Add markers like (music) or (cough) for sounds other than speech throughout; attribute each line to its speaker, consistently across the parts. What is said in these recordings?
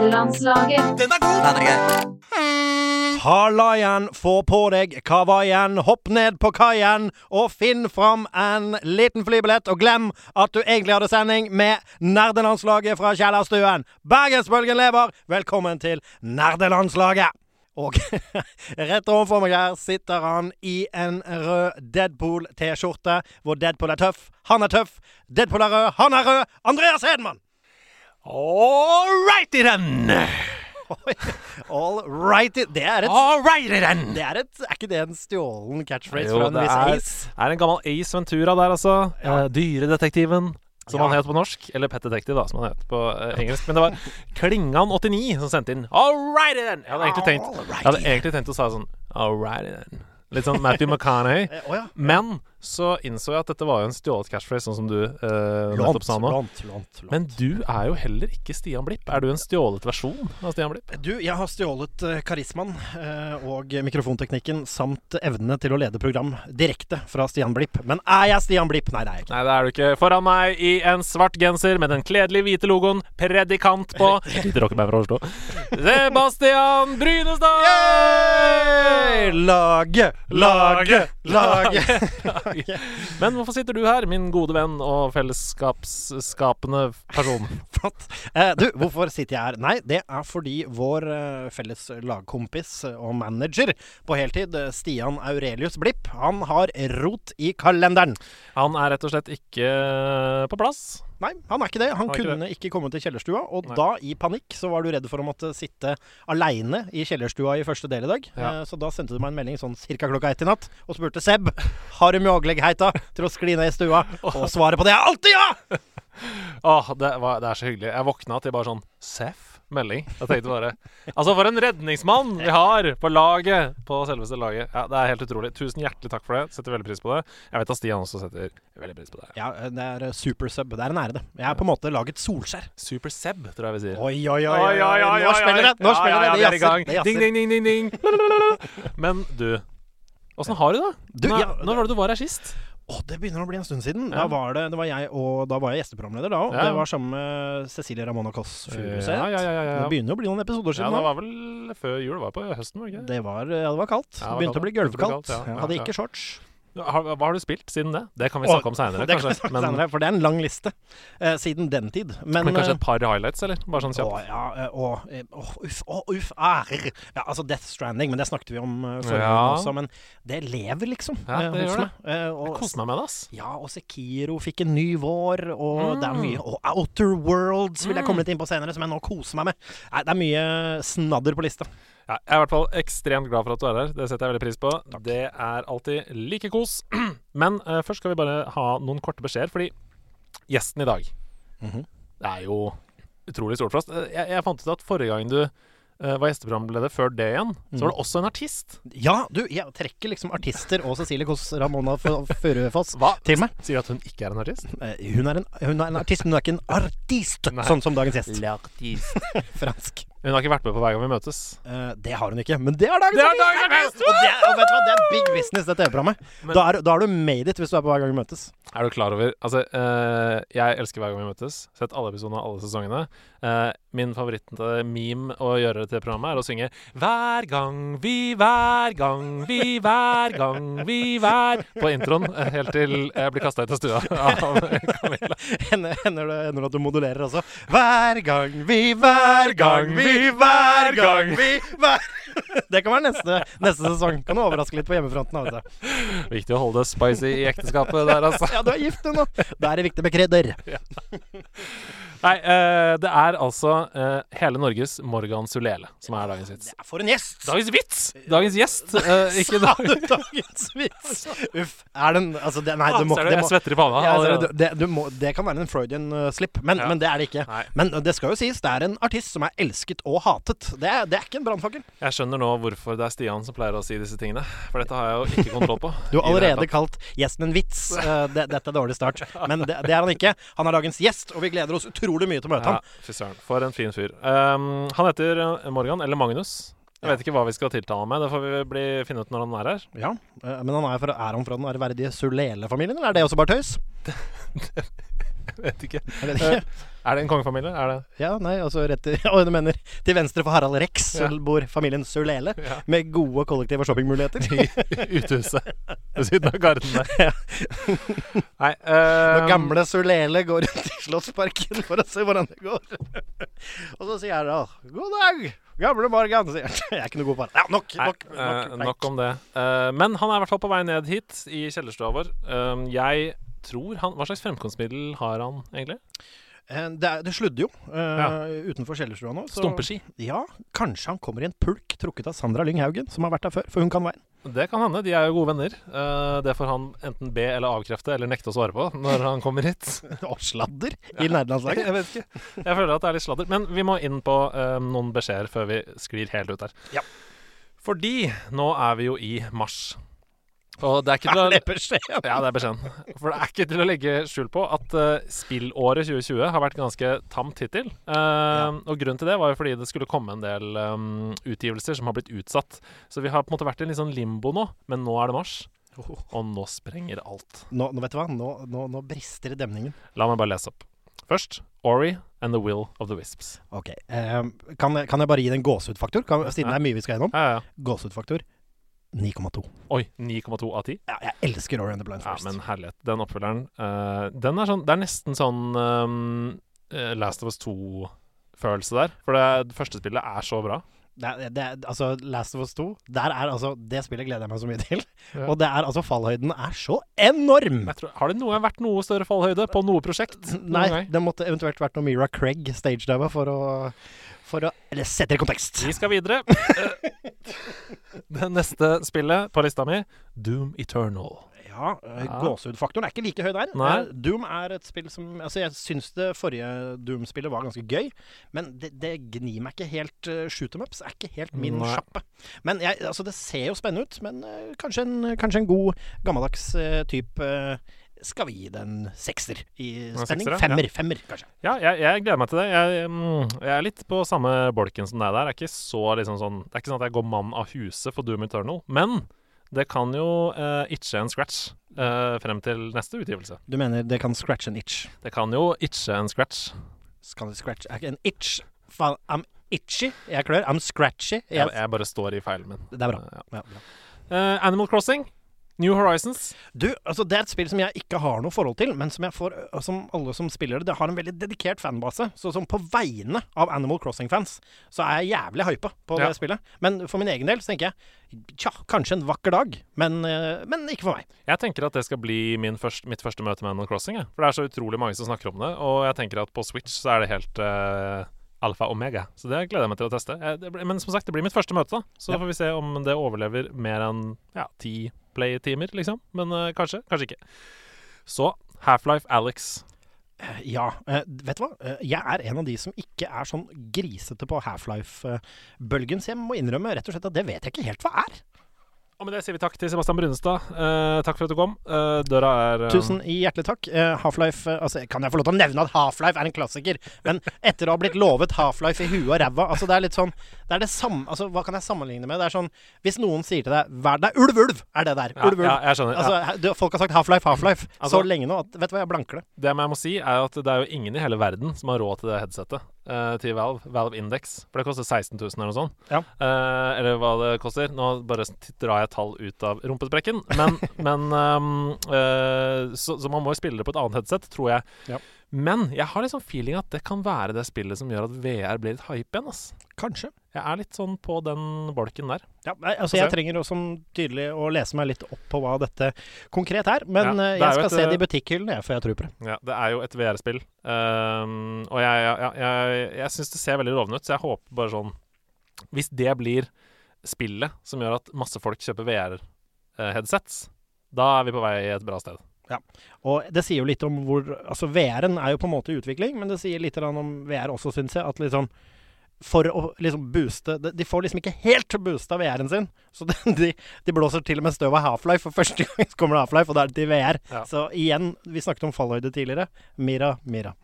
Speaker 1: Fredagslaget.
Speaker 2: Den er god! Den er grei.
Speaker 3: Halaien, få på deg kavaien, hopp ned på kaien og finn fram en liten flybillett, og glem at du egentlig hadde sending med nerdelandslaget fra kjellerstuen. Bergensbølgen lever! Velkommen til nerdelandslaget! Og (laughs) rett overfor meg her sitter han i en rød Deadpool-T-skjorte, hvor Deadpool er tøff, han er tøff, Deadpool er rød, han er rød, Andreas Hedman! (laughs)
Speaker 2: All righty then.
Speaker 3: All righty. Det er
Speaker 4: Ah,
Speaker 3: et
Speaker 2: All righty then.
Speaker 3: Det er, et, er ikke det en stjålen catchphrase
Speaker 4: Jo,
Speaker 3: fra en
Speaker 4: det
Speaker 3: viss
Speaker 4: er-
Speaker 3: ace?
Speaker 4: Er en gammel Ace Ventura der, altså.
Speaker 3: Ja.
Speaker 4: Eh, Dyredetektiven, som
Speaker 3: Ja.
Speaker 4: han het på norsk. Eller Pet Detective, da, som han het på eh, engelsk. Men det var Klingan89 som sendte inn All righty then! Jeg hadde egentlig tenkt, jeg hadde egentlig tenkt å si sånn All righty then. Litt sånn Matthew McConaughey.
Speaker 3: Eh, Å (laughs) ja.
Speaker 4: Men så innså jeg at dette var jo en stjålet catchphrase, sånn som du eh, nettopp
Speaker 3: Lånt,
Speaker 4: sa nå.
Speaker 3: lånt, lånt, lånt.
Speaker 4: Men du er jo heller ikke Stian Blipp. Er du en stjålet versjon av Stian Blipp?
Speaker 3: Du, jeg har stjålet eh, karismaen eh, og mikrofonteknikken samt evnene til å lede program direkte fra Stian Blipp. Men er jeg Stian Blipp? Nei, det er jeg ikke.
Speaker 4: Nei, det er du ikke. Foran meg i en svart genser med den kledelige hvite logoen 'Predikant' (laughs) på. Lite rockeband fra Oslo. Sebastian Brynestad!
Speaker 3: Lage, lage,
Speaker 4: (laughs)
Speaker 3: lage. (laughs)
Speaker 4: Men hvorfor sitter du her, min gode venn og fellesskapsskapende person?
Speaker 3: Flott. Eh, du, hvorfor sitter jeg her? Nei, det er fordi vår eh, felles lagkompis og manager på heltid, eh, Stian Aurelius Blipp, han har rot i kalenderen.
Speaker 4: Han er rett og slett ikke på plass.
Speaker 3: Nei, han er ikke det. Han
Speaker 4: Han er ikke
Speaker 3: kunne ikke komme til kjellerstua, og
Speaker 4: Nei.
Speaker 3: da, i panikk, så var du redd for å måtte sitte aleine i kjellerstua i første del i dag.
Speaker 4: Ja.
Speaker 3: Eh, Så da sendte du meg en melding sånn cirka klokka ett i natt og spurte Seb har du mjågleggheita til å skli ned i
Speaker 4: (laughs)
Speaker 3: stua, og svaret på det er alltid ja!
Speaker 4: Åh, det, var, det er så hyggelig. Jeg våkna til bare sånn Seff melding. Jeg tenkte bare Altså, for en redningsmann vi har på laget! På selveste laget. Ja, Det er helt utrolig. Tusen hjertelig takk for det. Setter veldig pris på det. Jeg vet at Stian også setter veldig pris på det.
Speaker 3: Ja, eh, det er eh, super sub. Det er en ære, det. Jeg er på en måte laget Solskjær.
Speaker 4: Super Seb, tror jeg vi sier.
Speaker 3: Oi, oi, oi. oi, oi, oi. Nå spiller det! Nå spiller det! Det jazzer. Det
Speaker 4: Ding,
Speaker 3: jazzer.
Speaker 4: ding, ding, ding, ding. Lalalala. Men du, åssen har du det?
Speaker 3: Du,
Speaker 4: Nå-
Speaker 3: ja,
Speaker 4: Når var det du var her sist?
Speaker 3: Å, det begynner å bli en stund siden. Da
Speaker 4: Ja.
Speaker 3: var det, det var jeg og da var jeg gjesteprogramleder da òg.
Speaker 4: Ja.
Speaker 3: Det var sammen med Cecilie Ramona Kåss Furuseth.
Speaker 4: Eh, Ja, ja, ja, ja, ja.
Speaker 3: Det begynner å bli noen episoder siden
Speaker 4: Ja, det
Speaker 3: nå.
Speaker 4: var vel før jul, det var på høsten, var det ikke? det?
Speaker 3: Det var, ja, det var kaldt.
Speaker 4: Ja, det
Speaker 3: det begynte
Speaker 4: var kaldt,
Speaker 3: å bli
Speaker 4: ja. Det ble
Speaker 3: gulvkaldt.
Speaker 4: kaldt, ja.
Speaker 3: Jeg hadde
Speaker 4: Ja, ja.
Speaker 3: ikke shorts.
Speaker 4: Har, hva har du spilt siden det? Det kan vi
Speaker 3: Å,
Speaker 4: snakke om seinere,
Speaker 3: det kan vi
Speaker 4: kanskje.
Speaker 3: snakke
Speaker 4: Men,
Speaker 3: senere, (laughs) for det er en lang liste eh, siden den tid. Men,
Speaker 4: men kanskje et par highlights, eller? Bare sånn
Speaker 3: eh, å,
Speaker 4: kjapt.
Speaker 3: ja, eh, å, eh, å, uff, å, uff, ærer. Ja, altså Death Stranding, men det snakket vi om eh, forrige
Speaker 4: Ja.
Speaker 3: gang også. Men det lever liksom
Speaker 4: Ja,
Speaker 3: eh,
Speaker 4: det gjør
Speaker 3: hos
Speaker 4: det.
Speaker 3: meg. Eh,
Speaker 4: Jeg
Speaker 3: og,
Speaker 4: koser meg med det, ass.
Speaker 3: ja, og Sekiro fikk en ny vår, og det er
Speaker 4: Mm.
Speaker 3: mye Og Outer Worlds vil jeg
Speaker 4: Mm.
Speaker 3: komme litt inn på senere, som jeg nå koser meg med. Nei, det er mye snadder på lista.
Speaker 4: Ja, jeg er i hvert fall ekstremt glad for at du er her. Det setter jeg veldig pris på. Det er alltid like kos. (clears throat) Men eh, først skal vi bare ha noen korte beskjeder, fordi gjesten i dag
Speaker 3: Mhm.
Speaker 4: Det er jo utrolig stort for oss. Eh, Jeg, jeg fant ut at forrige gang du eh, var gjesteprogramleder, før det igjen, så
Speaker 3: Mm.
Speaker 4: var det også en artist.
Speaker 3: Ja, du, jeg trekker liksom artister og Cecilie Kåss Ramona F- Furufoss
Speaker 4: Hva?
Speaker 3: til meg.
Speaker 4: Sier du at hun ikke er en artist?
Speaker 3: Eh, Hun er en, hun er en artist, men hun er ikke en artist,
Speaker 4: Nei.
Speaker 3: sånn som dagens gjest.
Speaker 4: L'artist.
Speaker 3: Fransk.
Speaker 4: Hun har ikke vært med på Hver gang vi møtes.
Speaker 3: Eh, det har hun ikke, men det er dagens
Speaker 4: Det er
Speaker 3: artist!
Speaker 4: dagens artist!
Speaker 3: Og det, er- og vet du hva, det er big business, det TV-programmet.
Speaker 4: Men-
Speaker 3: Da, er- da har du made it hvis du er på Hver gang vi møtes. (laughs)
Speaker 4: Er du klar over Altså, eh, jeg elsker Hver gang vi møtes. Sett alle episodene av alle sesongene. Eh, min favorittmeme å gjøre til programmet er å synge Hver gang vi, hver gang vi, hver gang vi, hver På introen eh, helt til jeg blir kasta ut av stua (laughs) av Camilla.
Speaker 3: Hender, hender det hender det at du modulerer også? Hver gang vi, hver gang vi, hver gang vi hver... (laughs) Det kan være neste, neste sesong. Kan du overraske litt på hjemmefronten. Altså.
Speaker 4: Viktig å holde det spicy i ekteskapet der, altså.
Speaker 3: Ja, du er gift, du nå. Da er det viktig med krydder.
Speaker 4: Nei, eh, det er altså eh, hele Norges Morgan Sulele som er dagens vits.
Speaker 3: For en gjest!
Speaker 4: Dagens vits! Dagens gjest, eh, ikke
Speaker 3: Sa
Speaker 4: dag...
Speaker 3: du dagens vits? Uff. Er den Altså, det, nei,
Speaker 4: Ah,
Speaker 3: du må
Speaker 4: ser du,
Speaker 3: det
Speaker 4: jeg
Speaker 3: må-
Speaker 4: svetter i panna.
Speaker 3: Ja, altså,
Speaker 4: allerede.
Speaker 3: det, du må, det kan være en Freudian uh, slip, men,
Speaker 4: Ja.
Speaker 3: men det er det ikke.
Speaker 4: Nei.
Speaker 3: Men uh, det skal jo sies, det er en artist som er elsket og hatet. Det er, det er ikke en brannfakkel.
Speaker 4: Jeg skjønner nå hvorfor det er Stian som pleier å si disse tingene. For dette har jeg jo ikke kontroll på.
Speaker 3: (laughs) Du har
Speaker 4: I det hele
Speaker 3: allerede kalt gjesten en vits.
Speaker 4: (laughs)
Speaker 3: Uh, det, dette er dårlig start, men det, det er han ikke. Han er dagens gjest, og vi gleder oss utrolig mye til å
Speaker 4: tatt.
Speaker 3: møte
Speaker 4: Ja,
Speaker 3: ham.
Speaker 4: fy søren. For en fin fyr. Um, han heter eh, Morgan, eller Magnus. Jeg vet ikke hva vi skal tiltale ham med. Det får vi bli, finne ut når han
Speaker 3: (laughs)
Speaker 4: er her.
Speaker 3: Ja, uh, Men han er, fra, er han fra den ærverdige Sulele-familien, eller er det også bare tøys?
Speaker 4: Vet ikke.
Speaker 3: Jeg vet ikke.
Speaker 4: Er det en kongefamilie? Er det?
Speaker 3: Ja, nei, altså rett til (laughs) Å, du mener til venstre for Harald Rex
Speaker 4: Ja.
Speaker 3: så bor familien Sulele,
Speaker 4: Ja.
Speaker 3: med gode kollektive (laughs) shoppingmuligheter.
Speaker 4: (laughs) Utehuset
Speaker 3: (laughs)
Speaker 4: ved siden av garden der. Nei
Speaker 3: Når
Speaker 4: eh,
Speaker 3: gamle Sulele går rundt i Slottsparken for å se hvordan det går. Og så sier jeg da 'God dag, gamle Morgan', sier han. Jeg er ikke noe god på det. Ja, nok,
Speaker 4: Nei,
Speaker 3: nok,
Speaker 4: eh,
Speaker 3: nok,
Speaker 4: nok om det. Eh, men han er i hvert fall på vei ned hit, i kjellerstua vår. Um, jeg tror han Hva slags fremkomstmiddel har han egentlig?
Speaker 3: Eh, Det, er, det sludder jo eh,
Speaker 4: Ja.
Speaker 3: utenfor kjellerstua nå. så-
Speaker 4: Stumpeski.
Speaker 3: Ja, kanskje han kommer i en pulk trukket av Sandra Lyng Haugen, som har vært der før, for hun kan veien.
Speaker 4: Det kan hende. De er jo gode venner. Eh, det får han enten be eller avkrefte eller nekte å svare på (laughs) når han kommer (laughs) hit.
Speaker 3: Og (laughs) sladder i nerdelandslaget.
Speaker 4: Jeg vet ikke. (laughs) Jeg føler at det er litt sladder. Men vi må inn på eh, noen beskjeder før vi sklir helt ut her.
Speaker 3: Ja.
Speaker 4: Fordi nå er vi jo i mars. Og det er
Speaker 3: (laughs)
Speaker 4: ikke til å
Speaker 3: Er det beskjeden?
Speaker 4: Ja, det er beskjeden. For det er ikke til å legge skjul på at eh, spillåret 2020 har vært ganske tamt hittil. Eh, Og grunnen til det var jo fordi det skulle komme en del eh, utgivelser som har blitt utsatt. Så vi har på en måte vært i en litt sånn limbo nå, men nå er det mars. Og nå sprenger alt.
Speaker 3: Nå, nå vet du hva, nå, nå, nå brister det i demningen.
Speaker 4: La meg bare lese opp. Først Ori and the Will of the Wisps.
Speaker 3: Ok, eh, kan, jeg- kan jeg bare gi det en gåsehudfaktor? Kan- Siden det er mye vi skal gjennom.
Speaker 4: Ja, ja.
Speaker 3: Gåsehudfaktor 9,2.
Speaker 4: Oi, 9,2 av 10.
Speaker 3: Ja, jeg elsker Ori and the Blind
Speaker 4: Ja,
Speaker 3: Forest.
Speaker 4: men herlighet. Den oppfølgeren, eh, den er sånn Det er nesten sånn eh, Last of Us 2-følelse der. For det, det første spillet er så bra.
Speaker 3: det, er- det, er- altså, Last of Us 2, der er altså Det spillet gleder jeg meg så mye til.
Speaker 4: Ja.
Speaker 3: Og det er altså Fallhøyden er så enorm!
Speaker 4: Jeg tror, har det noe, vært noe større fallhøyde på noe prosjekt? noen
Speaker 3: Nei,
Speaker 4: gang?
Speaker 3: det måtte eventuelt vært noe Mira Craig stagediva for å For å Eller sette det i kontekst.
Speaker 4: Vi skal videre. Eh, det neste spillet på lista mi, Doom Eternal.
Speaker 3: Ja, eh,
Speaker 4: Ja.
Speaker 3: gåsehudfaktoren er ikke like høy der.
Speaker 4: Nei.
Speaker 3: Eh, Doom er et spill som Altså, jeg syns det forrige Doom-spillet var ganske gøy, men det, det gnir meg ikke helt. Uh, shoot em ups er ikke helt min
Speaker 4: Nei.
Speaker 3: sjappe. Men jeg, altså, det ser jo spennende ut, men eh, kanskje, en, kanskje en god gammeldags uh, type skal vi gi det en sekser i
Speaker 4: En
Speaker 3: spenning?
Speaker 4: sekser, ja.
Speaker 3: femmer, femmer, kanskje.
Speaker 4: Ja, jeg, jeg gleder meg til det. Jeg, mm, jeg er litt på samme bolken som deg der. Det er ikke så liksom sånn Det er ikke sånn at jeg går mann av huset for Doom Eternal. Men det kan jo uh, itche en scratch eh, frem til neste utgivelse.
Speaker 3: Du mener det kan scratch an itch?
Speaker 4: Det kan jo itche en scratch.
Speaker 3: Skal scratch er ikke en itch? Faen, I'm itchy. Jeg klør. I'm scratchy. Jeg,
Speaker 4: Jeg, jeg bare står i feilen min.
Speaker 3: det er bra.
Speaker 4: Eh, ja.
Speaker 3: Ja, bra.
Speaker 4: Eh, Animal Crossing, New Horizons.
Speaker 3: Du, altså Det er et spill som jeg ikke har noe forhold til, men som jeg får og Som alle som spiller det, det har en veldig dedikert fanbase. Så som på vegne av Animal Crossing-fans, så er jeg jævlig hypa på
Speaker 4: Ja.
Speaker 3: det spillet. Men for min egen del så tenker jeg tja, kanskje en vakker dag, men, eh, men ikke for meg.
Speaker 4: Jeg tenker at det skal bli min først, mitt første møte med Animal Crossing. Jeg. For det er så utrolig mange som snakker om det. Og jeg tenker at på Switch så er det helt eh, alfa omega. Så det gleder jeg meg til å teste. Jeg, det, blir- men som sagt, det blir mitt første møte, da. Så
Speaker 3: Ja.
Speaker 4: får vi se om det overlever mer enn ja, ti playtimer, liksom. Men eh, kanskje, kanskje ikke. Så Half-Life Alex.
Speaker 3: Eh, Ja, eh, vet du hva? Eh, Jeg er en av de som ikke er sånn grisete på Half-Life-bølgen, så jeg må innrømme rett og slett at det vet jeg ikke helt hva er.
Speaker 4: Og med det sier vi takk til Sebastian Brunestad. Eh, takk for at du kom. Eh, døra er eh,
Speaker 3: Tusen hjertelig takk. Eh, Half-Life eh, altså, Kan jeg få lov til å nevne at Half-Life er en klassiker? Men etter å ha blitt lovet Half-Life i huet og ræva altså, Det er litt sånn det er det samme, altså, Hva kan jeg sammenligne med? Det er sånn Hvis noen sier til deg Vær deg ulv, ulv! Er det der.
Speaker 4: ja,
Speaker 3: Ulv, ulv.
Speaker 4: ja, jeg skjønner.
Speaker 3: Altså, he- du, folk har sagt Half-Life, Half-Life så
Speaker 4: Altså-
Speaker 3: lenge nå at Vet du hva, jeg blanker det.
Speaker 4: Det jeg må si, er at det er jo ingen i hele verden som har råd til det headsetet eh, til Valve, Valve Index. For det koster 16 000 eller noe sånt.
Speaker 3: Ja.
Speaker 4: Eh, eller hva det koster. Nå bare s- drar jeg tall ut av rumpesprekken.
Speaker 3: (laughs)
Speaker 4: Men, men ehm, eh, så, så man må jo spille det på et annet headset, tror jeg.
Speaker 3: Ja.
Speaker 4: Men jeg har liksom feeling at det kan være det spillet som gjør at VR blir litt hype igjen, ass.
Speaker 3: Kanskje.
Speaker 4: Jeg er litt sånn på den bolken der.
Speaker 3: Ja, nei, altså
Speaker 4: Få
Speaker 3: Jeg
Speaker 4: se.
Speaker 3: trenger også tydelig å lese meg litt opp på hva dette konkret er. Men eh,
Speaker 4: Ja, det er
Speaker 3: jeg
Speaker 4: jo
Speaker 3: skal
Speaker 4: et,
Speaker 3: se det
Speaker 4: eh,
Speaker 3: i butikkhyllene jeg, før jeg tror på det.
Speaker 4: Ja, det er jo et VR-spill. Ehm, og jeg, jeg, jeg, jeg, jeg syns det ser veldig lovende ut, så jeg håper bare sånn Hvis det blir spillet som gjør at masse folk kjøper VR-headsets, da er vi på vei et bra sted.
Speaker 3: Og det sier jo litt om hvor Altså VR-en er jo på en måte i utvikling, men det sier litt grann om VR også, syns jeg. At liksom For å liksom booste De de får liksom ikke helt boosta VR-en sin. Så (laughs) de, de, de blåser til og med støv av Half-Life, for første gang så kommer det Half-Life, og da er det til VR.
Speaker 4: Ja.
Speaker 3: Så igjen, vi snakket om fallhøyde tidligere. Mira, Mira.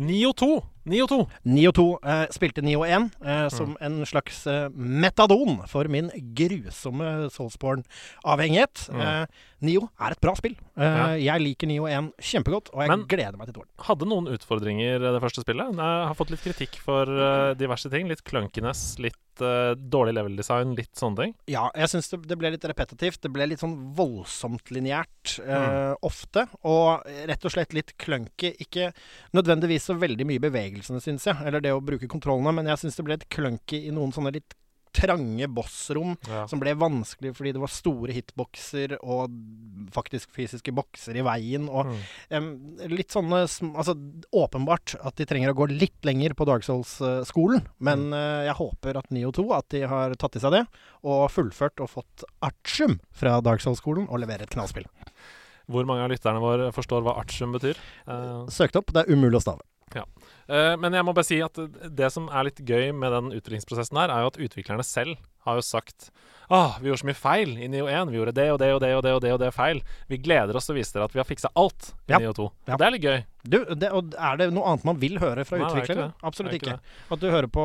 Speaker 4: 9 og 2. 9 og 2.
Speaker 3: 9 og 2 eh, spilte 9 og 1 eh,
Speaker 4: Mm.
Speaker 3: som en slags eh, metadon for min grusomme Soulsborne-avhengighet.
Speaker 4: Mm.
Speaker 3: Eh, Nio er et bra spill. Eh, Jeg liker Nio 1 kjempegodt, og jeg
Speaker 4: Men-
Speaker 3: gleder meg til toeren.
Speaker 4: Hadde noen utfordringer eh, det første spillet. Jeg har fått litt kritikk for eh, diverse ting. Litt clunkiness, litt eh, dårlig level-design, litt sånne ting.
Speaker 3: Ja, jeg syns det, det ble litt repetitivt. Det ble litt sånn voldsomt lineært
Speaker 4: Mm.
Speaker 3: eh, ofte. Og rett og slett litt clunky. Ikke nødvendigvis så veldig mye i bevegelsene, syns jeg. Eller det å bruke kontrollene, men jeg syns det ble litt clunky i noen sånne litt trange bossrom. Som ble vanskelig fordi det var store hitboxer og faktisk fysiske bokser i veien. Og
Speaker 4: Mm.
Speaker 3: em, litt sånne sm- Altså åpenbart at de trenger å gå litt lenger på Dark Souls-skolen. Men eh, jeg håper at Neo 2 at de har tatt i seg det, og fullført og fått artium fra Dark Souls-skolen og leverer et knallspill.
Speaker 4: Hvor mange av lytterne våre forstår hva artium betyr? Eh,
Speaker 3: Søkt opp, det er umulig å stave.
Speaker 4: Eh, men jeg må bare si at det som er litt gøy med den utviklingsprosessen her, er jo at utviklerne selv har jo sagt Åh, vi gjorde så mye feil i NIO 1. Vi gjorde det og det og det og det og det og det feil. Vi gleder oss til å vise dere at vi har fiksa alt i
Speaker 3: Ja.
Speaker 4: NIO 2.
Speaker 3: Ja.
Speaker 4: Det er litt gøy.
Speaker 3: Du, det, og er det noe annet man vil høre fra
Speaker 4: Nei, det er ikke
Speaker 3: utviklere?
Speaker 4: det.
Speaker 3: Absolutt
Speaker 4: Det er
Speaker 3: ikke.
Speaker 4: ikke
Speaker 3: At du hører på,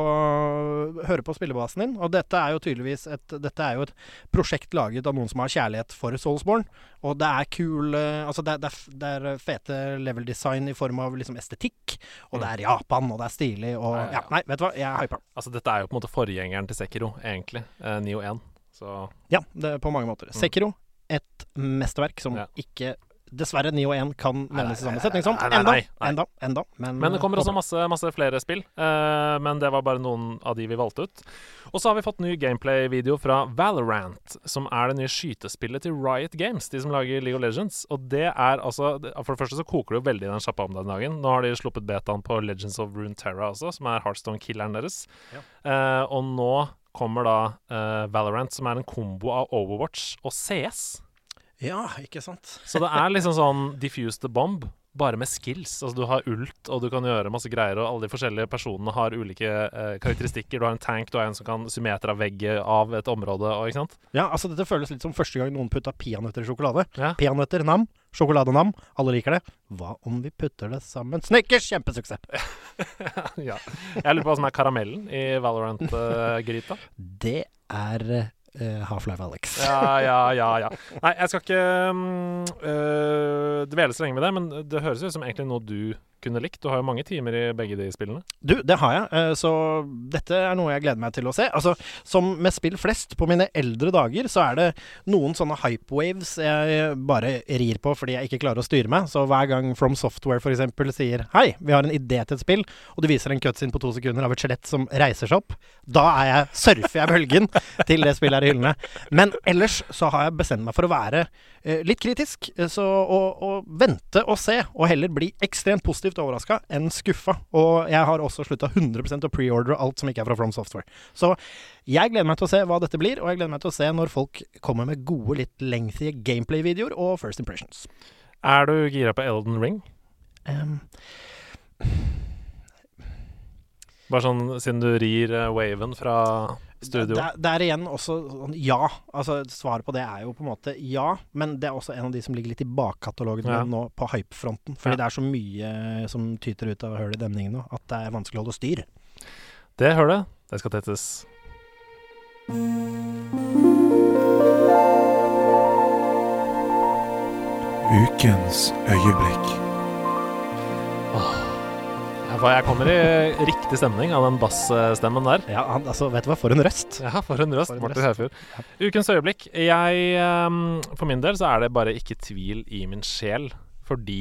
Speaker 3: hører på spillebasen din. Og dette er jo tydeligvis et, dette er jo et prosjekt laget av noen som har kjærlighet for Soulsborne. Og det er kul eh, Altså, det, er- det, er f- det er fete level design i form av liksom estetikk. Og det er Japan, og det er stilig, og
Speaker 4: Mm. Ja,
Speaker 3: ja,
Speaker 4: ja, ja.
Speaker 3: Nei, vet du hva, jeg er hypa.
Speaker 4: Altså, dette er jo på en måte forgjengeren til Sekiro, egentlig. Eh, NIO 1. Så
Speaker 3: Ja, det, på mange måter. Sekiro, et mesterverk som
Speaker 4: Mm. Ja.
Speaker 3: ikke Dessverre 9 og 1 kan
Speaker 4: Nei,
Speaker 3: nevnes i
Speaker 4: nei,
Speaker 3: samme
Speaker 4: nei,
Speaker 3: setning som.
Speaker 4: nei, nei,
Speaker 3: Enda,
Speaker 4: nei, nei.
Speaker 3: enda, enda. Men, eh,
Speaker 4: Men det kommer også
Speaker 3: håper-
Speaker 4: masse, masse flere spill. eh, men det var bare noen av de vi valgte ut. Og så har vi fått ny gameplay-video fra Valorant, som er det nye skytespillet til Riot Games, de som lager League of Legends. Og det er altså det- For det første så koker det jo veldig i den sjappa om den dagen. Nå har de sluppet betaen på Legends of Runeterra også, som er Heartstone-killeren deres. Eh, og nå kommer da eh, Valorant, som er en kombo av Overwatch og CS.
Speaker 3: Ja, ikke sant.
Speaker 4: Så det er liksom sånn diffuse the bomb, bare med skills. Altså du har ult, og du kan gjøre masse greier, og alle de forskjellige personene har ulike eh, karakteristikker. Du har en tank, du har en som kan symmetra vegget av et område, og ikke sant?
Speaker 3: Ja, altså dette føles litt som første gang noen putta peanøtter i sjokolade.
Speaker 4: Ja.
Speaker 3: Peanøtter, nam, sjokoladenam, alle liker det. Hva om vi putter det sammen? Snickers, kjempesuksess!
Speaker 4: (laughs) ja. Jeg lurer på hva som er karamellen i eh, Valorant-gryta.
Speaker 3: Det er eh, Half-Life Alex.
Speaker 4: ja, ja, ja, ja. Nei, jeg skal ikke mm, øh, dvele så lenge med det, men det høres jo ut som egentlig noe du kunne likt. Du har jo mange timer i begge de spillene.
Speaker 3: Du, det har jeg, eh, så dette er noe jeg gleder meg til å se. Altså, som med spill flest, på mine eldre dager, så er det noen sånne hypewaves jeg bare rir på fordi jeg ikke klarer å styre meg. Så hver gang From Software f.eks. sier 'hei, vi har en idé til et spill', og du viser en cutscene på to sekunder av et skjelett som reiser seg opp, da er jeg, surfer jeg bølgen til det spillet er i hyllene. Men ellers så har jeg bestemt meg for å være eh, litt kritisk, eh, så å, å vente og se, og heller bli ekstremt positivt overraska enn skuffa. Og jeg har også slutta 100 å preordre alt som ikke er fra From Software. Så jeg gleder meg til å se hva dette blir, og jeg gleder meg til å se når folk kommer med gode, litt lengthy gameplay-videoer og first impressions. Ehm,
Speaker 4: Er du gira på Elden Ring?
Speaker 3: Em,
Speaker 4: Bare sånn siden du rir eh, waven fra studio.
Speaker 3: Det, det er igjen også sånn ja. Altså, svaret på det er jo på en måte ja, men det er også en av de som ligger litt i bakkatalogen
Speaker 4: Ja.
Speaker 3: min nå, på hypefronten. Fordi
Speaker 4: Ja.
Speaker 3: det er så mye som tyter ut av hølet i demningen nå, at det er vanskelig å holde styr.
Speaker 4: Det hølet, det skal tettes.
Speaker 1: Ukens øyeblikk.
Speaker 4: Ja, for jeg kommer i riktig stemning av den bassstemmen der.
Speaker 3: Ja, han, altså, vet du hva, for en røst.
Speaker 4: Ja, for en røst,
Speaker 3: For en
Speaker 4: Martin
Speaker 3: røst.
Speaker 4: Herfjord. Ukens øyeblikk. Jeg, ehm, for min del så er det bare ikke tvil i min sjel, fordi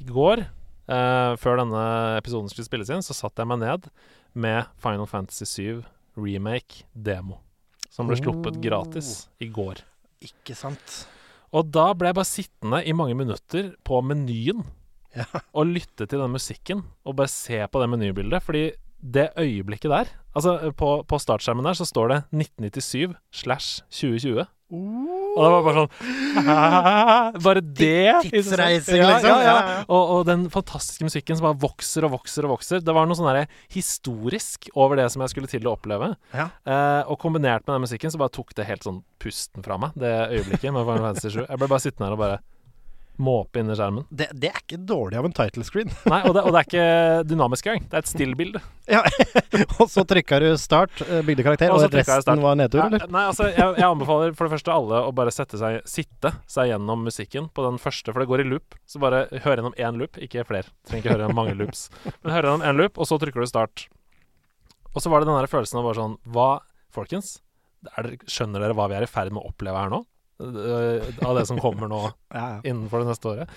Speaker 4: i går, eh, før denne episoden skulle spilles inn, så satte jeg meg ned med Final Fantasy 7 Remake Demo, som ble sluppet
Speaker 3: Oh.
Speaker 4: gratis i går.
Speaker 3: Ikke sant?
Speaker 4: Og da ble jeg bare sittende i mange minutter på menyen
Speaker 3: Ja.
Speaker 4: og lytte til den musikken og bare se på det menybildet. Fordi det øyeblikket der Altså, på, på startskjermen der så står det 1997 slash 2020. Og det var bare sånn (laughs) «Hæ? Bare det?
Speaker 3: Tidsreising,
Speaker 4: Ja,
Speaker 3: liksom.
Speaker 4: Ja, ja.
Speaker 3: Ja, ja.
Speaker 4: Og, og den fantastiske musikken som bare vokser og vokser og vokser. Det var noe sånn der historisk over det som jeg skulle til å oppleve.
Speaker 3: Ja.
Speaker 4: Eh, og kombinert med den musikken så bare tok det helt sånn pusten fra meg, det øyeblikket med Final Fantasy 7. Jeg ble bare sittende her og bare måpe inni skjermen.
Speaker 3: Det, det er ikke dårlig av en title screen. (laughs)
Speaker 4: Nei, og det, og det er ikke dynamisk engang. Det er et stillbilde.
Speaker 3: Ja, (laughs) og så trykka du start, eh, bygde karakter,
Speaker 4: Og
Speaker 3: og,
Speaker 4: så trykket jeg start.
Speaker 3: resten var nedtur,
Speaker 4: Nei,
Speaker 3: eller?
Speaker 4: nei, altså, jeg, jeg anbefaler for det første alle å bare sette seg, sitte seg gjennom musikken på den første, for det går i loop. Så bare hør gjennom én loop, ikke flere. Trenger ikke høre gjennom mange loops. Men hør gjennom én loop, og så trykker du start. Og så var det den der følelsen av bare sånn Hva, folkens? Er, dere- skjønner dere hva vi er i ferd med å oppleve her nå? Eh, Av det som kommer nå
Speaker 3: Ja, ja.
Speaker 4: innenfor det neste året.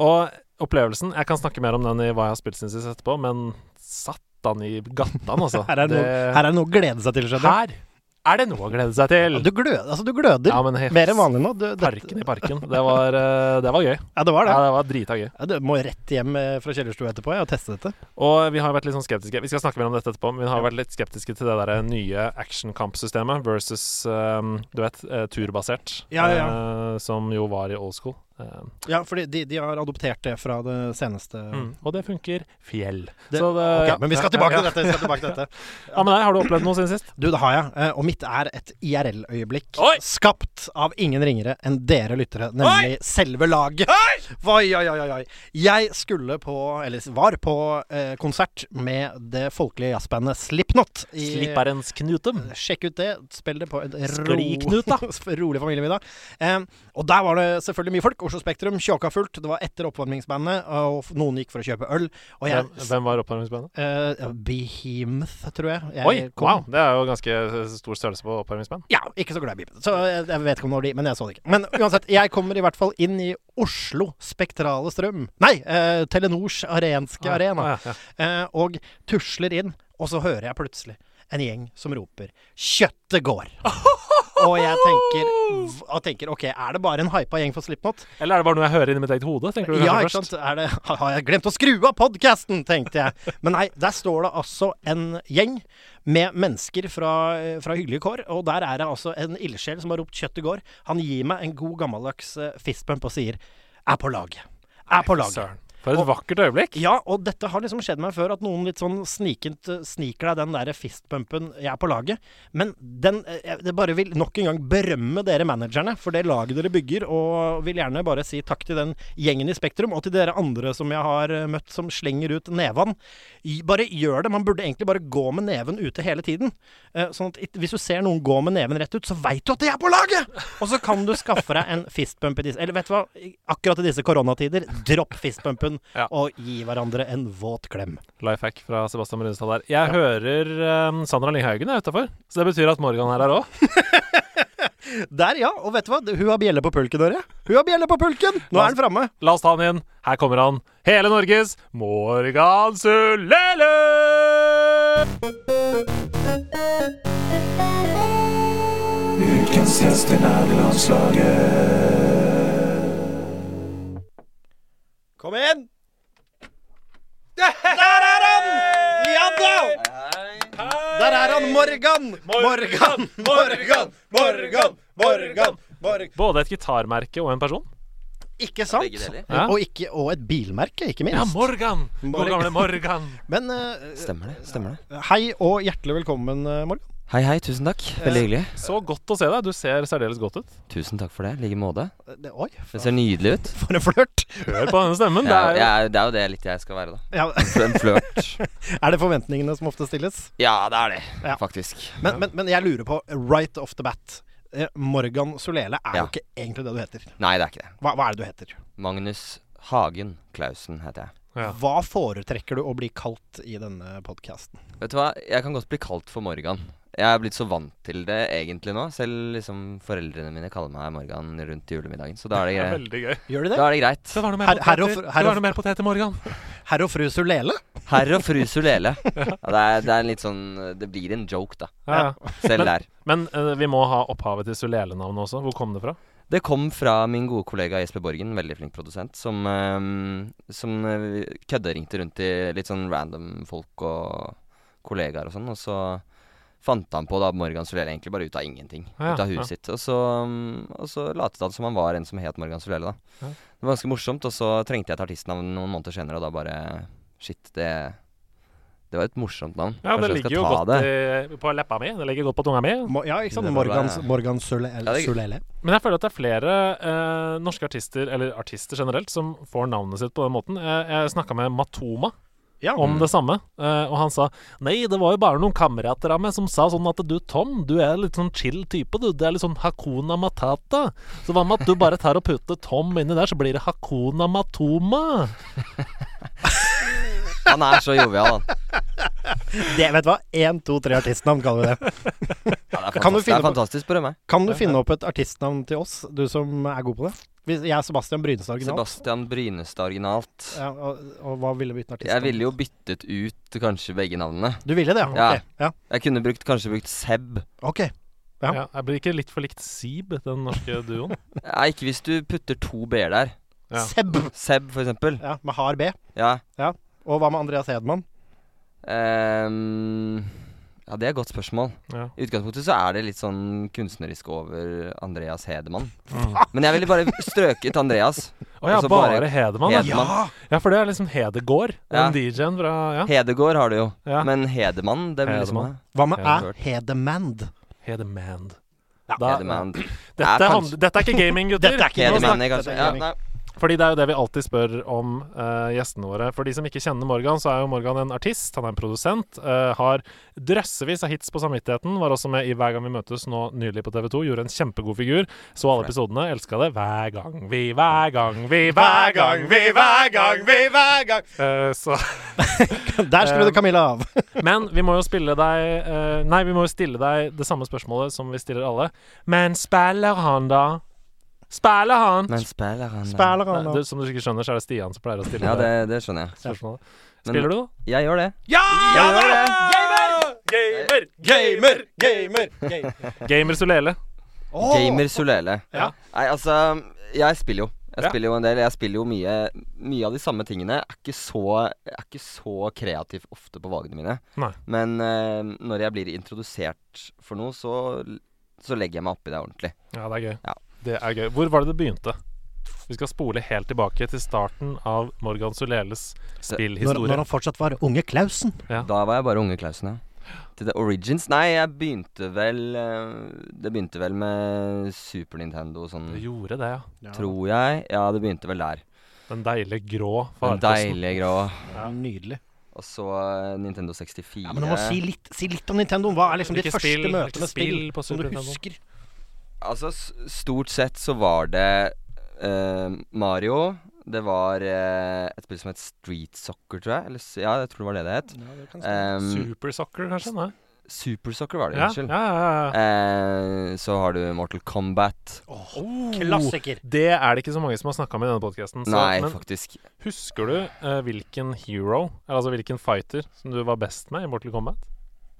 Speaker 4: Og opplevelsen Jeg kan snakke mer om den i hva jeg har spilt siden sist etterpå, men satan i gattan, altså.
Speaker 3: (laughs) Her er det noe, her er det noe å glede seg til, skjønner
Speaker 4: her er det noe å glede seg til!
Speaker 3: du. Du, glød, altså, du gløder
Speaker 4: Ja, men helt
Speaker 3: mer enn vanlig nå. Du, det,
Speaker 4: Parken i parken. Det var, eh, det var gøy.
Speaker 3: ja, det var det.
Speaker 4: Ja, det var drita gøy.
Speaker 3: Ja, du må rett hjem eh, fra kjellerstua etterpå ja, og teste dette.
Speaker 4: Og vi har vært litt sånn skeptiske Vi skal snakke mer om dette etterpå, men vi har vært litt skeptiske til det der eh, nye actionkampsystemet versus eh, du vet, eh, turbasert,
Speaker 3: Ja, ja,
Speaker 4: eh, som jo var i old school. Eh,
Speaker 3: Ja, fordi de, de har adoptert det fra det seneste Eh,
Speaker 4: mm. Og det funker fjell.
Speaker 3: Det-
Speaker 4: Så det-
Speaker 3: Ok,
Speaker 4: ja.
Speaker 3: men vi skal tilbake til
Speaker 4: Ja,
Speaker 3: dette. Vi (laughs) skal tilbake til dette.
Speaker 4: ja. Ja, men nei, Har du opplevd noe siden sist?
Speaker 3: Du, det har jeg. eh, Og mitt er et IRL-øyeblikk.
Speaker 2: Oi!
Speaker 3: Skapt av ingen ringere enn dere lyttere, nemlig selve laget. Oi, oi, oi, oi, oi. Jeg skulle på, eller var på, eh, konsert med det folkelige jazzbandet Slipknot. i-
Speaker 4: Slipperens knutum.
Speaker 3: Sjekk ut det. Spill det på en
Speaker 4: Skliknut, (laughs) da.
Speaker 3: rolig familiemiddag. Em, og der var det selvfølgelig mye folk. Oslo Spektrum tjåka fullt. Det var etter oppvarmingsbandet, og f- noen gikk for å kjøpe øl. Og jeg
Speaker 4: Hvem, hvem var oppvarmingsbandet?
Speaker 3: eh, Behemoth, tror jeg. jeg
Speaker 4: Oi,
Speaker 3: kom-
Speaker 4: wow! Det er jo ganske eh, stor størrelse på oppvarmingsband.
Speaker 3: Ja, ikke så glad i Bibelen. Så eh, jeg, jeg vet ikke om det var de, men jeg så det ikke. Men uansett, jeg kommer i hvert fall inn i Oslo Spektrale Strøm. Nei, eh, Telenors arenske arena.
Speaker 4: Ah, ja, ja.
Speaker 3: Eh, og tusler inn, og så hører jeg plutselig en gjeng som roper 'Kjøttet
Speaker 4: (laughs)
Speaker 3: går'. og jeg tenker, v- og tenker OK, er det bare en hypa gjeng for Slipknot?
Speaker 4: Eller er det bare noe jeg hører inni mitt eget hode? tenker du
Speaker 3: Ja,
Speaker 4: kanskje
Speaker 3: ikke
Speaker 4: først?
Speaker 3: sant? Er det, (laughs) har har jeg glemt å skru av podkasten, tenkte jeg. Men nei, der står det altså en gjeng med mennesker fra, fra hyggelige kår, og der er det altså en ildsjel som har ropt 'kjøttet går'. Han gir meg en god gammeldags eh, fistbump og sier 'er på laget'. Er på laget.
Speaker 4: Søren. For et vakkert øyeblikk.
Speaker 3: Ja, og dette har liksom skjedd meg før, at noen litt sånn snikent eh, sniker deg den derre fistpumpen 'jeg er på laget'. Men den eh, Jeg det bare vil nok en gang berømme dere managerne for det laget dere bygger, og vil gjerne bare si takk til den gjengen i Spektrum, og til dere andre som jeg har eh, møtt som slenger ut nevene. I- Bare gjør det. Man burde egentlig bare gå med neven ute hele tiden. Eh, Sånn at it- hvis du ser noen gå med neven rett ut, så veit du at de er på laget! Og så kan du skaffe deg en fistpump i disse Eller vet du hva, I- akkurat i disse koronatider, dropp fistpumpen
Speaker 4: Ja.
Speaker 3: og gi hverandre en våt klem.
Speaker 4: Life hack fra Sebastian Brunestad der. Jeg hører ehm, Sandra Lynghaugen er utafor, så det betyr at Morgan her er òg.
Speaker 3: (laughs) Der, ja. Og vet du hva? Hun har bjelle på pulken, dere. Hun har bjelle på pulken! Nå er den framme.
Speaker 4: La oss ta han inn. Her kommer han. Hele Norges Morgan Sulele!
Speaker 1: Ukens gjest i nerdelandslaget.
Speaker 3: Kom inn! Der er han! Ja da! Der er han, Morgan! Morgan, Morgan, Morgan, Morgan! Morgan.
Speaker 4: Både et gitarmerke og en person.
Speaker 3: Ikke sant?
Speaker 5: Begge deler.
Speaker 4: Ja.
Speaker 3: Og, ikke, og et bilmerke, ikke minst.
Speaker 4: Ja, Morgan!
Speaker 3: Morgan.
Speaker 4: God gamle Morgan.
Speaker 3: Men eh,
Speaker 5: Stemmer det. stemmer det
Speaker 3: hei og hjertelig velkommen, eh, Morgan.
Speaker 5: Hei, hei. Tusen takk. Veldig hyggelig.
Speaker 4: Så godt å se deg. Du ser særdeles godt ut.
Speaker 5: Tusen takk for det. I like måte.
Speaker 3: Eh, Det, oi,
Speaker 5: Det ser nydelig
Speaker 4: (laughs)
Speaker 5: ut.
Speaker 3: for en flørt!
Speaker 4: Hør på denne stemmen. Det
Speaker 5: Ja,
Speaker 4: Sånn er
Speaker 5: jeg
Speaker 4: jo
Speaker 5: er- det er jo det litt jeg skal være, da.
Speaker 3: Ja, (laughs)
Speaker 4: (laughs)
Speaker 5: For en flørt.
Speaker 3: er det forventningene som ofte stilles?
Speaker 5: Ja, det er det,
Speaker 3: Ja.
Speaker 5: faktisk.
Speaker 3: Men, men, men jeg lurer på, right off the bat eh, Morgan Solele er
Speaker 5: Ja.
Speaker 3: jo ikke egentlig det du heter.
Speaker 5: Nei, det er ikke det.
Speaker 3: Hva, hva er det du heter?
Speaker 5: Magnus Hagen Klausen heter jeg.
Speaker 4: Ja.
Speaker 3: Hva foretrekker du å bli kalt i denne podkasten?
Speaker 5: Vet du hva, jeg kan godt bli kalt for Morgan. Jeg er blitt så vant til det egentlig nå. Selv liksom foreldrene mine kaller meg Morgan rundt julemiddagen, så da er det
Speaker 4: det er
Speaker 5: greit.
Speaker 4: veldig gøy.
Speaker 3: Gjør de det?
Speaker 5: Da er det greit.
Speaker 4: Det var noe mer
Speaker 3: Her- her og
Speaker 4: poteter.
Speaker 3: fr- her
Speaker 4: Det
Speaker 3: og
Speaker 4: var noe mer poteter, Morgan.
Speaker 3: Herr og fru Solele?
Speaker 5: Herr og fru
Speaker 4: (laughs)
Speaker 5: Sulele. Ja, det, er, det er litt sånn Det blir en joke, da.
Speaker 4: Ja. ja.
Speaker 5: Selv der.
Speaker 4: Men eh, vi må ha opphavet til Sulele-navnet også. Hvor kom det fra?
Speaker 5: Det kom fra min gode kollega Jesper Borgen, veldig flink produsent, som, um, som eh, kødderingte rundt til litt sånn random folk og kollegaer og sånn, og så fant han på da Morgan Solele egentlig bare ut av ingenting,
Speaker 4: Ja,
Speaker 5: ut av
Speaker 4: ja.
Speaker 5: huet sitt, og så, um, og så latet han som han var en som het Morgan Solele da.
Speaker 4: Ja.
Speaker 5: Det var ganske morsomt, og så trengte jeg et artistnavn noen måneder senere, og da bare, shit, det, Det var et morsomt navn.
Speaker 4: Ja, det
Speaker 5: Kanskje jeg
Speaker 4: ligger
Speaker 5: skal
Speaker 4: jo
Speaker 5: ta
Speaker 4: godt
Speaker 5: det.
Speaker 4: eh, på leppa mi. Det ligger godt på tunga mi.
Speaker 3: Mo ja, ikke sant?
Speaker 5: Det var
Speaker 3: Morgan,
Speaker 5: det.
Speaker 3: Morgan Sule
Speaker 5: Ja, det-
Speaker 3: Sulele.
Speaker 4: Men jeg føler at det er flere eh, norske artister, eller artister generelt, som får navnet sitt på den måten. Jeg, jeg snakka med Matoma
Speaker 3: Ja.
Speaker 4: om det samme, eh, og han sa Nei, det var jo bare noen kamerater av meg som sa sånn at du, Tom, du er litt sånn chill type, du. Det er litt sånn Hakuna Matata. Så hva med at du bare tar og putter Tom inni der, så blir det Hakuna Matoma? eh.
Speaker 5: Han er så jovial, han.
Speaker 3: Det, vet du hva? Én, to, tre artistnavn kaller vi det.
Speaker 5: Ja, det er
Speaker 3: Kan
Speaker 5: fantastisk,
Speaker 3: du
Speaker 5: det
Speaker 3: finne
Speaker 5: er
Speaker 3: på-
Speaker 5: fantastisk spør du meg.
Speaker 3: Kan du finne opp et artistnavn til oss, du som er god på det? Hvis jeg er Sebastian Brynestad originalt.
Speaker 5: Sebastian Brynestad originalt.
Speaker 3: Ja, og, og hva ville bytte artist?
Speaker 5: Jeg ville jo byttet ut kanskje begge navnene.
Speaker 3: Du ville det, ja?
Speaker 5: Ja.
Speaker 3: Ok. Ja.
Speaker 5: Jeg kunne brukt, kanskje brukt Seb.
Speaker 3: Ok. Ja.
Speaker 4: Ja, jeg blir ikke litt for likt Sib, den norske duoen.
Speaker 5: Nei, ikke hvis du putter to b-er der.
Speaker 4: Ja.
Speaker 3: Seb.
Speaker 5: Seb, for eksempel.
Speaker 3: Ja, med hard B.
Speaker 5: Ja.
Speaker 3: Og hva med Andreas Hedman?
Speaker 5: ehm, ja, det er et godt spørsmål.
Speaker 4: Ja.
Speaker 5: I utgangspunktet så er det litt sånn kunstnerisk over Andreas Hedemann.
Speaker 4: Mm.
Speaker 5: Men jeg ville bare strøket
Speaker 4: (laughs)
Speaker 5: Andreas.
Speaker 4: (laughs) Å ja,
Speaker 5: Altså bare
Speaker 4: bare Hedemann. Ja.
Speaker 5: Hedemann.
Speaker 4: ja, for det er liksom Hedegård,
Speaker 5: Ja.
Speaker 4: den DJ-en fra Ja.
Speaker 5: Hedegård har du jo.
Speaker 4: ja.
Speaker 5: Men Hedemann, det blir liksom
Speaker 4: Hedemann.
Speaker 3: Hva med
Speaker 4: Ja,
Speaker 3: Æ? Hedemand?
Speaker 4: Hedemand. Da-
Speaker 5: Hedemann.
Speaker 4: Dette,
Speaker 5: Det er
Speaker 4: hand-
Speaker 5: kanskje-
Speaker 4: dette er ikke gaming, gutter.
Speaker 3: Dette er ikke
Speaker 4: Nå
Speaker 3: gaming.
Speaker 5: Hedemann,
Speaker 4: snak-
Speaker 5: kanskje. Ja, nei.
Speaker 4: Fordi det er jo det vi alltid spør om eh, gjestene våre. For de som ikke kjenner Morgan, så er jo Morgan en artist. Han er en produsent. eh, har drøssevis av hits på samvittigheten. Var også med i Hver gang vi møtes nå nylig på TV2. Gjorde en kjempegod figur. Så alle episodene. Elska det. Hver gang vi, hver gang vi, hver gang vi, hver gang vi.
Speaker 3: hver gang
Speaker 4: Eh, så
Speaker 3: (laughs)
Speaker 4: (laughs)
Speaker 3: Der skrudde Camilla (laughs) av.
Speaker 4: Men vi må jo spille deg eh, Nei, vi må jo stille deg det samme spørsmålet som vi stiller alle. Men spiller han, da? Spiller han?
Speaker 5: Men spiller han da?
Speaker 3: Spiller han
Speaker 4: Nei,
Speaker 3: nå?
Speaker 4: du, som du sikkert skjønner, så er det Stian som pleier å stille
Speaker 5: Ja,
Speaker 4: deg
Speaker 5: det, det skjønner jeg.
Speaker 4: spørsmålet.
Speaker 5: Men-
Speaker 4: Spiller du, da?
Speaker 5: Jeg gjør det.
Speaker 2: Ja!
Speaker 5: Jeg gjør det!
Speaker 4: Gamer!
Speaker 3: Gamer! Gamer!
Speaker 4: Gamer Solele.
Speaker 5: Gamer Solele.
Speaker 4: Ja.
Speaker 5: Nei, altså, jeg spiller jo. Jeg
Speaker 4: Ja.
Speaker 5: spiller jo en del. Jeg spiller jo mye, mye av de samme tingene. Jeg er ikke så, jeg er ikke så kreativ ofte på valgene mine.
Speaker 4: Nei.
Speaker 5: Men eh, når jeg blir introdusert for noe, så, så legger jeg meg oppi det ordentlig.
Speaker 4: Ja, det er gøy.
Speaker 5: Ja.
Speaker 4: Det er gøy. Hvor var det det begynte? Vi skal spole helt tilbake til starten av Morgan Soleles
Speaker 3: Når, når
Speaker 4: spillhistorie.
Speaker 3: han fortsatt var unge Klausen.
Speaker 5: Da var jeg bare unge Klausen, ja. Til The Origins? Nei, jeg begynte vel eh, Det begynte vel med Super Nintendo og sånn,
Speaker 4: Mm. Det gjorde det, ja.
Speaker 5: tror jeg. Ja, det begynte vel der.
Speaker 4: Den deilige grå
Speaker 5: Den
Speaker 4: farkosten.
Speaker 5: deilige grå.
Speaker 3: Nydelig.
Speaker 5: Og så eh, Nintendo 64.
Speaker 3: Ja, men du må si litt, si litt om Nintendo. Hva er liksom ditt
Speaker 4: Hvilke
Speaker 3: første
Speaker 4: spill- hvilke
Speaker 3: møte med spill,
Speaker 4: spill på
Speaker 3: som du
Speaker 4: Super Nintendo?
Speaker 3: husker?
Speaker 5: Altså, s- stort sett så var det eh, Mario. Det var eh, et spill som het Street Soccer, tror jeg. Eller, s- ja, jeg tror det var det det het. Um,
Speaker 4: Super Soccer, kanskje? Nei?
Speaker 5: Super Soccer var det,
Speaker 4: Ja, ja,
Speaker 5: unnskyld.
Speaker 4: ja, ja.
Speaker 5: Eh, så har du Mortal Kombat.
Speaker 4: Oh,
Speaker 3: Klassiker.
Speaker 4: Det er det ikke så mange som har snakka med i denne podkasten.
Speaker 5: Nei,
Speaker 4: Men
Speaker 5: faktisk.
Speaker 4: husker du eh, hvilken hero, eller altså hvilken fighter, som du var best med i Mortal Kombat?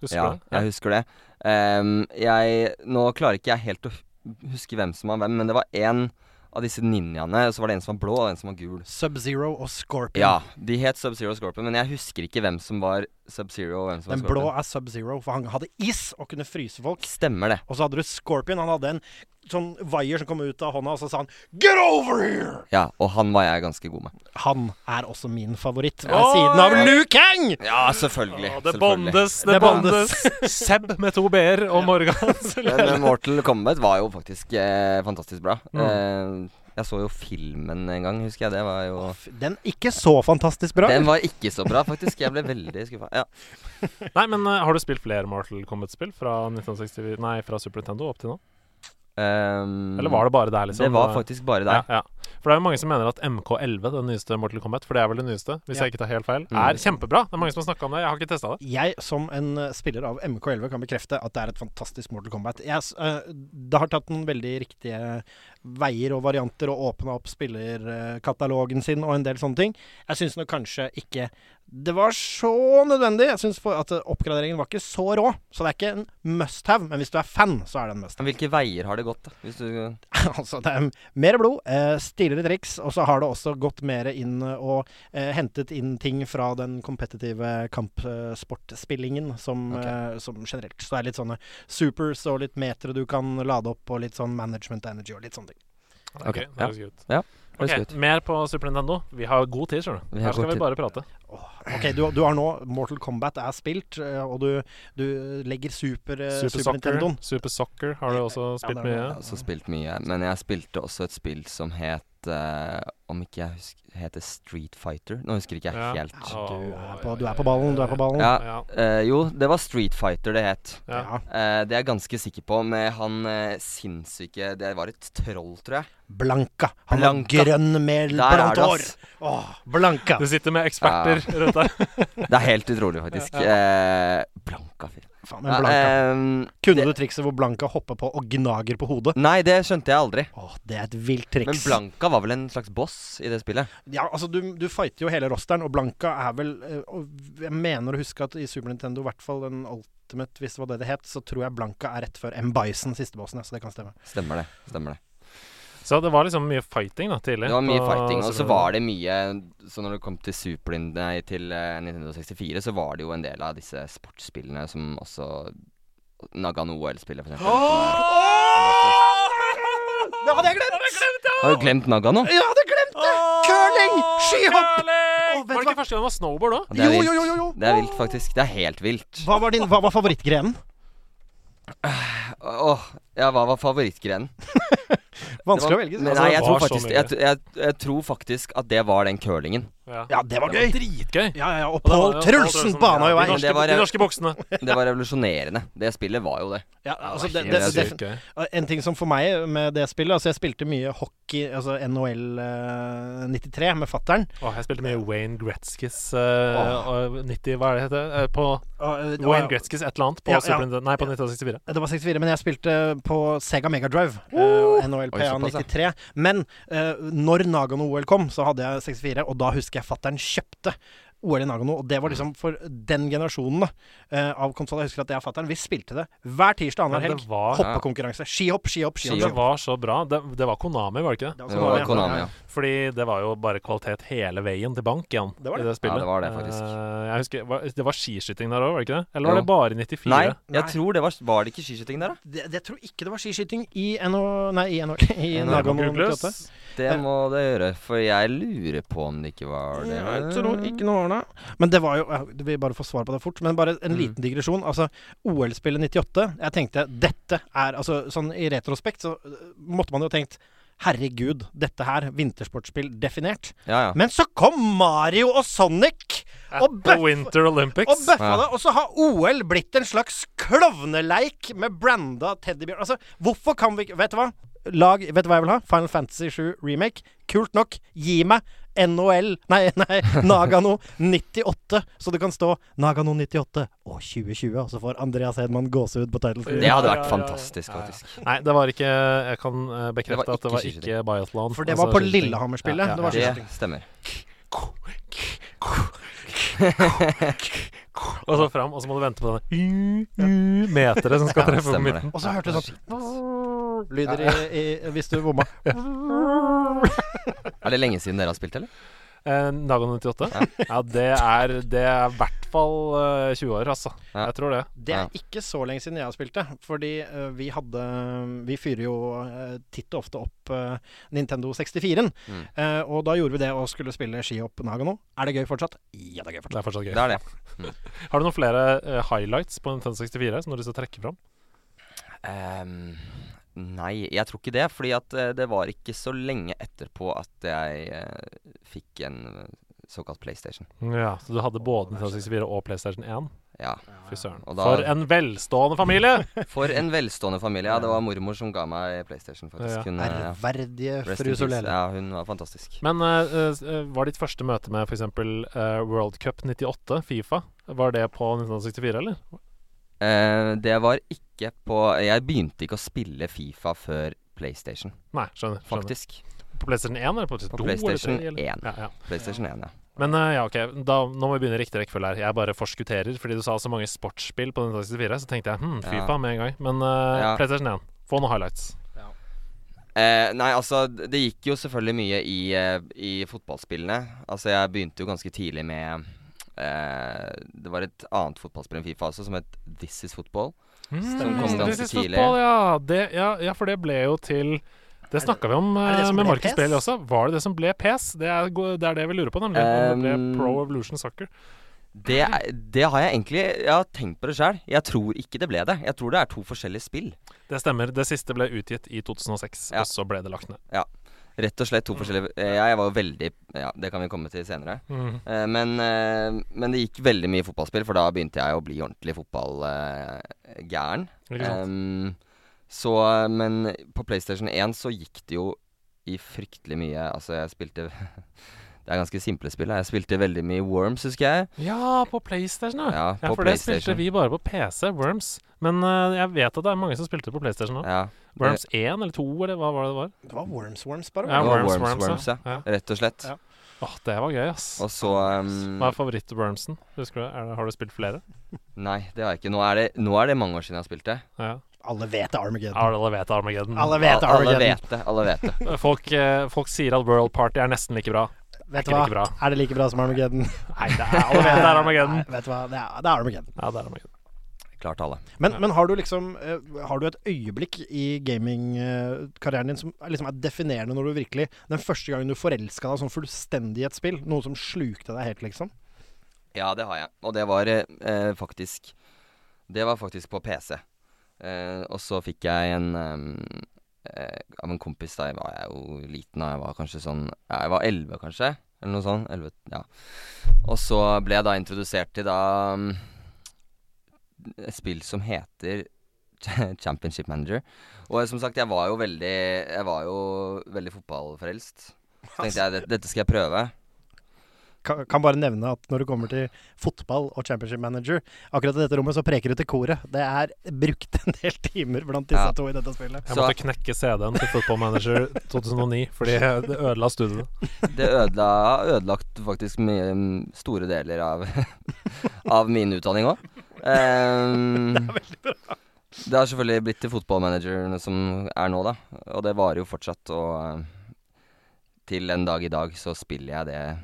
Speaker 4: Husker
Speaker 5: Ja,
Speaker 4: du det?
Speaker 5: jeg husker det. Em, jeg Nå klarer ikke jeg helt å hu- huske hvem som var hvem, men det var én av disse ninjaene. Og så var det en som var blå, og en som var gul.
Speaker 3: Sub-Zero og Scorpion.
Speaker 5: Ja, de het Sub-Zero og Scorpion, men jeg husker ikke hvem som var Sub-Zero og hvem som
Speaker 3: Den
Speaker 5: var
Speaker 3: blå
Speaker 5: Scorpion.
Speaker 3: er Sub-Zero, for han hadde is og kunne fryse folk.
Speaker 5: Stemmer det.
Speaker 3: Og så hadde du Scorpion. Han hadde en sånn vaier som kom ut av hånda, og så sa han 'Get over here!'
Speaker 5: Ja, og han var jeg ganske god med.
Speaker 3: Han er også min favoritt, ved siden av
Speaker 4: Oi!
Speaker 3: Liu Kang!
Speaker 5: Ja, selvfølgelig.
Speaker 4: Å, det bondes, det
Speaker 3: Det bondes.
Speaker 4: bondes. (laughs) Seb med to b-er og
Speaker 5: (laughs)
Speaker 4: Morgan.
Speaker 5: (laughs) Men eh, Mortal Kombat var jo faktisk eh, fantastisk bra.
Speaker 4: Mm.
Speaker 5: Eh, jeg så jo filmen en gang, husker jeg. Det var jo
Speaker 4: Ah,
Speaker 3: F- Den ikke så fantastisk bra.
Speaker 5: Den var ikke så bra, faktisk. Jeg ble veldig skuffa. Ja.
Speaker 4: Nei, men eh, har du spilt flere Mortal Kombat-spill fra 1960, nei, fra Super Nintendo opp til nå?
Speaker 5: Um,
Speaker 4: Eller var det bare der, liksom?
Speaker 5: Det var faktisk bare
Speaker 4: ja,
Speaker 5: der.
Speaker 4: ja. For det er jo mange som mener at MK11, den nyeste Mortal Kombat, for det er vel det nyeste, hvis
Speaker 3: Ja.
Speaker 4: jeg ikke tar helt feil,
Speaker 5: Mm.
Speaker 4: er kjempebra. Det er mange som har snakka om det. Jeg har ikke testa det.
Speaker 3: Jeg som en eh, spiller av MK11 kan bekrefte at det er et fantastisk Mortal Kombat. Jeg, s- eh, det har tatt noen veldig riktige veier og varianter og åpna opp spillerkatalogen sin og en del sånne ting. Jeg syns nok kanskje ikke det var så nødvendig. Jeg syns at eh, oppgraderingen var ikke så rå. Så det er ikke en must-have, men hvis du er fan, så er det en must-have.
Speaker 5: Men hvilke veier har det gått, da? Hvis du
Speaker 3: (laughs) altså, det er mer blod, eh, stilere triks, og så har det også gått mer inn eh, og eh, hentet inn ting fra den kompetitive kampsportspillingen som,
Speaker 5: Ok.
Speaker 3: eh, som generelt. Så det er litt sånne supers og litt metere du kan lade opp, og litt sånn management energy og litt sånne ting.
Speaker 4: Det er
Speaker 5: Ok,
Speaker 4: gøy. Det
Speaker 5: ja.
Speaker 4: høres gøy ut.
Speaker 5: Ja. Høres
Speaker 4: Ok,
Speaker 5: godt.
Speaker 4: Mer på Super Nintendo. Vi har god tid, skjønner du.
Speaker 5: Vi har
Speaker 4: Her skal
Speaker 5: god
Speaker 4: vi
Speaker 5: tid.
Speaker 4: bare prate.
Speaker 3: OK, du, du har nå Mortal Kombat er spilt, eh, og du, du legger Super, eh,
Speaker 4: Super,
Speaker 3: Super
Speaker 4: Soccer,
Speaker 3: Nintendoen.
Speaker 4: Super Soccer har du også spilt
Speaker 3: det er
Speaker 4: mye.
Speaker 5: Jeg har også spilt mye, men jeg spilte også et spill som het eh, Om ikke jeg husker Heter Street Fighter? Nå husker ikke jeg
Speaker 4: Ja.
Speaker 5: helt.
Speaker 3: Ja, du, er på, du er på ballen, du er på ballen.
Speaker 5: Ja.
Speaker 4: Ja.
Speaker 5: Eh, jo, det var Street Fighter det het.
Speaker 4: Ja.
Speaker 5: Eh, det er jeg ganske sikker på, med han eh, sinnssyke Det var et troll, tror jeg.
Speaker 3: Blanka. Han var
Speaker 5: Blanka.
Speaker 3: grønn med
Speaker 5: Der er
Speaker 3: blankt
Speaker 5: det,
Speaker 3: hår.
Speaker 5: ass.
Speaker 3: Åh, Blanka.
Speaker 4: Du sitter med eksperter rundt deg.
Speaker 5: Det er helt utrolig,
Speaker 3: (laughs)
Speaker 5: faktisk. Eh, blanka fyr.
Speaker 3: Faen, men Blanka.
Speaker 5: Nei, eh,
Speaker 3: Kunne du trikset hvor Blanka hopper på og gnager på hodet?
Speaker 5: nei, det skjønte jeg aldri.
Speaker 3: Åh, det er et vilt triks.
Speaker 5: Men Blanka var vel en slags boss i det spillet?
Speaker 3: Ja, altså du, du fighter jo hele rosteren, og Blanka er vel eh, og Jeg mener å huske at i Super Nintendo, i hvert fall den Ultimate, hvis det var det det het, så tror jeg Blanka er rett før M. Bison, siste bossen, ja, så det kan stemme.
Speaker 5: Stemmer det. stemmer Det
Speaker 4: Så det var liksom mye fighting da, tidlig.
Speaker 5: Det var mye
Speaker 4: på
Speaker 5: fighting. Og
Speaker 4: Super
Speaker 5: så var det mye Så når det kom til Super Nin- nei, til eh, Nintendo 64, så var det jo en del av disse sportsspillene som også Nagano OL-spillet, for eksempel. som
Speaker 3: Det hadde jeg glemt!
Speaker 5: er- Har jo glemt Nagano.
Speaker 3: Jeg hadde glemt det! Curling! Skihopp!
Speaker 4: Curling!
Speaker 3: Å, vet du
Speaker 4: var det
Speaker 3: hva?
Speaker 4: ikke første gang det var snowboard òg?
Speaker 5: Det er
Speaker 3: Jo,
Speaker 5: vilt.
Speaker 3: jo, jo, jo, jo.
Speaker 5: Det er vilt, faktisk. Det er helt vilt.
Speaker 3: Hva var, din, hva var favorittgrenen?
Speaker 5: Åh, ja, hva var favorittgrenen?
Speaker 3: Vanskelig å velge.
Speaker 5: Nei,
Speaker 3: Altså,
Speaker 5: jeg
Speaker 4: det
Speaker 5: tror,
Speaker 4: var så
Speaker 5: faktisk,
Speaker 4: mye.
Speaker 5: jeg, jeg, jeg tror faktisk at det var den curlingen.
Speaker 3: ja, det var gøy!
Speaker 4: Dritgøy.
Speaker 3: Ja, ja, ja, og
Speaker 4: Og da
Speaker 3: Pål
Speaker 4: var det jo sånn-
Speaker 3: Trulsen bana jo
Speaker 4: ja,
Speaker 3: vei.
Speaker 4: de norske-
Speaker 5: Det var- eh,
Speaker 4: De norske boksene.
Speaker 5: (laughs) Det var revolusjonerende. Det spillet var jo det.
Speaker 3: Ja, altså, det,
Speaker 5: helt
Speaker 3: det,
Speaker 5: sykt.
Speaker 3: det,
Speaker 4: Sykt gøy.
Speaker 3: Eh, En ting som for meg med det spillet Altså jeg spilte mye hockey, altså NHL eh, 93 med fatteren.
Speaker 4: Åh, jeg spilte mye Wayne Gretzkys eh, og 90, hva er det heter Eh, På
Speaker 3: Og, eh,
Speaker 4: Wayne
Speaker 3: og-
Speaker 4: Gretzkys et eller annet på
Speaker 3: Ja, ja.
Speaker 4: Super Nintendo Nei, på 1964.
Speaker 3: Det var 64, men jeg spilte på Sega Mega Drive. eh, NHL
Speaker 5: Oi,
Speaker 3: PA
Speaker 5: såpass, ja.
Speaker 3: 93. Men eh, når Nagano OL kom, så hadde jeg 64, og da husker jeg fattern kjøpte OL i Nagano. Og det var liksom for den generasjonen da, eh, av konsoll. Jeg husker at jeg og fattern vi spilte det hver tirsdag
Speaker 4: Men
Speaker 3: annenhver
Speaker 4: det
Speaker 3: helg.
Speaker 4: var,
Speaker 3: Hoppekonkurranse. Skihopp, skihopp, skihopp.
Speaker 4: det var så bra. Det, det var Konami, var det ikke det?
Speaker 3: skihopp.
Speaker 5: Det var Konami, ja.
Speaker 4: Fordi det var jo bare kvalitet hele veien til bank igjen
Speaker 3: Det var det.
Speaker 4: i det spillet.
Speaker 5: Ja, det var det, faktisk.
Speaker 4: Eh, jeg husker, var, det var skiskyting der òg, var det ikke det? Eller var
Speaker 5: Jo.
Speaker 4: det bare i 94?
Speaker 5: Nei,
Speaker 3: Nei.
Speaker 5: jeg tror det var Var det ikke skiskyting der, da?
Speaker 3: Det, det tror ikke det var skiskyting i NO... Nei, i, NO, (laughs) i
Speaker 4: Eh,
Speaker 5: Nagano
Speaker 3: Nagano
Speaker 4: Googles.
Speaker 3: 98.
Speaker 5: Det må det gjøre, for jeg lurer på om det ikke var det.
Speaker 3: Jeg tror ikke noe var det. Men det var jo Jeg vil bare få svar på det fort. Men bare en
Speaker 5: Mm.
Speaker 3: liten digresjon. Altså, OL-spillet 98 Jeg tenkte dette er Altså, sånn i retrospekt så øh, måtte man jo tenkt Herregud, dette her, vintersportsspill definert.
Speaker 5: Ja, ja.
Speaker 3: Men så kom Mario og Sonic!
Speaker 4: At
Speaker 3: Og
Speaker 4: the
Speaker 3: bøff-
Speaker 4: Winter Olympics.
Speaker 3: Og bøffa
Speaker 5: Ja.
Speaker 3: det, og så har OL blitt en slags klovneleik med branda teddybjørn. Altså, hvorfor kan vi ikke Vet du hva? Lag, vet du hva jeg vil ha? Final Fantasy 7 remake. Kult nok, gi meg NOL Nei, (laughs) nei, Nagano 98. Så det kan stå Nagano 98 og 2020, og så får Andreas Hedman gåsehud på title
Speaker 5: Det
Speaker 3: screen.
Speaker 5: hadde
Speaker 4: Ja, ja,
Speaker 5: vært
Speaker 4: ja.
Speaker 5: fantastisk,
Speaker 4: Ja, ja.
Speaker 5: faktisk.
Speaker 4: Nei, det var ikke Jeg kan eh, bekrefte
Speaker 5: Det var
Speaker 4: at det var
Speaker 5: ikke
Speaker 4: ikke biathlon. Altså
Speaker 3: For det var på Lillehammer-spillet. Det var
Speaker 5: Det
Speaker 3: skiskyting.
Speaker 5: stemmer.
Speaker 4: Og så fram, og så må du vente på denne meteret som skal treffe på
Speaker 5: stemmer
Speaker 4: midten.
Speaker 3: Og så hørte du sånn lyder i, i, hvis du bomma.
Speaker 5: Er det lenge siden dere har spilt, eller?
Speaker 4: Eh, Nagano 98? Ja, det er Det er i hvert fall eh, 20 år, altså.
Speaker 5: Ja.
Speaker 4: Jeg tror det.
Speaker 3: Det er
Speaker 5: Ja.
Speaker 3: ikke så lenge siden jeg har spilt det. Fordi eh, vi hadde Vi fyrer jo eh, titt og ofte opp eh, Nintendo 64-en.
Speaker 5: Mm.
Speaker 3: Eh, og da gjorde vi det og skulle spille skihopp Nagano. Er det gøy fortsatt? Ja, det er gøy
Speaker 4: Det
Speaker 3: fortsatt.
Speaker 4: er fortsatt gøy.
Speaker 5: Det er det.
Speaker 4: Har du noen flere eh, highlights på Nintendo 64 som du har lyst til å trekke fram?
Speaker 5: Ehm, nei, jeg tror ikke det. Fordi at eh, det var ikke så lenge etterpå at jeg eh, fikk en eh, såkalt PlayStation.
Speaker 4: Ja, Så du hadde både Nintendo 64 og PlayStation 1?
Speaker 5: Ja.
Speaker 4: Fy søren.
Speaker 5: Og da-
Speaker 4: For en velstående familie!
Speaker 5: For en
Speaker 4: (laughs)
Speaker 5: velstående familie. Ja, det var mormor som ga meg PlayStation,
Speaker 4: Ja.
Speaker 5: faktisk. Hun, eh, ja.
Speaker 3: Ærverdige
Speaker 5: Rest in
Speaker 3: fru
Speaker 5: peace.
Speaker 3: Solele.
Speaker 5: Ja, hun var fantastisk.
Speaker 4: Men eh, eh, var ditt første møte med f.eks. Uh, World Cup 98, Fifa, var det på 1964, eller?
Speaker 5: Eh, det var ikke på Jeg begynte ikke å spille Fifa før PlayStation,
Speaker 4: Nei, skjønner. skjønner.
Speaker 5: faktisk.
Speaker 4: På PlayStation 1 eller på
Speaker 5: På
Speaker 4: PlayStation 2?
Speaker 5: PlayStation
Speaker 4: eller 3,
Speaker 5: 1.
Speaker 4: eller? Ja, ja.
Speaker 5: PlayStation 1, ja.
Speaker 4: Men eh, ja, ok, da, nå må vi begynne i riktig rekkefølge her. Jeg bare forskutterer, fordi du sa så mange sportsspill på 1964, så tenkte jeg hm, Fifa
Speaker 5: Ja.
Speaker 4: med en gang. Men eh,
Speaker 5: Ja.
Speaker 4: PlayStation 1, få noen highlights.
Speaker 5: Eh, nei, altså, d- det gikk jo selvfølgelig mye i, eh, i fotballspillene. Altså, jeg begynte jo ganske tidlig med eh, Det var et annet fotballspill enn Fifa også, som het This Is Football.
Speaker 4: Mm,
Speaker 5: Som kom ganske
Speaker 4: This is
Speaker 5: tidlig.
Speaker 4: football, ja. Det, ja, ja, for det ble jo til Det snakka vi om
Speaker 3: er det det
Speaker 4: eh,
Speaker 3: som
Speaker 4: med
Speaker 3: ble
Speaker 4: Markus
Speaker 5: E
Speaker 3: pes?
Speaker 4: Bailey også. Var det det som ble pes? Det er, go- det er det vi lurer på, nemlig. om det
Speaker 5: Um,
Speaker 4: ble Pro Evolution Soccer.
Speaker 5: Det, er- det har jeg egentlig Jeg har tenkt på det sjøl. Jeg tror ikke det ble det. Jeg tror det er to forskjellige spill.
Speaker 4: Det stemmer. Det siste ble utgitt i 2006,
Speaker 5: Ja.
Speaker 4: og så ble det lagt ned.
Speaker 5: Rett og slett to forskjellige eh, Jeg var jo veldig Ja, det kan vi komme til senere.
Speaker 4: Mm,
Speaker 5: Eh, Men, eh, men det gikk veldig mye fotballspill, for da begynte jeg å bli ordentlig fotballgæren.
Speaker 4: Ikke sant?
Speaker 5: Ehm, så, men på PlayStation 1 så gikk det jo i fryktelig mye Altså, jeg spilte (laughs) Det er ganske simple spill. da. Jeg spilte veldig mye Worms, husker jeg.
Speaker 4: Ja, på PlayStation, ja.
Speaker 5: Ja,
Speaker 4: Ah, Ja,
Speaker 5: på
Speaker 4: for det spilte
Speaker 5: PlayStation.
Speaker 4: vi bare på PC, Worms. Men eh, jeg vet at det er mange som spilte det på PlayStation òg.
Speaker 5: Ja, det-
Speaker 4: Worms 1 eller 2, eller hva var det det var?
Speaker 3: Det var Worms Worms, bare.
Speaker 4: Ja,
Speaker 5: det var
Speaker 4: Worms,
Speaker 5: Worms, Worms,
Speaker 4: Worms,
Speaker 5: ja.
Speaker 4: ja.
Speaker 5: eh, Rett og slett.
Speaker 4: Ja. Åh, det var gøy, ass.
Speaker 5: Og så um,
Speaker 4: Hva er favoritt-Wormsen? Husker du? Er det, har du spilt flere?
Speaker 5: Nei, det har jeg ikke. Nå er det, nå er det mange år siden jeg har spilt det.
Speaker 4: Ja.
Speaker 3: Alle vet det, Armageddon.
Speaker 4: Alle vet Armageddon.
Speaker 3: Alle vet
Speaker 5: Al- alle
Speaker 3: Armageddon.
Speaker 5: vet det. Alle vet det.
Speaker 4: Folk, eh, folk sier at World Party er nesten like bra.
Speaker 3: Vet du
Speaker 4: ikke
Speaker 3: hva?
Speaker 4: like bra.
Speaker 3: Er det like bra som Armageddon?
Speaker 4: Nei, det er, alle vet det er Armageddon.
Speaker 3: Nei, vet du hva? Det er, det er Armageddon.
Speaker 4: Ja, det er Armageddon.
Speaker 5: Klart alle.
Speaker 3: Men, men har du liksom eh, Har du et øyeblikk i gamingkarrieren din som er- liksom er definerende når du virkelig Den første gangen du forelska deg sånn fullstendig i et spill? Noe som slukte deg helt, liksom?
Speaker 5: Ja, det har jeg. Og det var eh, eh, faktisk Det var faktisk på PC. Eh, og så fikk jeg en ehm, eh, Av en kompis da jeg var jeg jo liten, da jeg var kanskje sånn ja, Jeg var 11 kanskje, eller noe sånt. 11, ja. Og så ble jeg da introdusert til da mm, et spill som heter (laughs) Championship Manager. Og som sagt, jeg var jo veldig Jeg var jo veldig fotballforelsk. Så tenkte jeg "Det- dette skal jeg prøve.
Speaker 3: kan, kan bare nevne at når det kommer til fotball og championship manager, akkurat i dette rommet så preker du til koret. Det er brukt en del timer blant disse
Speaker 5: Ja.
Speaker 3: to i dette spillet.
Speaker 4: Jeg
Speaker 5: Så-
Speaker 4: måtte knekke CD-en til Football
Speaker 3: (laughs)
Speaker 4: Manager 2009 fordi det ødela studioet.
Speaker 5: Det ødela, har ødelagt faktisk mye, mm, store deler av, (laughs) av min utdanning òg. det er veldig bra. Det har selvfølgelig blitt til fotballmanageren som er nå, da. Og det varer jo fortsatt. Og eh, til en dag i dag så spiller jeg det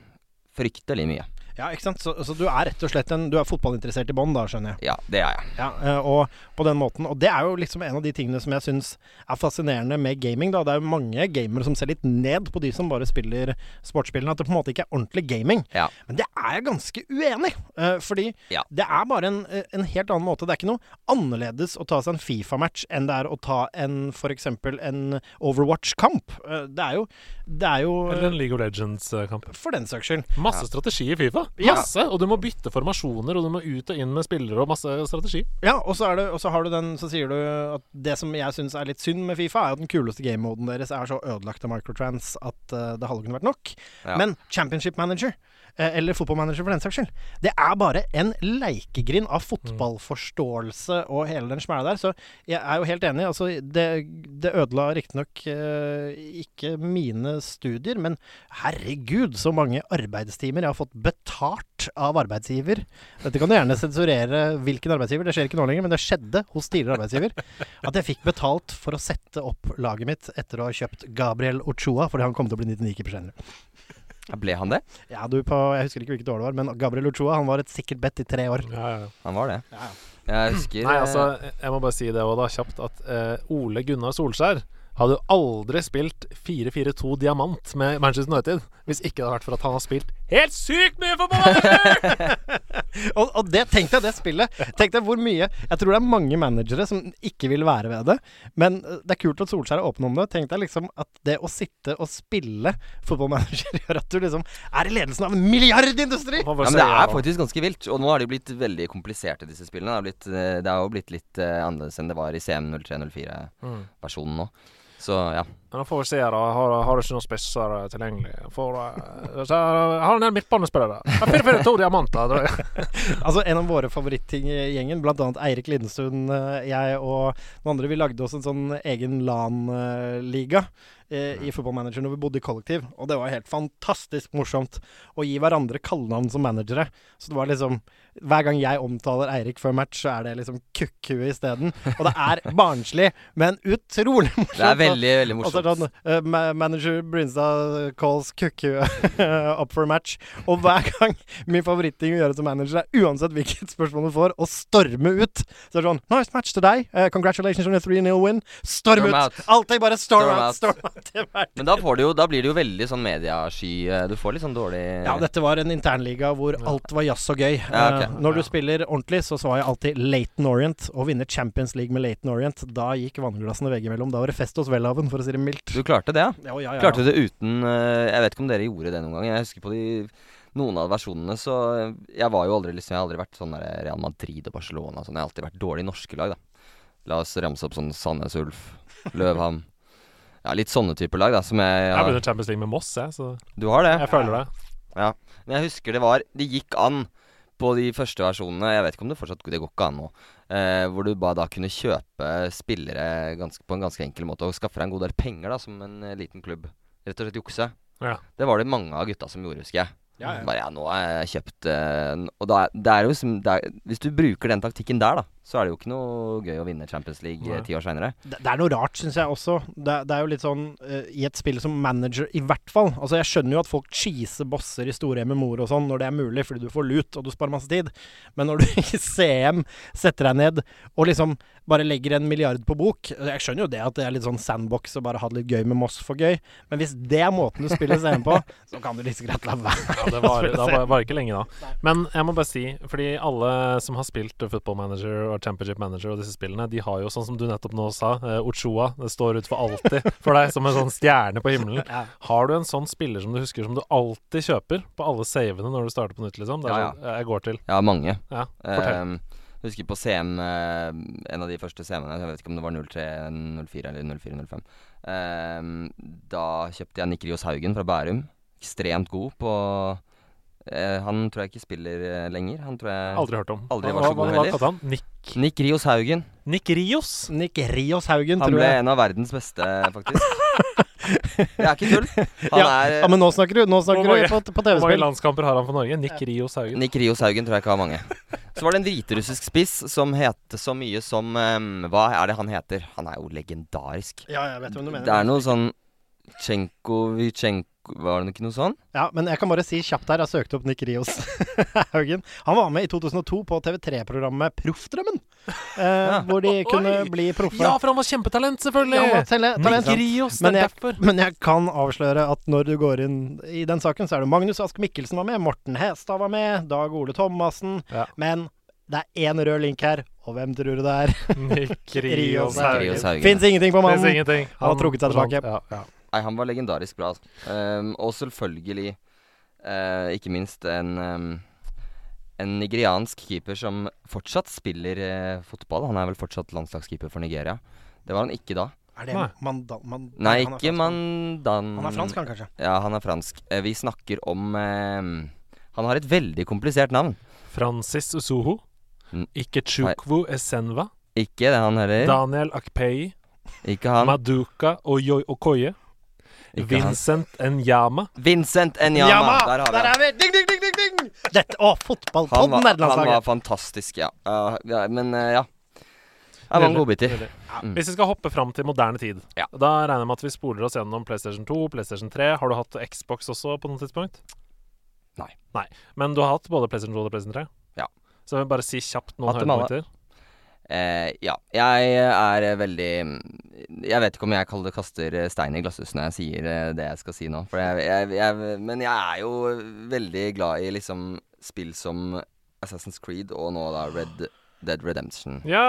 Speaker 5: fryktelig mye.
Speaker 3: Ja, ikke sant? Så, så du er rett og slett en Du er fotballinteressert i bånn, da, skjønner jeg.
Speaker 5: Ja, det er jeg.
Speaker 3: Ja, eh, og på den måten. Og det er jo liksom en av de tingene som jeg syns er fascinerende med gaming, da. Det er jo mange gamere som ser litt ned på de som bare spiller sportsspillene. At det på en måte ikke er ordentlig gaming.
Speaker 5: Ja.
Speaker 3: Men det er jeg ganske uenig i. eh, Fordi
Speaker 5: Ja.
Speaker 3: det er bare en, eh, en helt annen måte. Det er ikke noe annerledes å ta seg en Fifa-match enn det er å ta en f.eks. en Overwatch-kamp. Eh, Det er jo, det er jo
Speaker 4: Eller en
Speaker 3: eh,
Speaker 4: League of Legends-kamp.
Speaker 3: For den saks skyld.
Speaker 4: Masse strategi i Fifa.
Speaker 3: Ja.
Speaker 4: Masse! Og du må bytte formasjoner, og du må ut og inn med spillere, og masse strategi.
Speaker 3: Ja, og så, er det, og så har du den Så sier du at det som jeg syns er litt synd med Fifa, er at den kuleste gamemoden deres er så ødelagt av microtrans at eh, det hadde kunne vært nok.
Speaker 5: Ja.
Speaker 3: Men Championship Manager, eh, eller fotballmanager for den saks skyld, det er bare en leikegrind av fotballforståelse og hele den smæla der. Så jeg er jo helt enig. Altså, det, det ødela riktignok eh, ikke mine studier, men herregud, så mange arbeidstimer jeg har fått betalt av arbeidsgiver. Dette kan du gjerne sensurere hvilken arbeidsgiver, det skjer ikke nå lenger, men det skjedde hos tidligere arbeidsgiver. At jeg fikk betalt for å sette opp laget mitt etter å ha kjøpt Gabriel Ochoa, fordi han kom til å bli 99-keeper senere.
Speaker 5: Ble han det?
Speaker 3: Ja, du, på, jeg husker ikke hvilket år det var, men Gabriel Ochoa han var et sikkert bedt i tre år.
Speaker 4: Ja, ja, ja.
Speaker 5: Han var det. Jeg husker
Speaker 4: Nei, altså, jeg må bare si det òg, da, kjapt, at eh, Ole Gunnar Solskjær hadde jo aldri spilt 4-4-2 diamant med Manchester United hvis ikke det hadde vært for at han har spilt helt sykt mye for (laughs) Manager!
Speaker 3: Og, og det, tenk deg det spillet. Tenk deg hvor mye Jeg tror det er mange managere som ikke vil være ved det. Men eh, det er kult at Solskjær er åpen om det. Tenk deg liksom at det å sitte og spille fotballmanager (laughs) gjør at du liksom er i ledelsen av en milliardindustri!
Speaker 4: Man får
Speaker 5: ja, men
Speaker 4: se,
Speaker 5: det er
Speaker 4: da.
Speaker 5: faktisk ganske vilt. Og nå har de blitt veldig kompliserte, disse spillene. Det har, blitt, eh, det har jo blitt litt eh, annerledes enn det var i CM0304-versjonen nå. Så ja.
Speaker 4: Men da får vi se, da. Har, har du ikke noen spisser eh, tilgjengelig? Får, eh, så har har en del midtbanespillere. Ja, 4-4-2 diamanter. tror jeg.
Speaker 3: Altså En av våre favorittting i gjengen, blant annet Eirik Lindestuen, eh, jeg og noen andre, vi lagde oss en sånn egen LAN-liga eh,
Speaker 5: Mm.
Speaker 3: i Fotballmanager når vi bodde i kollektiv. Og det var helt fantastisk morsomt å gi hverandre kallenavn som managere. Så det var liksom Hver gang jeg omtaler Eirik før match, så er det liksom kukkhue isteden. Og det er barnslig, men utrolig (laughs) morsomt.
Speaker 5: Det er veldig, veldig
Speaker 3: Og så er
Speaker 5: morsomt.
Speaker 3: det sånn eh, ma- Manager Brynstad calls kukkhue (laughs) up for a match. Og hver gang min favoritting å gjøre som manager er, uansett hvilket spørsmål du får, å storme ut. Så er det sånn Nice match til deg. Eh, congratulations on a 3-0 win. Storm,
Speaker 5: Storm
Speaker 3: ut.
Speaker 5: out.
Speaker 3: Alltid bare storm,
Speaker 5: Storm
Speaker 3: out.
Speaker 5: out.
Speaker 3: Storm out. Det var
Speaker 5: Men da, får du jo, da blir det jo veldig sånn mediasky. eh, Du får litt sånn dårlig
Speaker 3: Ja, dette var en internliga hvor alt var jazz og gøy.
Speaker 5: Ja, ok.
Speaker 3: Eh, Når du
Speaker 4: Ja.
Speaker 3: spiller ordentlig, så svarer jeg alltid Laton Orient. Å vinne Champions League med Laton Orient, da gikk vannglassene veggimellom. Da var det fest hos Welhaven, for å si det mildt.
Speaker 5: Du klarte det, ja?
Speaker 3: Ja, ja, ja.
Speaker 5: Klarte du det uten eh, Jeg vet ikke om dere gjorde det noen gang. Jeg husker på de noen av versjonene, så eh, Jeg var jo aldri liksom Jeg har aldri vært sånn der Real Madrid og Barcelona og sånn. Jeg har alltid vært dårlig i norske lag, da. La oss ramse opp sånn Sandnes Ulf, Løvham Ja, litt sånne typer lag, da, som jeg
Speaker 4: Jeg ble
Speaker 5: har.
Speaker 4: under Champions League med Moss, jeg, så
Speaker 5: Du har det?
Speaker 4: jeg føler det.
Speaker 5: Ja. Men jeg husker det var Det gikk an på de første versjonene. Jeg vet ikke om det fortsatt Det går ikke an nå. Eh, hvor du bare da kunne kjøpe spillere ganske, på en ganske enkel måte og skaffe deg en god del penger da som en eh, liten klubb. Rett og slett jukse.
Speaker 4: Ja.
Speaker 5: Det var det mange av gutta som gjorde, husker jeg.
Speaker 3: Ja, ja.
Speaker 5: Bare ja, nå har jeg kjøpt eh, n- Og da, er- det er jo som det er, Hvis du bruker den taktikken der, da, så er det jo ikke noe gøy å vinne Champions League eh,
Speaker 4: Nei.
Speaker 5: ti år seinere.
Speaker 3: Det, det er noe rart, syns jeg også. Det, det er jo litt sånn eh, i et spill som manager, i hvert fall. Altså, jeg skjønner jo at folk cheeser bosser i store MMO-er og sånn når det er mulig, fordi du får lut og du sparer masse tid. Men når du (laughs) i CM setter deg ned og liksom bare legger en milliard på bok eh, Jeg skjønner jo det at det er litt sånn sandbox og bare ha det litt gøy med Moss for gøy, men hvis det er måten du spiller CM på, så kan du like så greit la være.
Speaker 4: Ja, det var, da var, var ikke lenge da. Men jeg må bare si, fordi alle som har spilt Football Manager og Championship Manager og disse spillene, de har jo sånn som du nettopp nå sa, eh, Ochoa, det står ut for (laughs) alltid for deg som en sånn stjerne på himmelen.
Speaker 3: Ja.
Speaker 4: Har du en sånn spiller som du husker som du alltid kjøper på alle savene når du starter på nytt, liksom? Det er
Speaker 5: Ja, ja.
Speaker 4: sånn eh, jeg går til.
Speaker 5: Ja, mange.
Speaker 4: Ja, fortell.
Speaker 5: Um, jeg husker på CM, eh, en av de første CM-ene, jeg vet ikke om det var 03, 04 eller 04-05. Ehm, da kjøpte jeg Nikrios Haugen fra Bærum. Ekstremt god på eh, Han tror jeg ikke spiller eh, lenger. Han tror jeg
Speaker 4: Aldri hørt om.
Speaker 5: aldri
Speaker 4: Hva-
Speaker 5: var så
Speaker 4: hva-
Speaker 5: god
Speaker 4: Hva
Speaker 5: heller.
Speaker 4: kalte han? Nick,
Speaker 5: Nick Rios Haugen.
Speaker 4: Nick Rios?
Speaker 3: Nick Rios Haugen,
Speaker 5: Han
Speaker 3: tror
Speaker 5: ble
Speaker 3: jeg.
Speaker 5: en av verdens beste,
Speaker 3: (laughs)
Speaker 5: faktisk. Det er ikke tull. Han
Speaker 3: Ja,
Speaker 5: er eh,
Speaker 3: Ja, men nå snakker du, nå snakker
Speaker 4: Hvor
Speaker 3: du på, på
Speaker 4: Hvor mange
Speaker 3: TV-spill.
Speaker 4: landskamper har han for Norge? Nick Rios Haugen.
Speaker 5: Nick Rios Haugen tror jeg ikke har mange. Så var det en hviterussisk spiss som het så mye som ehm, Hva er det han heter? Han er jo legendarisk.
Speaker 3: Ja, jeg vet hvem du
Speaker 5: Det er noe sånn Tsjenkovitsjenko Var det ikke noe sånn?
Speaker 3: Ja, men jeg kan bare si kjapt her, jeg søkte opp Nick Rios (laughs) Haugen. Han var med i 2002 på TV3-programmet Proffdrømmen, eh, hvor de kunne
Speaker 4: Oi!
Speaker 3: bli proffe.
Speaker 4: Ja, for han var kjempetalent, selvfølgelig!
Speaker 3: Ja, han var tale- talent.
Speaker 4: Nick Rios,
Speaker 3: Men
Speaker 4: det er
Speaker 3: jeg,
Speaker 4: derfor.
Speaker 3: men jeg kan avsløre at når du går inn i den saken, så er det Magnus Ask Mikkelsen var med, Morten Hestad var med, Dag Ole Thomassen.
Speaker 4: Ja.
Speaker 3: Men det er én rød link her, og hvem tror du det er?
Speaker 4: (laughs) Nick Rios
Speaker 3: Rios
Speaker 4: Haugen.
Speaker 5: Rios Haugen.
Speaker 3: Fins ingenting på
Speaker 4: Fins
Speaker 3: mannen.
Speaker 4: ingenting.
Speaker 3: Han har trukket seg tilbake.
Speaker 4: Ja, ja.
Speaker 5: Nei, han var legendarisk bra. Altså. Ehm, og selvfølgelig, eh, ikke minst, en, ehm, en nigeriansk keeper som fortsatt spiller eh, fotball. Han er vel fortsatt landslagskeeper for Nigeria. Det var han ikke da.
Speaker 3: Er det
Speaker 4: Nei.
Speaker 3: Mandan... Man,
Speaker 5: Nei,
Speaker 3: han er
Speaker 5: ikke
Speaker 3: fransk.
Speaker 5: Mandan
Speaker 3: Han er fransk, han kanskje.
Speaker 5: Ja, han er fransk. Eh, vi snakker om ehm, Han har et veldig komplisert navn.
Speaker 4: Francis Usuhu.
Speaker 5: Mm.
Speaker 4: Ikke Chukwu Esenva.
Speaker 5: Ikke det han heller.
Speaker 4: Daniel Akpei.
Speaker 5: Ikke han.
Speaker 4: Maduka Oyo- Okoye.
Speaker 5: Ikke han.
Speaker 4: Vincent Enyama.
Speaker 5: Vincent Enyama.
Speaker 3: Jama!
Speaker 5: Der har vi han.
Speaker 3: Der er vi! Ding, ding, ding, ding, ding! Dette, å,
Speaker 5: Han
Speaker 3: fotballpodden
Speaker 5: var,
Speaker 3: er
Speaker 5: han var
Speaker 3: landslaget.
Speaker 5: fantastisk, ja. Ja, ja men eh, ja. Det var
Speaker 4: Nydelig,
Speaker 5: en godbiter.
Speaker 4: nydelig. Hvis vi skal hoppe fram til moderne tid,
Speaker 5: Mm. Ja.
Speaker 4: da regner jeg med at vi spoler oss gjennom PlayStation 2, PlayStation 3. Har du hatt Xbox også på noe tidspunkt?
Speaker 5: Nei.
Speaker 4: Nei. Men du har hatt både PlayStation 2 og PlayStation 3?
Speaker 5: Ja.
Speaker 4: Så jeg vil bare si kjapt noen
Speaker 5: Hatt dem alle.
Speaker 4: høydepunkter.
Speaker 5: Eh, ja. Jeg er eh, veldig mm, Jeg vet ikke om jeg kaller det kaster eh, stein i glasshuset når jeg sier eh, det jeg skal si nå. For jeg, jeg, jeg, men jeg er jo veldig glad i liksom spill som Assassin's Creed og nå da Red Dead Redemption.
Speaker 4: Ja!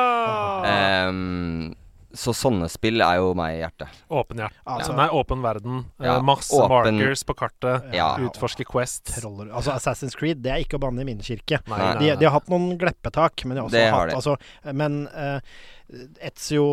Speaker 5: Ehm, så sånne spill er jo meg i hjertet.
Speaker 4: Åpen hjerte.
Speaker 3: Altså-
Speaker 4: Nei, åpen verden. Eh,
Speaker 5: Ja,
Speaker 4: Masse
Speaker 5: åpen-
Speaker 4: markers på kartet.
Speaker 5: Ja.
Speaker 4: Utforske Quest.
Speaker 3: Troller. Altså, Assassin's Creed, det er ikke å banne i min kirke.
Speaker 4: Nei,
Speaker 5: Nei,
Speaker 4: nei,
Speaker 3: De,
Speaker 4: nei.
Speaker 3: de har hatt noen gleppetak, men de har også
Speaker 5: Det har
Speaker 3: hatt
Speaker 5: de.
Speaker 3: altså, Men eh, Ezio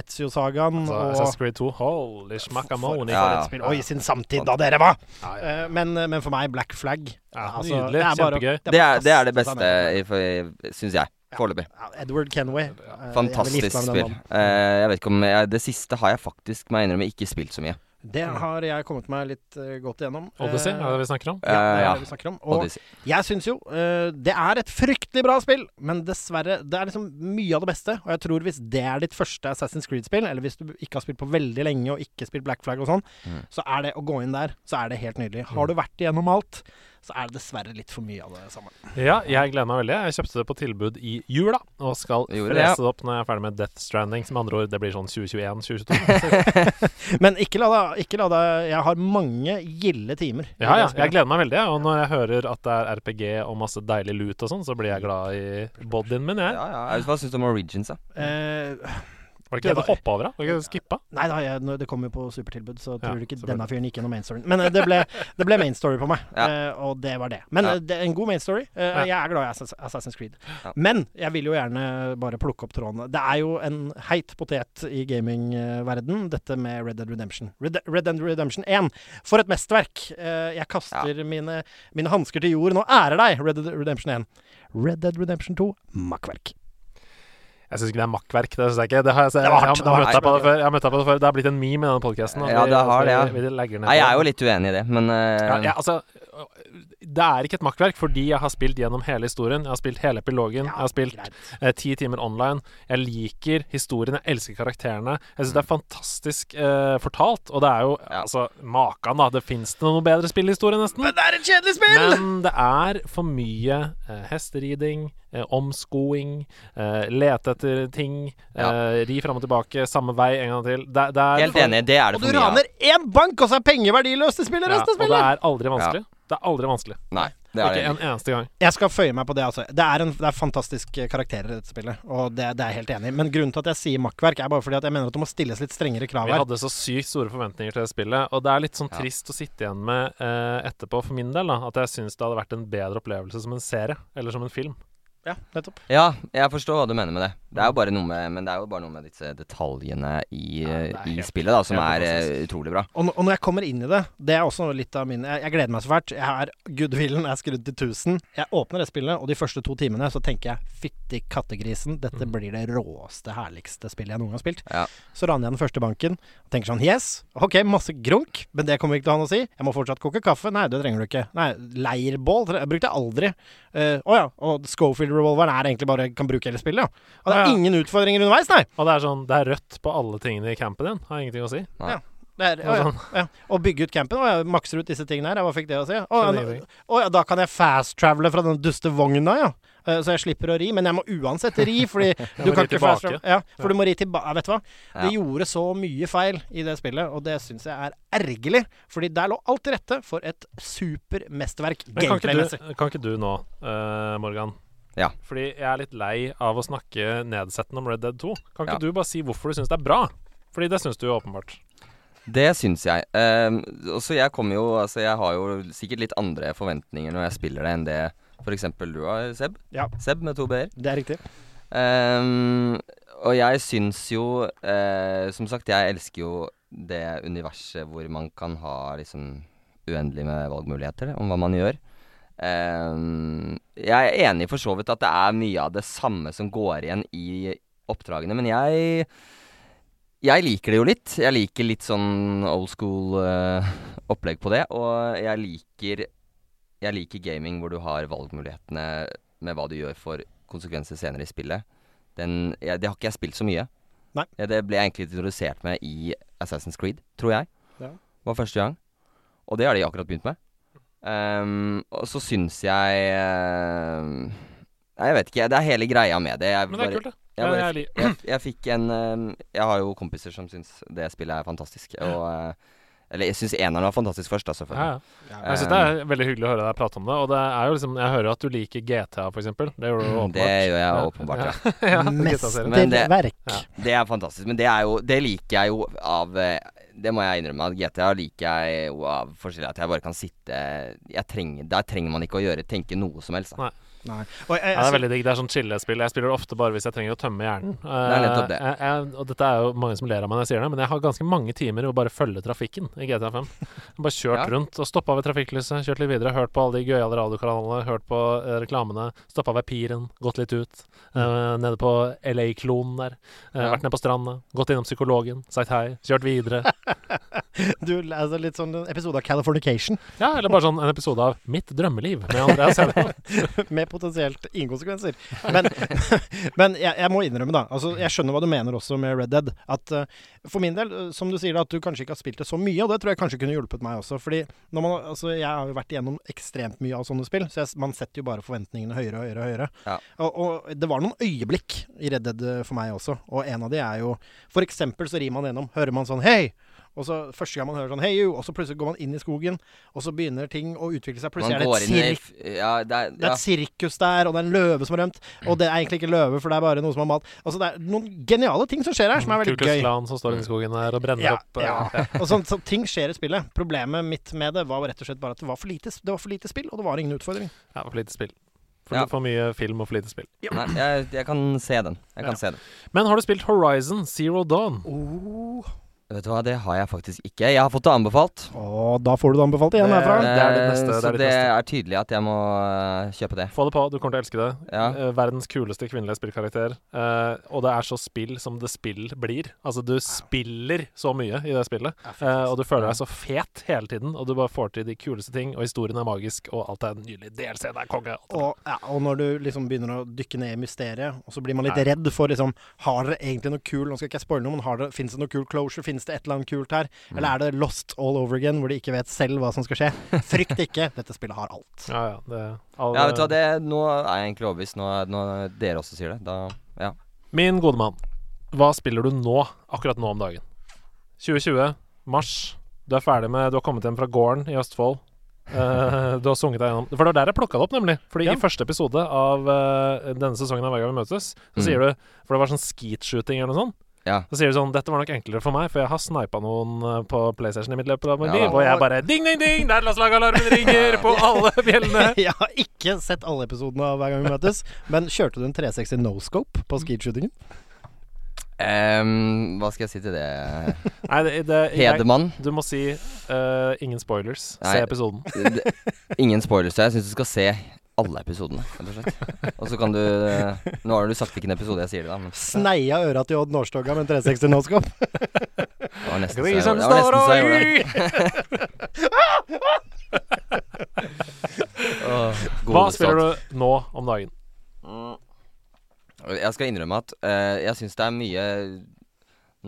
Speaker 3: Ezio-sagaen
Speaker 4: Altså,
Speaker 3: og
Speaker 4: Assassin's Creed 2, holy smakamoni.
Speaker 5: Ja,
Speaker 3: for et
Speaker 5: ja.
Speaker 3: spill. Oi, sin samtid, da dere var!
Speaker 4: Ja, ja.
Speaker 3: Eh, men, men for meg, Black Flag.
Speaker 4: Ja,
Speaker 3: Altså,
Speaker 4: nydelig.
Speaker 3: det er bare å-
Speaker 4: Kjempegøy.
Speaker 5: Det er det, er det
Speaker 3: kaste seg
Speaker 5: beste,
Speaker 3: ned.
Speaker 5: syns jeg. Foreløpig.
Speaker 3: Ja, Edward Kenway. Eh, jeg vil
Speaker 5: Fantastisk
Speaker 3: gifte meg med den
Speaker 5: spill.
Speaker 3: mannen.
Speaker 5: Eh, jeg vet ikke om jeg, Det siste har jeg faktisk må jeg innrømme ikke spilt så mye.
Speaker 3: Det har jeg kommet meg litt eh, godt igjennom.
Speaker 4: Odyssey, er
Speaker 3: Eh,
Speaker 4: det det vi snakker om?
Speaker 3: ja, det er
Speaker 5: Eh, ja.
Speaker 3: det vi snakker om. Og
Speaker 5: Odyssey.
Speaker 3: Jeg syns jo eh, det er et fryktelig bra spill, men dessverre Det er liksom mye av det beste, og jeg tror hvis det er ditt første Assassin's Creed-spill, eller hvis du ikke har spilt på veldig lenge og ikke spilt Black Flag og sånn,
Speaker 5: Mm.
Speaker 4: Mm.
Speaker 3: så er det å gå inn der, så er det helt nydelig. Har du vært igjennom alt, så er det dessverre litt for mye av det samme.
Speaker 4: Ja, jeg gleder meg veldig. Jeg kjøpte det på tilbud i jula, og skal
Speaker 5: Gjorde
Speaker 4: lese
Speaker 5: det, ja.
Speaker 4: det opp når jeg er ferdig med Death Stranding. Som med andre ord, det blir sånn 2021-2022.
Speaker 3: Men ikke la deg ikke la deg Jeg har mange gilde timer. i
Speaker 4: Ja, ja.
Speaker 3: det spillet.
Speaker 4: Jeg gleder meg veldig. jeg. Og når jeg hører at det er RPG og masse deilig loot og sånn, så blir jeg glad i bodyen min, jeg.
Speaker 5: Ja, ja. Jeg- Hva syns du om Origins, da?
Speaker 3: Eh,
Speaker 4: Var det ikke det du hoppa over, da? Var det ikke det du skippa?
Speaker 3: nei da, jeg, når det kom jo på supertilbud, så tror du ikke
Speaker 4: selvfølgelig.
Speaker 3: denne fyren gikk gjennom main storyen. Men eh, det ble, det ble main story på meg,
Speaker 5: Ja.
Speaker 3: eh, og det var det. Men
Speaker 5: Ja.
Speaker 3: eh, det, en god main story. Eh,
Speaker 4: Ja.
Speaker 3: Jeg er glad i Assass- Assassin's Creed.
Speaker 5: Ja.
Speaker 3: Men jeg vil jo gjerne bare plukke opp trådene. Det er jo en heit potet i gamingverden, dette med Red Dead Redemption. Red, Red Dead Redemption 1. For et mesterverk! Eh, jeg kaster mine, mine hansker til jorden og ærer deg, Red Dead Redemption 1. Red Dead Redemption 2, makkverk.
Speaker 4: Jeg syns ikke det er makkverk. Det synes jeg ikke. Det har jeg,
Speaker 3: Det
Speaker 4: jeg,
Speaker 3: var hardt,
Speaker 4: jeg,
Speaker 3: det var
Speaker 4: har møtt deg på det
Speaker 3: hardt.
Speaker 4: før. Jeg har møtt deg på det før. Det har blitt en meme i denne podkasten.
Speaker 5: Ja, det har det, ja.
Speaker 4: Vi, vi legger
Speaker 5: Nei,
Speaker 4: ned på
Speaker 5: jeg er
Speaker 4: det.
Speaker 5: jo litt uenig i det, men eh,
Speaker 4: ja, ja, altså, det er ikke et makkverk, fordi jeg har spilt gjennom hele historien. Jeg har spilt hele epilogen. jeg har spilt
Speaker 3: greit.
Speaker 4: eh, ti timer online. Jeg liker historien, jeg elsker karakterene. Jeg syns det er fantastisk eh, fortalt. Og det er jo
Speaker 5: Ja.
Speaker 4: altså Makan, da. Det fins det noe bedre spillhistorie, nesten.
Speaker 3: Men det er et kjedelig spill!
Speaker 4: Men det er for mye eh, hesteriding, eh, omskoing, eh, lete etter ting, eh, ri fram og tilbake, samme vei en gang til. Det, det er
Speaker 5: Helt
Speaker 4: for,
Speaker 5: enig, det er det
Speaker 3: Og
Speaker 5: for
Speaker 3: du
Speaker 5: mye av.
Speaker 3: raner én bank, og så er penger verdiløst i spillet
Speaker 4: Ja,
Speaker 3: resten av
Speaker 4: og det
Speaker 3: spillet!
Speaker 4: er aldri vanskelig. Det er aldri vanskelig.
Speaker 5: Nei, det er det
Speaker 4: Ikke en eneste gang.
Speaker 3: Jeg skal føye meg på det, altså. Det er, en, det er fantastisk eh, karakterer i dette spillet, og det, det er jeg helt enig i. Men grunnen til at jeg sier makkverk, er bare fordi at jeg mener at det må stilles litt strengere krav
Speaker 4: Vi
Speaker 3: her.
Speaker 4: hadde så sykt store forventninger til det spillet, og det er litt sånn
Speaker 5: Ja.
Speaker 4: trist å sitte igjen med eh, etterpå, for min del, da, at jeg syns det hadde vært en bedre opplevelse som en serie, eller som en film.
Speaker 3: Ja, nettopp.
Speaker 5: Ja, jeg forstår hva du mener med det. Det er jo bare noe med, men det er jo bare noe med disse detaljene i, eh,
Speaker 4: det er
Speaker 5: i
Speaker 4: helt-
Speaker 5: spillet da, som
Speaker 4: helt
Speaker 5: er eh, utrolig bra.
Speaker 3: Og, n- og når jeg kommer inn i det, det er også litt av min Jeg, jeg gleder meg så fælt. Jeg er Goodwillen er skrudd til 1000. Jeg åpner det spillet, og de første to timene så tenker jeg fytti kattegrisen, dette
Speaker 4: Mm.
Speaker 3: blir det råeste, herligste spillet jeg noen gang har spilt.
Speaker 5: Ja.
Speaker 3: Så raner jeg den første banken og tenker sånn Yes, ok, masse grunk, men det kommer ikke til å ha noe å si. Jeg må fortsatt koke kaffe. Nei, det trenger du ikke. Nei, leirbål tre- brukte jeg aldri. Eh, Å ja. Og Schofield-revolveren er egentlig bare kan bruke hele spillet, ja. Og det
Speaker 4: Å
Speaker 3: er
Speaker 4: ja.
Speaker 3: ingen utfordringer underveis, nei.
Speaker 4: Og det er sånn, det er rødt på alle tingene i campen din, har ingenting å si.
Speaker 3: Det er, å,
Speaker 4: Og
Speaker 3: ja,
Speaker 4: sånn.
Speaker 3: ja. Å bygge ut campen. Å, ja, makser ut disse tingene her. ja, Hva fikk det å si? Å,
Speaker 4: Skjønner
Speaker 3: ja,
Speaker 4: ingenting.
Speaker 3: å ja, da kan jeg fast-travele fra den duste vogna, ja. Eh, Så jeg slipper å ri. Men jeg må uansett ri,
Speaker 4: (laughs)
Speaker 3: fordi du
Speaker 4: må
Speaker 3: kan
Speaker 4: ri
Speaker 3: ikke
Speaker 4: tilbake.
Speaker 3: fast-travele. Ja, for du må ri tilbake. Vet du hva?
Speaker 5: Ja.
Speaker 3: Det gjorde så mye feil i det spillet, og det syns jeg er ergerlig. Fordi der lå alt til rette for et supermesterverk
Speaker 4: Men kan ikke,
Speaker 3: gameplay-messig.
Speaker 4: du, kan ikke du nå, eh, Morgan?
Speaker 5: Ja.
Speaker 4: Fordi jeg er litt lei av å snakke nedsettende om Red Dead 2. Kan ikke
Speaker 5: Ja.
Speaker 4: du bare si hvorfor du syns det er bra? Fordi det syns du jo åpenbart.
Speaker 5: Det syns jeg. Um, også jeg kommer jo Altså, jeg har jo sikkert litt andre forventninger når jeg spiller det, enn det f.eks. du har, Seb.
Speaker 3: Ja.
Speaker 5: Seb med to b-er.
Speaker 3: Det er (laughs) riktig.
Speaker 5: Ehm, og jeg syns jo eh, Som sagt, jeg elsker jo det universet hvor man kan ha liksom uendelig med valgmuligheter om hva man gjør. Ehm, jeg er enig for så vidt at det er mye av det samme som går igjen i oppdragene, men jeg jeg liker det jo litt. Jeg liker litt sånn old school eh, (laughs) opplegg på det. Og jeg liker, jeg liker gaming hvor du har valgmulighetene med hva du gjør for konsekvenser senere i spillet. Den, jeg, det har ikke jeg spilt så mye.
Speaker 3: Nei.
Speaker 5: Ja, det ble jeg egentlig introdusert med i Assassin's Creed, tror jeg.
Speaker 3: Ja.
Speaker 5: Var første gang. Og det har de akkurat begynt med. Ehm, og så syns jeg ehm, Nei, jeg vet ikke. Det er hele greia med det. Jeg
Speaker 4: Men det
Speaker 5: bare-
Speaker 4: er kult, det.
Speaker 5: jeg,
Speaker 4: Jeg-
Speaker 5: bare,
Speaker 4: jeg
Speaker 5: jeg, jeg fikk en eh, Jeg har jo kompiser som syns det spillet er fantastisk. Og, eh, eller jeg syns eneren var fantastisk først, da,
Speaker 4: Ja,
Speaker 5: selvfølgelig.
Speaker 4: ja. Jeg synes det er veldig hyggelig å høre deg prate om det. Og det er jo liksom, jeg hører jo at du liker GTA, for eksempel. Det gjorde du
Speaker 5: Eh,
Speaker 4: åpenbart.
Speaker 5: Det gjør jeg åpenbart, ja.
Speaker 4: ja.
Speaker 5: Men-
Speaker 4: GTA-serien.
Speaker 3: Mesterverk.
Speaker 4: Ja.
Speaker 5: Det er fantastisk. Men det, er jo, det liker jeg jo av eh, Det må jeg innrømme. At GTA liker jeg jo av forskjellig at jeg bare kan sitte jeg trenger, Der trenger man ikke å gjøre tenke noe som helst. Da.
Speaker 4: Nei.
Speaker 3: Nei. Og jeg,
Speaker 4: Ja, det er veldig digg. Det er sånn chillespill. Jeg spiller det ofte bare hvis jeg trenger å tømme hjernen. Eh,
Speaker 5: er nettopp det.
Speaker 4: Jeg, jeg, og dette er jo mange som ler av meg når jeg sier det, men jeg har ganske mange timer i å bare følge trafikken i GTA5. Bare
Speaker 5: Ja.
Speaker 4: kjørt rundt og stoppa ved trafikklyset, kjørt litt videre, hørt på alle de gøyale radiokanalene, hørt på eh, reklamene, stoppa ved piren, gått litt ut. eh, nede på LA-klonen der. eh,
Speaker 5: Ja.
Speaker 4: Vært nede på stranda, gått innom psykologen, sagt hei, kjørt videre.
Speaker 3: Du, altså litt sånn en episode av Californication
Speaker 4: Ja, eller bare sånn en episode av Mitt drømmeliv med
Speaker 3: (laughs)
Speaker 4: Andreas Helle.
Speaker 3: med potensielt inkonsekvenser. Men, (laughs) men jeg, jeg må innrømme, da. Altså, jeg skjønner hva du mener også med Red Dead. At eh, for min del, eh, som du sier, da, at du kanskje ikke har spilt det så mye, og det tror jeg kanskje kunne hjulpet meg også. Fordi når man, altså, jeg har jo vært igjennom ekstremt mye av sånne spill, så jeg, man setter jo bare forventningene høyere og høyere og høyere.
Speaker 5: Ja.
Speaker 3: Og, og det var noen øyeblikk i Red Dead eh, for meg også, og en av de er jo For eksempel så rir man gjennom, hører man sånn Hei! Og så Første gang man hører sånn Hei, you! Og så plutselig går man inn i skogen, og så begynner ting å utvikle seg. Plutselig
Speaker 5: Man
Speaker 3: er det
Speaker 5: går
Speaker 3: et
Speaker 5: inn i
Speaker 3: sirk
Speaker 5: f- Ja, det er,
Speaker 3: det er
Speaker 5: ja.
Speaker 3: et sirkus der, og det er en løve som har rømt. Og det er egentlig ikke løve, for det er bare noe som har mat. Altså, det er noen geniale ting som skjer her, som er veldig gøy.
Speaker 4: Kukuslan som står inne i skogen her og brenner
Speaker 3: Ja,
Speaker 4: opp. eh,
Speaker 3: ja. Og sånn, så ting skjer i spillet. Problemet mitt med det var rett og slett bare at det var for lite, det var for lite spill, og det var ingen utfordring.
Speaker 4: Ja, for lite spill. For,
Speaker 5: Ja.
Speaker 4: for mye film og for lite spill.
Speaker 5: Nei, jeg, jeg kan se den. Jeg kan
Speaker 4: Ja.
Speaker 5: se den.
Speaker 4: Men har du spilt Horizon Zero Dawn? Oh.
Speaker 5: Vet du hva, det har jeg faktisk ikke. Jeg har fått det anbefalt.
Speaker 3: Og da får du det anbefalt igjen herfra.
Speaker 4: det er det neste, det er
Speaker 5: Eh, Så
Speaker 4: ditt
Speaker 5: det
Speaker 4: neste.
Speaker 5: er tydelig at jeg må eh, kjøpe det.
Speaker 4: Få det på, du kommer til å elske det.
Speaker 5: Ja.
Speaker 4: Eh, Verdens kuleste kvinnelige spillkarakter. Eh, og det er så spill som det spill blir. Altså, du spiller så mye i det spillet. Eh, og du føler deg så fet hele tiden, og du bare får til de kuleste ting, og historien er magisk, og alt er nydelig. DLC-en er konge. alt det der.
Speaker 3: Og, ja, og når du liksom begynner å dykke ned i mysteriet, og så blir man litt
Speaker 4: Nei.
Speaker 3: redd for liksom Har dere egentlig noe kul Nå skal ikke jeg spoile noe, men har dere, finnes det noe kul closure? Finnes det et eller annet kult her?
Speaker 4: Mm.
Speaker 3: Eller er det lost all over again, hvor de ikke vet selv hva som skal skje? Frykt ikke, dette spillet har alt.
Speaker 4: Ja, ja, det, all,
Speaker 5: Ja, vet du hva, det, nå er jeg egentlig overbevist. Nå, nå dere også sier det. Da, ja.
Speaker 4: Min gode mann, hva spiller du nå, akkurat nå om dagen? 2020, mars. Du er ferdig med Du har kommet hjem fra gården i Østfold. Eh, du har sunget deg gjennom For det var der jeg plukka det opp, nemlig. Fordi i første episode av eh, denne sesongen av Hver gang vi møtes, så
Speaker 5: Mm.
Speaker 4: sier du For det var sånn skeet-shooting eller noe sånt.
Speaker 5: Ja.
Speaker 4: Så sier du sånn Dette var nok enklere for meg, for jeg har snipa noen eh, på PlayStation i mitt løp.
Speaker 5: Ja, da.
Speaker 4: og jeg bare Ding, ding, ding! Nærlandslagalarmen ringer
Speaker 5: (laughs)
Speaker 4: på alle bjellene!
Speaker 3: (laughs) Jeg har ikke sett alle episodene av Hver gang vi møtes, men kjørte du en 360 no scope på skeetshootingen?
Speaker 5: Ehm, hva skal jeg si til
Speaker 4: (laughs)
Speaker 5: det?
Speaker 4: Nei, det, det jeg,
Speaker 5: Hedemann.
Speaker 4: Du må si eh, ingen spoilers.
Speaker 5: Nei.
Speaker 4: Se episoden.
Speaker 5: Det- Ingen spoilers. Jeg syns du skal se alle episodene, rett og slett. Og så kan du eh, Nå har du sagt hvilken episode jeg sier det, da, men
Speaker 3: Sneia øra til Odd Nårstoga med en 360 no scope?
Speaker 5: det var nesten så jeg gjorde det.
Speaker 4: Grisen
Speaker 5: det. Var nesten så jeg gjorde det. Åh,
Speaker 4: står og gyr! Hva
Speaker 5: godeste
Speaker 4: spiller
Speaker 5: alt.
Speaker 4: du nå om dagen?
Speaker 5: Jeg skal innrømme at eh, jeg syns det er mye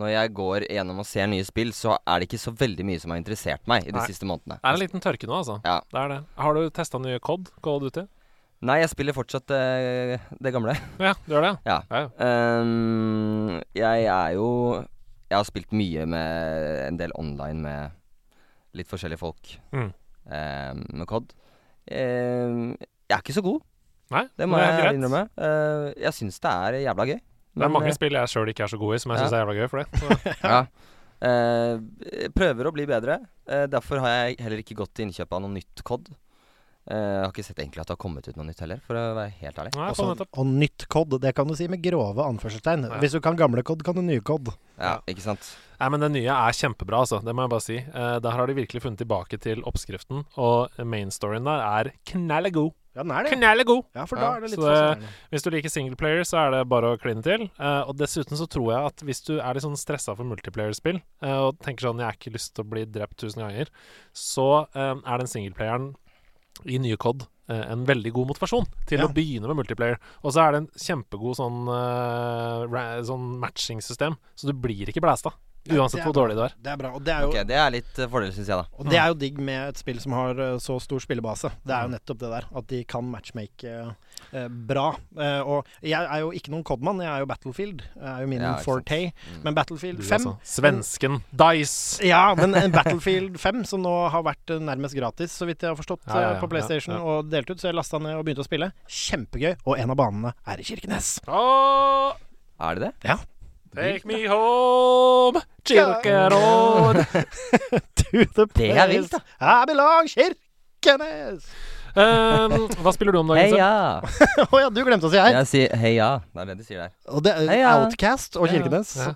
Speaker 5: Når jeg går gjennom og ser nye spill, så er det ikke så veldig mye som har interessert meg i de
Speaker 4: Nei.
Speaker 5: siste månedene.
Speaker 4: Det er en liten tørke nå, altså.
Speaker 5: Ja.
Speaker 4: Det er det. Har du testa nye COD? Call of Duty?
Speaker 5: Nei, jeg spiller fortsatt eh, det gamle.
Speaker 4: Ja, du gjør det?
Speaker 5: Ja.
Speaker 4: ja.
Speaker 5: Ehm, jeg er jo Jeg har spilt mye med en del online med litt forskjellige folk.
Speaker 4: Mm.
Speaker 5: Ehm, med COD. Ehm, jeg er ikke så god,
Speaker 4: Nei,
Speaker 5: det må
Speaker 4: er
Speaker 5: jeg
Speaker 4: greit.
Speaker 5: innrømme. Ehm, jeg syns det er jævla gøy.
Speaker 4: Det er
Speaker 5: Men,
Speaker 4: mange
Speaker 5: eh,
Speaker 4: spill jeg sjøl ikke er så god i, som jeg
Speaker 5: Ja.
Speaker 4: syns er jævla gøy for det. Så. (laughs)
Speaker 5: Ja. Eh, jeg prøver å bli bedre. Eh, derfor har jeg heller ikke gått til innkjøp av noe nytt COD. Eh, jeg har ikke sett egentlig at det har kommet ut noe nytt heller, for å være helt ærlig.
Speaker 4: Nei,
Speaker 3: Også,
Speaker 4: sånn nettopp.
Speaker 3: og nytt kod, det kan du si med grove anførselstegn.
Speaker 4: Ja.
Speaker 3: Hvis du kan gamle kod, kan du nye kod.
Speaker 5: Ja, ikke sant?
Speaker 4: Nei, men det nye er kjempebra, altså. Det må jeg bare si. Eh, der har de virkelig funnet tilbake til oppskriften, og mainstoryen der er knallegod.
Speaker 3: Ja, den er det.
Speaker 4: Knallegod!
Speaker 3: Ja, for
Speaker 5: Ja,
Speaker 3: da er det litt
Speaker 4: så eh, det-
Speaker 3: fascinerende.
Speaker 4: Hvis du liker singleplayer, så er det bare å kline til. Eh, og dessuten så tror jeg at hvis du er litt sånn stressa for multiplayer-spill, eh, og tenker sånn 'jeg har ikke lyst til å bli drept tusen ganger', så eh, er den singleplayeren i nye COD eh, en veldig god motivasjon til
Speaker 3: Ja.
Speaker 4: å begynne med multiplayer. Og så er det en kjempegod sånn, eh, ra- sånn matching-system, så du blir ikke blæsta.
Speaker 3: Ja,
Speaker 4: Uansett
Speaker 3: det er
Speaker 4: hvor
Speaker 3: bra.
Speaker 4: dårlig du er.
Speaker 3: Det er bra. Og det er jo
Speaker 5: Ok, Det er litt eh, fordel, syns jeg, da.
Speaker 3: Og det er jo digg med et spill som har eh, så stor spillebase. Det
Speaker 4: Mm.
Speaker 3: er jo nettopp det der, at de kan matchmake eh, eh, bra. Eh, og jeg er jo ikke noen Codman, jeg er jo Battlefield. Jeg er jo min
Speaker 5: Ja, ikke sant.
Speaker 3: forte.
Speaker 5: Mm.
Speaker 3: Men Battlefield
Speaker 4: Du,
Speaker 3: 5
Speaker 4: altså. Svensken Dice!
Speaker 3: Ja, men eh, Battlefield 5, som nå har vært eh, nærmest gratis, så vidt jeg har forstått,
Speaker 4: Ja, ja,
Speaker 3: eh,
Speaker 4: ja,
Speaker 3: på PlayStation
Speaker 4: ja, ja.
Speaker 3: og delt ut, så jeg lasta ned og begynte å spille. Kjempegøy. Og en av banene er i Kirkenes. (laughs)
Speaker 4: Åh,
Speaker 5: Er det det?
Speaker 4: take me home, Chilkerod!
Speaker 3: To the
Speaker 5: Det er vilt, da.
Speaker 3: place I belong, Kirkenes! (laughs)
Speaker 4: Ehm, hva spiller du om dagen?
Speaker 5: Heia!
Speaker 4: Seb?
Speaker 3: Å ja, du glemte å si hei.
Speaker 5: Jeg sier heia. Det er det de sier der.
Speaker 3: Og det er
Speaker 5: Heia.
Speaker 3: Outcast og
Speaker 5: Heia.
Speaker 3: Kirkenes.
Speaker 4: Ja.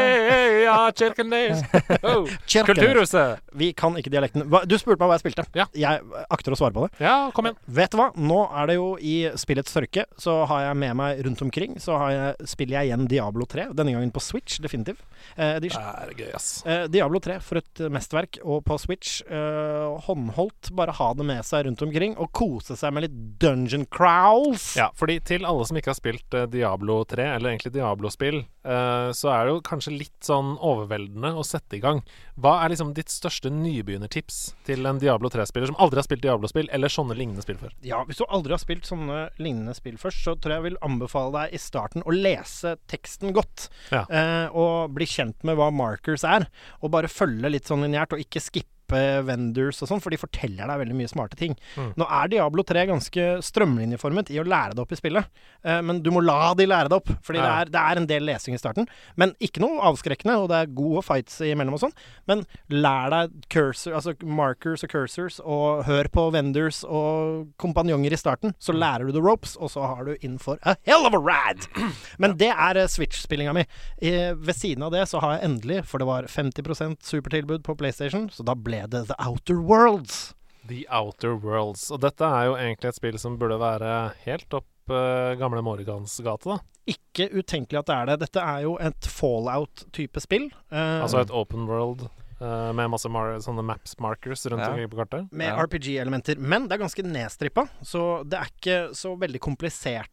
Speaker 4: Heia, Kirkenes! Oh,
Speaker 3: Kirkenes.
Speaker 4: Kulturhuset!
Speaker 3: Vi kan ikke dialekten. Hva- Du spurte meg hva jeg spilte.
Speaker 4: Ja.
Speaker 3: Jeg akter å svare på det.
Speaker 4: Ja, kom igjen.
Speaker 3: Vet du hva, nå er det jo i spillets tørke, så har jeg med meg rundt omkring, så har jeg, spiller jeg igjen Diablo 3, denne gangen på Switch, definitivt. Eh, de,
Speaker 4: Det er gøy, ass.
Speaker 3: eh, Diablo 3 for et eh, mesterverk, og på Switch eh, håndholdt, bare ha det med seg rundt omkring, og kose seg med litt dungeon crowls.
Speaker 4: Ja, fordi til alle som ikke har spilt eh, Diablo 3, eller egentlig Diablo-spill, eh, så er det jo kanskje litt sånn overveldende å sette i gang. Hva er liksom ditt største nybegynnertips til en Diablo 3-spiller som aldri har spilt Diablo-spill, eller sånne lignende spill før?
Speaker 3: Ja, Hvis du aldri har spilt sånne lignende spill først, så tror jeg jeg vil anbefale deg i starten å lese teksten godt.
Speaker 4: Ja.
Speaker 3: Eh, og bli kjent med hva markers er, og bare følge litt sånn lineært, og ikke skippe vendors og sånn, for de forteller deg veldig mye smarte ting.
Speaker 4: Mm.
Speaker 3: Nå er Diablo 3 ganske strømlinjeformet i å lære det opp i spillet, eh, men du må la de lære det opp, fordi
Speaker 4: Ja.
Speaker 3: det, er, det er en del lesing i starten. Men ikke noe avskrekkende, og det er gode fights imellom og sånn. Men lær deg cursor, altså markers og cursors, og hør på vendors og kompanjonger i starten.
Speaker 4: Mm.
Speaker 3: Så lærer du the ropes, og så har du in for a hell of a rad! (clears throat) Men det er eh, Switch-spillinga mi. Eh, ved siden av det så har jeg endelig, for det var 50 supertilbud på PlayStation, så da ble det The Outer Worlds.
Speaker 4: The Outer Worlds. Og dette er jo egentlig et spill som burde være helt opp eh, gamle Morgans gate, da.
Speaker 3: Ikke utenkelig at det er det. Dette er jo et fallout-type spill. eh,
Speaker 4: Altså et open world eh, med masse mar sånne maps markers rundt
Speaker 5: Ja.
Speaker 4: omkring på kartet.
Speaker 3: med
Speaker 5: Ja.
Speaker 3: RPG-elementer, men det er ganske nedstrippa. Så det er ikke så veldig kompliserte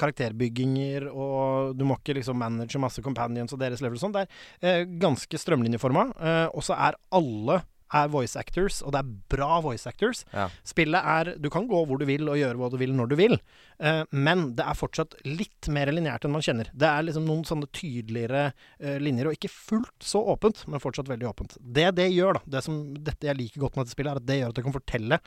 Speaker 3: karakterbygginger, og du må ikke liksom manage masse companions og deres level og sånn. Det er eh, ganske strømlinjeforma, eh, og så er alle er voice actors, og det er bra voice actors.
Speaker 5: Ja.
Speaker 3: Spillet er Du kan gå hvor du vil og gjøre hva du vil når du vil, eh, men det er fortsatt litt mer lineært enn man kjenner. Det er liksom noen sånne tydeligere eh, linjer, og ikke fullt så åpent, men fortsatt veldig åpent. Det det gjør, da, det som dette jeg liker godt med dette spillet, er at det gjør at det kan fortelle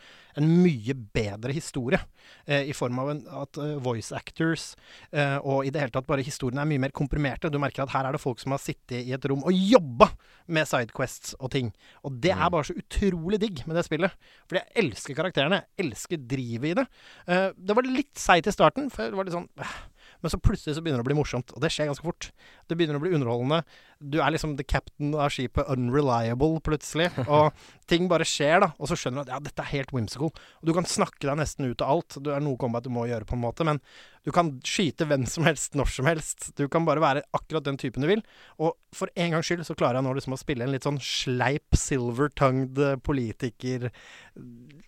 Speaker 3: en mye bedre historie, eh, i form av en, at eh, voice actors eh, og i det hele tatt bare historiene er mye mer komprimerte. Du merker at her er det folk som har sittet i et rom og jobba med sidequests og ting. Og det er bare så utrolig digg med det spillet. Fordi jeg elsker karakterene. Jeg elsker drivet i det. Eh, det var litt seigt i starten, for det var litt sånn eh. men så plutselig så begynner det å bli morsomt, og det skjer ganske fort. Det begynner å bli underholdende. Du er liksom the captain av skipet Unreliable plutselig, og (laughs) ting bare skjer, da. Og så skjønner du at ja, dette er helt whimsical. Og du kan snakke deg nesten ut av alt. Det er noe combat du må gjøre, på en måte, men du kan skyte hvem som helst når som helst. Du kan bare være akkurat den typen du vil. Og for en gangs skyld så klarer jeg nå liksom å spille en litt sånn sleip, silver-tongued eh, politiker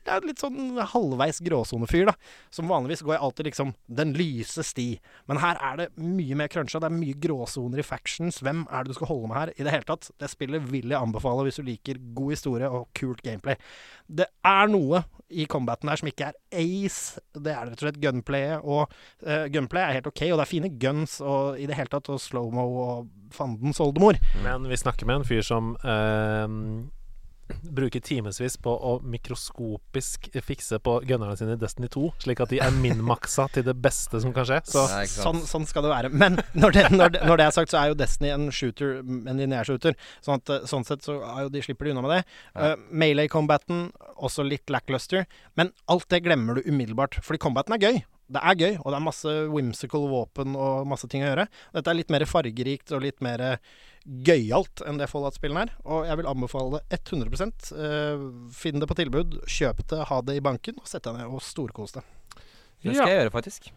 Speaker 3: ja, Litt sånn halvveis gråsonefyr, da. Som vanligvis går jeg alltid liksom den lyse sti. Men her er det mye mer cruncha. Det er mye gråsoner i factions. Hvem er det du skal holde med her? I det hele tatt. Det spillet vil jeg anbefale hvis du liker god historie og kult gameplay. Det er noe i combaten her som ikke er ace. Det er rett og slett gunplayet. Og eh, gunplay er helt ok, og det er fine guns og i det hele tatt, og slow-mo og fandens oldemor.
Speaker 5: Mm.
Speaker 4: Men vi snakker med en fyr som eh, bruker timevis på å mikroskopisk fikse på gunnerne sine i Destiny 2, slik at de er minmaksa til det beste som kan skje. Så
Speaker 5: Ja, ikke sant?
Speaker 3: Sånn, sånn skal det være. Men når det, når, det, når det er sagt, så er jo Destiny en shooter, en lineær shooter. Sånn, at, eh, sånn sett så er jo de slipper de unna med det.
Speaker 5: Ja.
Speaker 3: Eh, Melee-combaten, også litt lackluster. Men alt det glemmer du umiddelbart, fordi combaten er gøy. Det er gøy, og det er masse whimsical våpen og masse ting å gjøre. Dette er litt mer fargerikt og litt mer eh, gøyalt enn det Fallout-spillen er. Og jeg vil anbefale det 100 eh, Finn det på tilbud, kjøp det, ha det i banken, og sett deg ned og storkos deg.
Speaker 5: Det skal jeg gjøre, faktisk.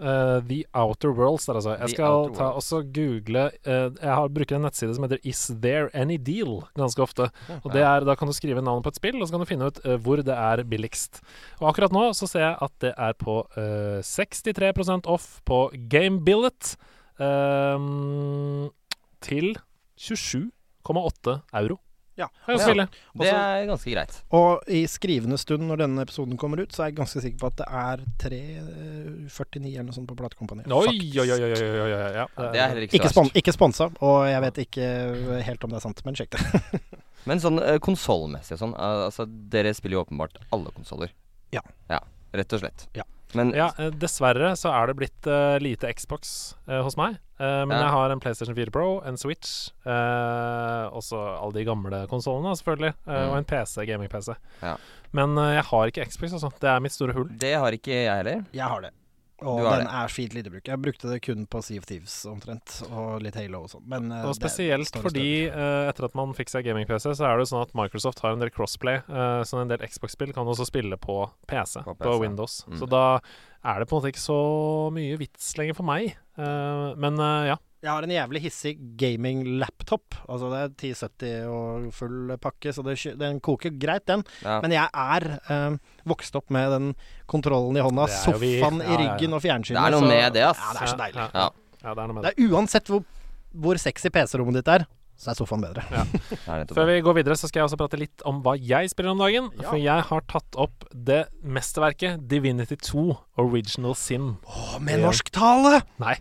Speaker 4: Eh, The Outer Worlds der, altså. Jeg
Speaker 5: The
Speaker 4: skal
Speaker 5: Outer
Speaker 4: ta
Speaker 5: Worlds.
Speaker 4: også google eh, Jeg har, bruker en nettside som heter Is There Any Deal ganske ofte. Og det er, Da kan du skrive navnet på et spill, og så kan du finne ut eh, hvor det er billigst. Og akkurat nå så ser jeg at det er på eh, 63 off på Game Billet ehm, til 27,8 euro.
Speaker 3: Ja.
Speaker 5: Ja.
Speaker 4: Kan jeg spille.
Speaker 5: Det er ganske greit.
Speaker 3: Og i skrivende stund når denne episoden kommer ut, så er jeg ganske sikker på at det er 3.49 eller noe sånt på platekompaniet.
Speaker 4: Oi,
Speaker 3: Faktisk.
Speaker 4: oi, oi, oi, oi, oi, oi, ja.
Speaker 5: Det er heller ikke
Speaker 3: Ikke,
Speaker 5: så
Speaker 3: spon
Speaker 5: verst.
Speaker 3: ikke sponsa, og jeg vet ikke helt om det er sant, men sjekk det. (laughs)
Speaker 5: Men sånn eh, konsollmessig og sånn, eh, altså dere spiller jo åpenbart alle konsoller.
Speaker 3: Ja.
Speaker 5: ja. Rett og slett.
Speaker 3: Ja.
Speaker 5: Men
Speaker 4: Ja, eh, dessverre så er det blitt eh, lite Xbox eh, hos meg. Eh, men
Speaker 5: Ja.
Speaker 4: jeg har en PlayStation 4 Pro, en Switch, uh, også alle de gamle konsollene, selvfølgelig, eh,
Speaker 5: Mm.
Speaker 4: og en PC, gaming-PC.
Speaker 5: Ja.
Speaker 4: Men eh, jeg har ikke Xbox, altså. Det er mitt store hull.
Speaker 5: Det har ikke jeg heller.
Speaker 3: Jeg har det. Og
Speaker 5: Du har
Speaker 3: den er fint lite bruk. Jeg brukte det kun på Sea of Thieves omtrent, og litt Halo og sånn. Men eh,
Speaker 4: Og
Speaker 3: det
Speaker 4: spesielt
Speaker 3: står i
Speaker 4: fordi eh, etter at man fikk seg gaming-PC, så er det jo sånn at Microsoft har en del crossplay, eh, så en del Xbox-spill kan også spille på PC, på,
Speaker 5: På PC.
Speaker 4: Windows.
Speaker 5: Mm.
Speaker 4: Så da er det på en måte ikke så mye vits lenger for meg. Eh, men eh, ja.
Speaker 3: Jeg har en jævlig hissig gaming-laptop. Altså det er 1070 og full pakke, så det, sky- den koker greit, den.
Speaker 5: Ja.
Speaker 3: Men jeg er eh, vokst opp med den kontrollen i hånda,
Speaker 4: Det er jo vi.
Speaker 3: sofaen
Speaker 4: Ja,
Speaker 3: i
Speaker 4: ja, ja.
Speaker 3: ryggen og fjernsynet.
Speaker 5: Det er noe
Speaker 3: så-
Speaker 5: med det, ass.
Speaker 3: Ja, det er så deilig.
Speaker 4: Ja, ja.
Speaker 5: Ja.
Speaker 4: ja det er noe med det.
Speaker 3: Det er uansett hvor, hvor sexy PC-rommet ditt er, så er sofaen bedre.
Speaker 5: Det er nettopp
Speaker 4: Før
Speaker 5: det.
Speaker 4: vi går videre, så skal jeg også prate litt om hva jeg spiller om dagen.
Speaker 3: Ja.
Speaker 4: For jeg har tatt opp det mesterverket Divinity 2 Original Sin.
Speaker 3: Å, med norsk tale!
Speaker 4: Nei,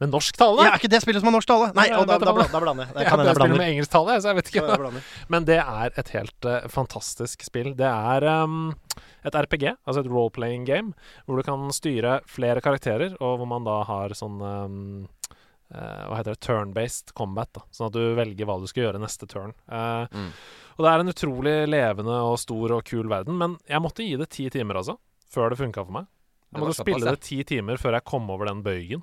Speaker 4: med norsk tale!
Speaker 3: Ja, er ikke det spillet som har norsk tale? Nei,
Speaker 4: Nei,
Speaker 3: og da,
Speaker 4: vet du
Speaker 3: da,
Speaker 4: hva?
Speaker 3: bla- da blander jeg. Det
Speaker 4: Jeg,
Speaker 3: kan hende
Speaker 4: jeg
Speaker 3: jeg
Speaker 4: spiller
Speaker 3: blander.
Speaker 4: med engelsk tale, så jeg vet
Speaker 3: Kan
Speaker 4: ikke.
Speaker 3: hende jeg blander.
Speaker 4: Men det er et helt eh, fantastisk spill. Det er ehm, et RPG, altså et role-playing game, hvor du kan styre flere karakterer, og hvor man da har sånn ehm, eh, Hva heter det? Turn-based combat. da Sånn at du velger hva du skal gjøre neste turn. Eh,
Speaker 5: Mm.
Speaker 4: Og det er en utrolig levende og stor og kul verden, men jeg måtte gi det ti timer, altså. Før det funka for meg.
Speaker 5: Det
Speaker 4: Jeg måtte
Speaker 5: var såpass,
Speaker 4: spille det ti timer før jeg kom over den bøygen.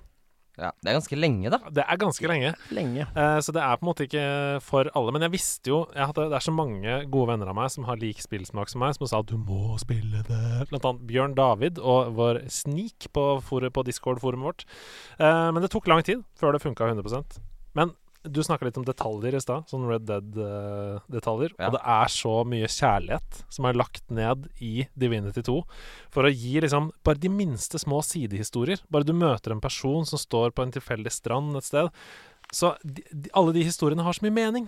Speaker 5: ja. Det er ganske lenge, da.
Speaker 4: Det er ganske lenge.
Speaker 3: Lenge.
Speaker 4: Eh, Så det er på en måte ikke for alle. Men jeg visste jo jeg hadde, Det er så mange gode venner av meg som har lik spillsmak som meg, som sa at du må spille det. Blant annet Bjørn David og vår Sneak på, foru- på Discord-forumet vårt. Eh, Men det tok lang tid før det funka 100 Men du snakka litt om detaljer i stad, sånn Red Dead-detaljer.
Speaker 5: Ja.
Speaker 4: Og det er så mye kjærlighet som er lagt ned i Divinity 2 for å gi liksom bare de minste små sidehistorier. Bare du møter en person som står på en tilfeldig strand et sted. Så de, de, alle de historiene har så mye mening.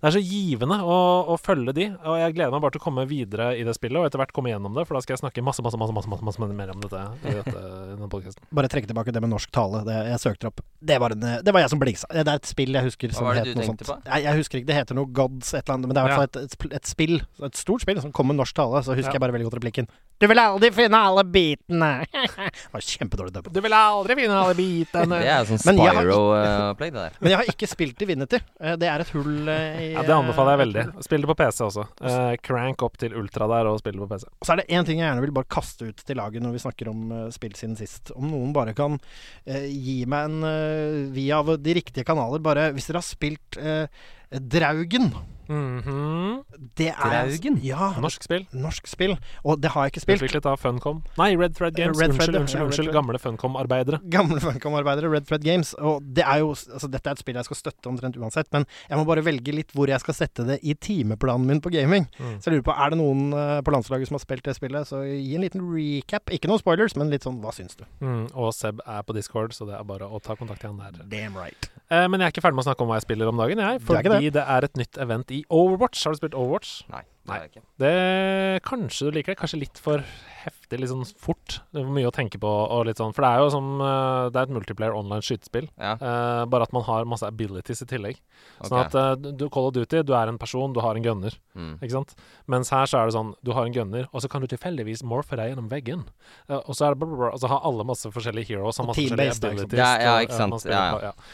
Speaker 4: Det er så givende å, å følge de, og jeg gleder meg bare til å komme videre i det spillet, og etter hvert komme gjennom det, for da skal jeg snakke masse, masse, masse, masse, masse, masse mer om dette i dette, i denne podcasten.
Speaker 3: Bare trekke tilbake det med norsk tale. Det, jeg søkte opp. Det var, en, det var jeg som blingsa. Det er et spill jeg husker som
Speaker 5: var det
Speaker 3: het
Speaker 5: du
Speaker 3: noe sånt.
Speaker 5: tenkte
Speaker 3: Nei, jeg husker ikke. Det heter noe Gods et eller annet, men det er i hvert fall et, et, sp- et spill. Et stort spill som kom med norsk tale. Så husker
Speaker 4: Ja.
Speaker 3: jeg bare veldig godt replikken. Du vil aldri finne alle bitene. (laughs) det var kjempedårlig dubba.
Speaker 4: Du vil aldri finne alle bitene!
Speaker 5: Det er jo sånn
Speaker 3: Men jeg har
Speaker 5: Spyro-opplegg, det der.
Speaker 3: Men jeg har ikke spilt Divinity. Eh, Det er et hull eh, i
Speaker 4: Ja, det anbefaler jeg
Speaker 3: eh,
Speaker 4: veldig. Spill det på PC også. Eh, crank opp til ultra der og spill det på PC.
Speaker 3: Og så er det én ting jeg gjerne vil bare kaste ut til laget når vi snakker om eh, spill siden sist. Om noen bare kan eh, gi meg en eh, via av de riktige kanaler bare Hvis dere har spilt eh, Draugen
Speaker 4: Mhm.
Speaker 3: det er,
Speaker 5: Draugen?
Speaker 3: Ja.
Speaker 4: Norsk spill.
Speaker 3: Norsk spill. Og det har jeg ikke spilt.
Speaker 4: Utviklet av Funcom. Nei, Red Thread Games.
Speaker 3: Red
Speaker 4: unnskyld,
Speaker 3: Thread, ja,
Speaker 4: unnskyld,
Speaker 3: Red
Speaker 4: unnskyld.
Speaker 3: Thread.
Speaker 4: Gamle Funcom-arbeidere.
Speaker 3: Gamle Funcom-arbeidere, Red Thread Games. Og det er jo, altså dette er et spill jeg skal støtte omtrent uansett, men jeg må bare velge litt hvor jeg skal sette det i timeplanen min på gaming.
Speaker 4: Mm.
Speaker 3: Så jeg lurer på, er det noen eh, på landslaget som har spilt det spillet? Så gi en liten recap. Ikke noen spoilers, men litt sånn hva syns du?
Speaker 4: Mm, og Seb er på Discord, så det er bare å ta kontakt til han der.
Speaker 3: Damn right.
Speaker 4: Eh, men jeg er ikke ferdig med å snakke om hva jeg spiller om dagen, jeg.
Speaker 3: Du er
Speaker 4: Fordi
Speaker 3: ikke
Speaker 4: det. er et nytt event i Overwatch. Har du spilt Overwatch?
Speaker 5: Nei. det
Speaker 4: Nei.
Speaker 5: har jeg ikke.
Speaker 4: Det, kanskje du liker det. Kanskje litt for heftig, litt sånn fort. Det er mye å tenke på og litt sånn. For det er jo som eh, Det er et multiplayer online skytespill.
Speaker 5: Ja,
Speaker 4: Eh, bare at man har masse abilities i tillegg.
Speaker 5: ok.
Speaker 4: Sånn at eh, du, Call of Duty, du er en person, du har en gunner.
Speaker 5: mm.
Speaker 4: Ikke sant? Mens her så er det sånn, du har en gunner, og så kan du tilfeldigvis morfe deg gjennom veggen. Eh, og så er det bla, bla, bla, og så har alle masse forskjellige heroes. Har
Speaker 3: Og
Speaker 4: masse forskjellige
Speaker 3: team-based, liksom.
Speaker 4: abilities.
Speaker 5: Ja, ja,
Speaker 4: og, eh,
Speaker 5: ikke sant.
Speaker 4: man spiller
Speaker 5: Ja, ja.
Speaker 4: på-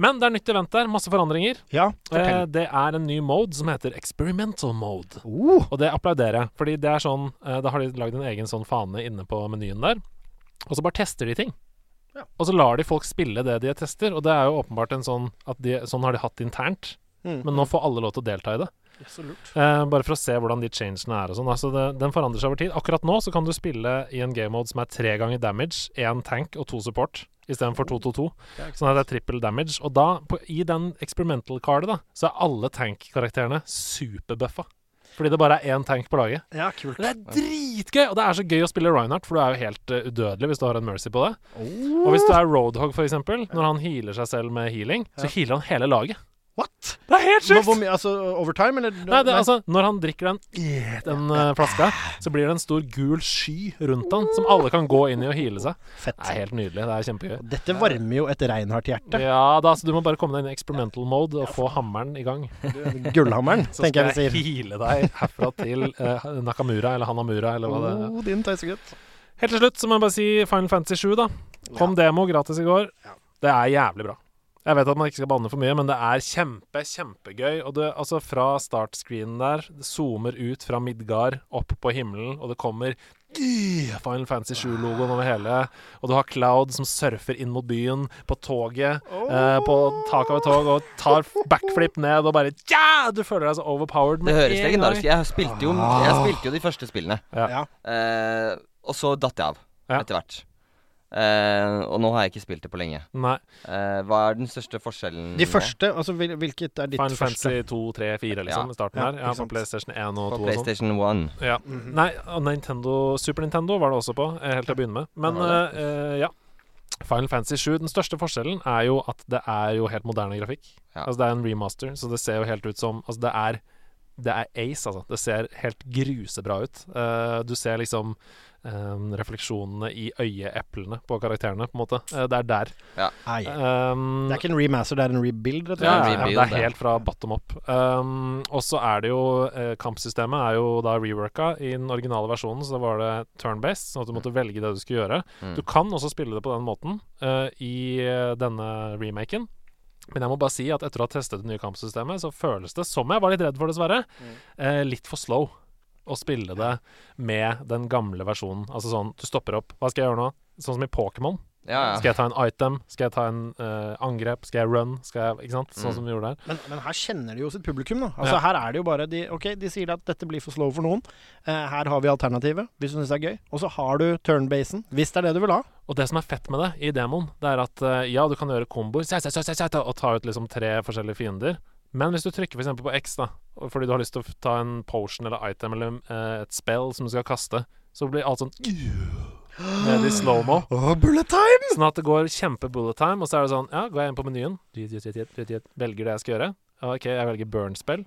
Speaker 4: Men det er nytt event der. Masse forandringer.
Speaker 3: Ja,
Speaker 4: Eh,
Speaker 3: fortell.
Speaker 4: det er en ny mode som heter experimental mode.
Speaker 3: Oh,
Speaker 4: Og det applauderer jeg. Fordi det er sånn eh, Da har de lagd en egen sånn fane inne på menyen der. Og så bare tester de ting.
Speaker 3: Ja.
Speaker 4: Og så lar de folk spille det de tester. Og det er jo åpenbart en sånn at de, sånn har de hatt internt.
Speaker 3: Mm.
Speaker 4: Men nå får alle lov til å delta i det.
Speaker 3: så lurt.
Speaker 4: Eh, bare for å se hvordan de changene er og sånn. Altså det, den forandrer seg over tid. Akkurat nå så kan du spille i en game mode som er tre ganger damage, én tank og to support. Istedenfor 2-2-2. Sånn at det er trippel damage. Og da, på, i den experimental-cardet, da, så er alle tank-karakterene superbuffa. Fordi det bare er én tank på laget.
Speaker 3: Ja, kult.
Speaker 4: Det er dritgøy! Og det er så gøy å spille Reinhardt, for du er jo helt eh, udødelig hvis du har en mercy på det. Og hvis du er Roadhog, for eksempel, når han healer seg selv med healing, så healer han hele laget.
Speaker 3: What?
Speaker 4: Det er helt
Speaker 3: Hvor,
Speaker 4: sjukt!
Speaker 3: hvor mye, altså overtime, eller?
Speaker 4: Nei, det, er altså, når han drikker den, den eh, flaska, så blir det en stor gul sky rundt han, som alle kan gå inn i og heale seg.
Speaker 3: Fett.
Speaker 4: Det er helt nydelig. Det er kjempegøy.
Speaker 3: Dette varmer jo et reinhardt
Speaker 4: (laughs)
Speaker 3: hjerte.
Speaker 4: Ja da, så du må bare komme deg inn i experimental mode og få hammeren i gang.
Speaker 3: Gullhammeren,
Speaker 4: Så
Speaker 3: tenker
Speaker 4: skal
Speaker 3: jeg vi
Speaker 4: jeg
Speaker 3: sier.
Speaker 4: heale deg herfra til eh, Nakamura eller Hanamura eller hva det er.
Speaker 3: Oh, din tøysegutt.
Speaker 4: Helt til slutt så må jeg bare si Final Fantasy 7, da. Kom demo gratis i går. Det er jævlig bra. Jeg vet at man ikke skal banne for mye, men det er kjempe, kjempegøy. Og det, altså fra startscreenen der, det zoomer ut fra Midgard, opp på himmelen, og det kommer øh, Final Fantasy 7-logoen over hele. Og du har Cloud som surfer inn mot byen, på toget, eh, på taket av et tog, og tar backflip ned og bare Ja! Du føler deg så overpowered.
Speaker 5: Det
Speaker 4: med
Speaker 5: høres
Speaker 4: en
Speaker 5: legendarisk
Speaker 4: gang.
Speaker 5: ut. Jeg spilte jo Jeg spilte jo de første spillene.
Speaker 3: Ah. Ja.
Speaker 5: Eh, og så datt jeg av
Speaker 4: Ja.
Speaker 5: etter hvert. Eh, og nå har jeg ikke spilt det på lenge.
Speaker 4: Nei.
Speaker 5: Eh, hva er den største forskjellen
Speaker 3: De første? Altså, hvil- hvilket er ditt
Speaker 4: Final
Speaker 3: første?
Speaker 4: Fantasy 2, 3, 4,
Speaker 5: Ja.
Speaker 4: liksom, i starten
Speaker 3: Ja,
Speaker 4: her.
Speaker 3: ikke
Speaker 4: Ja, på
Speaker 3: sant.
Speaker 4: PlayStation 1
Speaker 5: nå?
Speaker 4: og
Speaker 5: På
Speaker 4: 2 og sånn.
Speaker 5: PlayStation Mhm. 1.
Speaker 4: Ja. Nei, og Nintendo, Super Nintendo var det også på, eh, helt til å begynne med. Men eh, eh, ja. Final Fantasy 7. Den største forskjellen er jo at det er jo helt moderne grafikk.
Speaker 5: Ja.
Speaker 4: Altså Det er en remaster, så det ser jo helt ut som Altså, det er det er ace, altså. Det ser helt grusebra ut. Eh, du ser liksom eh, refleksjonene i øyeeplene på karakterene, på en måte. Eh, det er der.
Speaker 3: Nei. Ah, Det
Speaker 4: Um,
Speaker 3: er ikke en remaster, det er en rebuild, rett og
Speaker 4: ja,
Speaker 5: Ja,
Speaker 3: slett.
Speaker 4: ja, ja,
Speaker 5: rebuild,
Speaker 4: det er
Speaker 5: ja.
Speaker 4: helt fra bottom up. Um, og så er det jo eh, Kampsystemet er jo da reworka. I den originale versjonen så var det turn-based, sånn at du måtte velge det du skulle gjøre.
Speaker 5: Mm.
Speaker 4: Du kan også spille det på den måten eh, i eh, denne remaken. Men jeg må bare si at etter å ha testet det nye kampsystemet, så føles det som jeg var litt redd for, dessverre, eh, litt for slow å spille det med den gamle versjonen. Altså sånn, du stopper opp. Hva skal jeg gjøre nå? Sånn som i Pokémon.
Speaker 5: Ja, ja.
Speaker 4: Skal jeg ta en item? Skal jeg ta en eh, angrep? Skal jeg run? Skal jeg, ikke sant? Sånn
Speaker 5: Mm.
Speaker 4: som vi gjorde der.
Speaker 3: Men, men her kjenner de jo sitt publikum, da. Altså,
Speaker 4: Ja.
Speaker 3: Her er det jo bare de Ok, de sier at dette blir for slow for noen. Eh, her har vi alternativet, hvis du syns det er gøy. Og så har du turnbasen, hvis det er det du vil ha.
Speaker 4: Og det som er fett med det i demoen, det er at eh, ja, du kan gjøre komboer sæ, sæ, sæ, sæ, sæ, ta- og ta ut liksom tre forskjellige fiender. Men hvis du trykker f.eks. på X, da, og fordi du har lyst til å f- ta en potion eller item eller eh, et spell som du skal kaste, så blir alt sånn ned i slow-mo.
Speaker 3: Oh, bullet time!
Speaker 4: Sånn at det går kjempe bullet time, og så er det sånn Ja, går jeg inn på menyen, dyt, dyt, dyt, dyt, dyt, dyt, velger det jeg skal gjøre. Ja, OK, jeg velger burn-spill.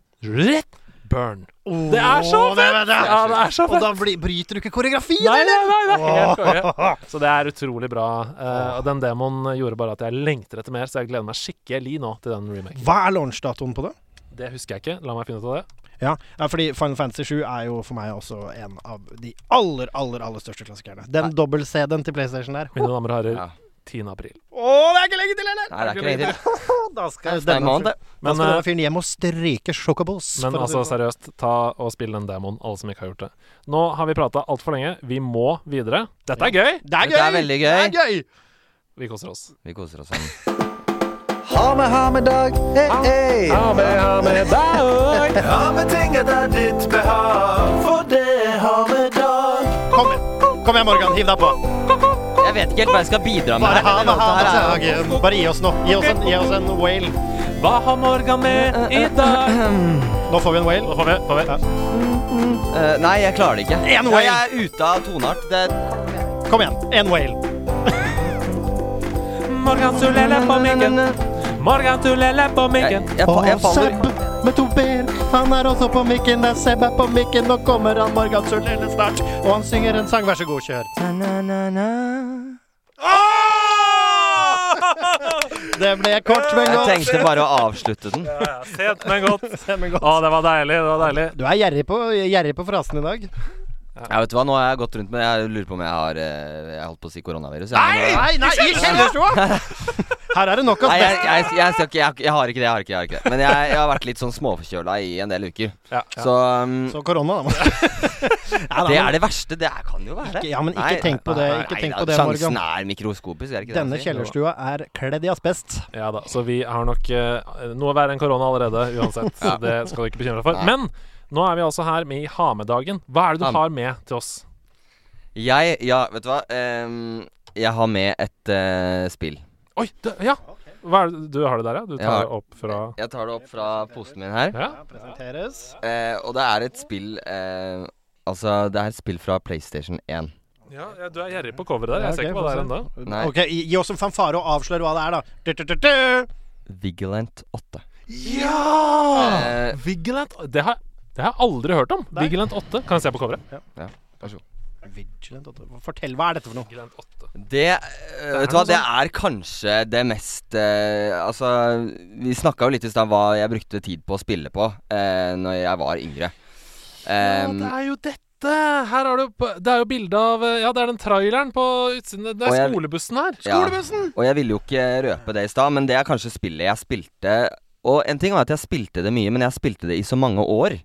Speaker 4: Burn. Det er så
Speaker 3: fett!
Speaker 4: Ja, det er så
Speaker 3: Og
Speaker 4: fett!
Speaker 3: da blir, bryter du ikke koreografien,
Speaker 4: Nei, nei,
Speaker 3: eller?
Speaker 4: nei, det er helt konge. Så det er utrolig bra. eh, og den demoen gjorde bare at jeg lengter etter mer, så jeg gleder meg skikkelig nå til den remaken.
Speaker 3: Hva er launchdatoen på det?
Speaker 4: Det husker jeg ikke. La meg finne ut av det.
Speaker 3: Ja, ja, fordi Final Fantasy 7 er jo for meg også en av de aller, aller aller største klassikerne. Den dobbel-CD-en til PlayStation der.
Speaker 4: Mine damer og herrer,
Speaker 5: Ja.
Speaker 4: 10. april.
Speaker 3: Å, det er ikke lenge til, eller?
Speaker 5: Nei, det er ikke lenge til.
Speaker 3: Da skal
Speaker 5: Det er en måned,
Speaker 3: denne,
Speaker 5: det.
Speaker 3: da
Speaker 4: Men,
Speaker 3: skal denne
Speaker 4: eh,
Speaker 3: fyren hjem og stryke sjokobos.
Speaker 4: men
Speaker 3: for å si
Speaker 4: altså,
Speaker 3: det sånn.
Speaker 4: seriøst, ta og spill den demoen, alle som ikke har gjort det. Nå har vi prata altfor lenge. Vi må videre. Dette er gøy!
Speaker 3: det er gøy!
Speaker 5: Dette er veldig gøy.
Speaker 3: Det er gøy!
Speaker 4: Vi koser oss.
Speaker 5: Vi koser oss sammen.
Speaker 1: Ha med, ha med dag, hei, hei. Ha med, ha med dag. Ha med ting etter ditt behag, for det har med dag.
Speaker 3: Kom igjen, Kom igjen, Morgan. Hiv deg på.
Speaker 5: Jeg vet ikke helt hva jeg skal bidra med. her.
Speaker 3: Bare ha med ha med
Speaker 5: Her er-
Speaker 3: dagen. Bare gi oss nå. Gi oss en, gi oss en whale.
Speaker 4: Hva har Morgan med i dag?
Speaker 3: Nå får vi en whale.
Speaker 4: Få med, få med.
Speaker 5: Eh, nei, jeg klarer det ikke.
Speaker 3: En
Speaker 5: Ja,
Speaker 3: whale.
Speaker 5: jeg er ute av toneart. Det
Speaker 3: Kom igjen. En whale.
Speaker 4: Morgan Tulele på mikken. Morgan Tulele på
Speaker 5: Jeg,
Speaker 4: mikken.
Speaker 5: jeg, jeg, fa- jeg faller
Speaker 3: med to b-er. Han er også på mikken. Det er Seb er på mikken. Nå kommer han Morgan Sørlene snart. Og han synger en sang. Vær så god, kjør.
Speaker 4: (laughs)
Speaker 3: Det ble kort, men
Speaker 5: Jeg
Speaker 3: godt.
Speaker 5: tenkte bare å avslutte den.
Speaker 4: Sent, men
Speaker 3: (laughs)
Speaker 4: godt. Å, det var deilig. Det var deilig.
Speaker 3: Du er gjerrig på, gjerrig på frasen i dag.
Speaker 5: Ja, vet du hva, Nå har jeg gått rundt med Jeg lurer på om jeg har eh, Jeg holdt på å si koronavirus. jeg, men nå-
Speaker 3: Nei, nei, i
Speaker 5: (laughs)
Speaker 3: kjellerstua! Her er det nok å
Speaker 5: Nei, jeg,
Speaker 3: spise.
Speaker 5: jeg, jeg, skal ikke, jeg, jeg har ikke det. jeg har ikke det, jeg har ikke det Men jeg, jeg har vært litt sånn småforkjøla i en del uker.
Speaker 4: Ja, ja.
Speaker 5: Så um,
Speaker 3: Så korona, da. (laughs) Ja, da,
Speaker 5: det
Speaker 3: men
Speaker 5: er det verste. Det er, kan jo være det.
Speaker 3: Ikke- ja, men ikke
Speaker 5: Nei,
Speaker 3: tenk på det,
Speaker 5: nei,
Speaker 3: ikke
Speaker 5: nei,
Speaker 3: tenk
Speaker 5: da,
Speaker 3: på det, Morgan.
Speaker 5: Sjansen er mikroskopisk, er det ikke det?
Speaker 3: Denne
Speaker 5: man sier?
Speaker 3: kjellerstua er kledd i asbest.
Speaker 4: ja da. Så vi har nok eh, noe verre enn korona allerede, uansett. Så det skal du ikke bekymre deg for.
Speaker 5: Nei.
Speaker 4: Men nå er vi altså her med i Hamedagen. Hva er det du
Speaker 5: Ham-
Speaker 4: har med til oss?
Speaker 5: Jeg Ja, vet du hva. Um, jeg har med et eh, spill.
Speaker 4: Oi, det, ja. Hva er det, du har det der, ja? Du tar
Speaker 5: har-
Speaker 4: det opp fra
Speaker 5: Jeg tar det opp fra posen min her.
Speaker 4: Ja?
Speaker 3: Presenteres.
Speaker 5: Eh, og det er et spill eh, Altså, det er et spill fra PlayStation 1.
Speaker 4: ja, ja, du er gjerrig på coveret der. Jeg ser
Speaker 3: Ja, ok,
Speaker 4: ikke hva det er
Speaker 3: få
Speaker 4: ennå.
Speaker 3: se.
Speaker 5: Nei.
Speaker 3: Ok, gi gi oss en fanfare og avslør hva det er, da. Du, du, du, du.
Speaker 5: Vigilant 8.
Speaker 4: Ja!
Speaker 3: Ah!
Speaker 5: Eh,
Speaker 4: Vigilant Det har, det har jeg aldri hørt om. Vigilant 8. Kan jeg se på coveret?
Speaker 3: Vigilant, dot- Fortell, hva er dette for noe?
Speaker 4: Vigilant 8.
Speaker 5: Det eh, Vet du hva,
Speaker 4: noe
Speaker 5: det er kanskje det mest eh, Altså, vi snakka jo litt i stad hva jeg brukte tid på å spille på eh, når jeg var yngre.
Speaker 4: Ja,
Speaker 5: Ehm,
Speaker 4: det er jo dette dette! Her har du på- Det er jo bilde av eh, Ja, det er den traileren på utsiden. Det
Speaker 5: Og
Speaker 4: er
Speaker 5: jeg-
Speaker 4: skolebussen her.
Speaker 5: Skolebussen! Og jeg ville jo ikke røpe det i stad, men det er kanskje spillet jeg spilte Og en ting var at jeg spilte det mye, men jeg spilte det i så mange år.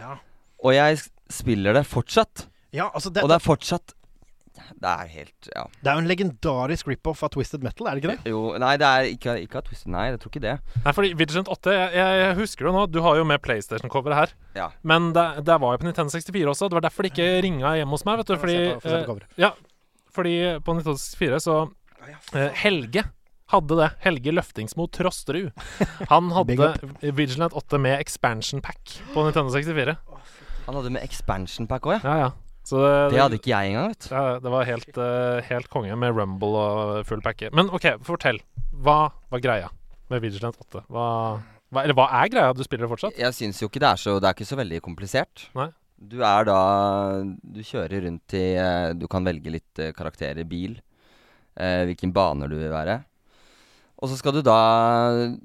Speaker 3: Ja.
Speaker 5: Og jeg s- spiller det fortsatt.
Speaker 3: Ja, altså det,
Speaker 5: Og det er fortsatt Det er helt Ja.
Speaker 3: det er jo en legendarisk rip-off av Twisted Metal, er det ikke det?
Speaker 5: Jo, nei, det er ikke, ikke av Twisted Nei, jeg tror ikke det.
Speaker 4: Nei, fordi Vigilent 8 Jeg, jeg, jeg husker det nå. Du har jo med PlayStation-coveret her.
Speaker 5: Ja.
Speaker 4: Men det, det var jo på Nintendo 64 også. Det var derfor det ikke ringa hjemme hos meg. vet du Fordi,
Speaker 3: Jeg må se på- få se på
Speaker 4: eh,
Speaker 3: coveret.
Speaker 4: ja, fordi på Nintendo 64 så eh, Helge hadde det. Helge Løftingsmo Trosterud. Han
Speaker 3: (laughs) Big
Speaker 4: hadde
Speaker 3: up.
Speaker 4: Vigilant 8 med expansion pack på Nintendo 64.
Speaker 5: Han hadde med expansion pack òg, ja.
Speaker 4: Ja, ja. Så eh, det,
Speaker 5: Det hadde ikke jeg engang, vet du.
Speaker 4: ja, det var helt, eh, helt konge med Rumble og full pakke. Men OK, fortell. Hva var greia med Vigilant 8? Hva, hva, eller hva er greia? Du spiller det fortsatt?
Speaker 5: Jeg syns jo ikke det er så Det er ikke så veldig komplisert.
Speaker 4: Nei.
Speaker 5: Du er da Du kjører rundt i eh, Du kan velge litt eh, karakterer, bil, eh, hvilken baner du vil være. Og så skal du da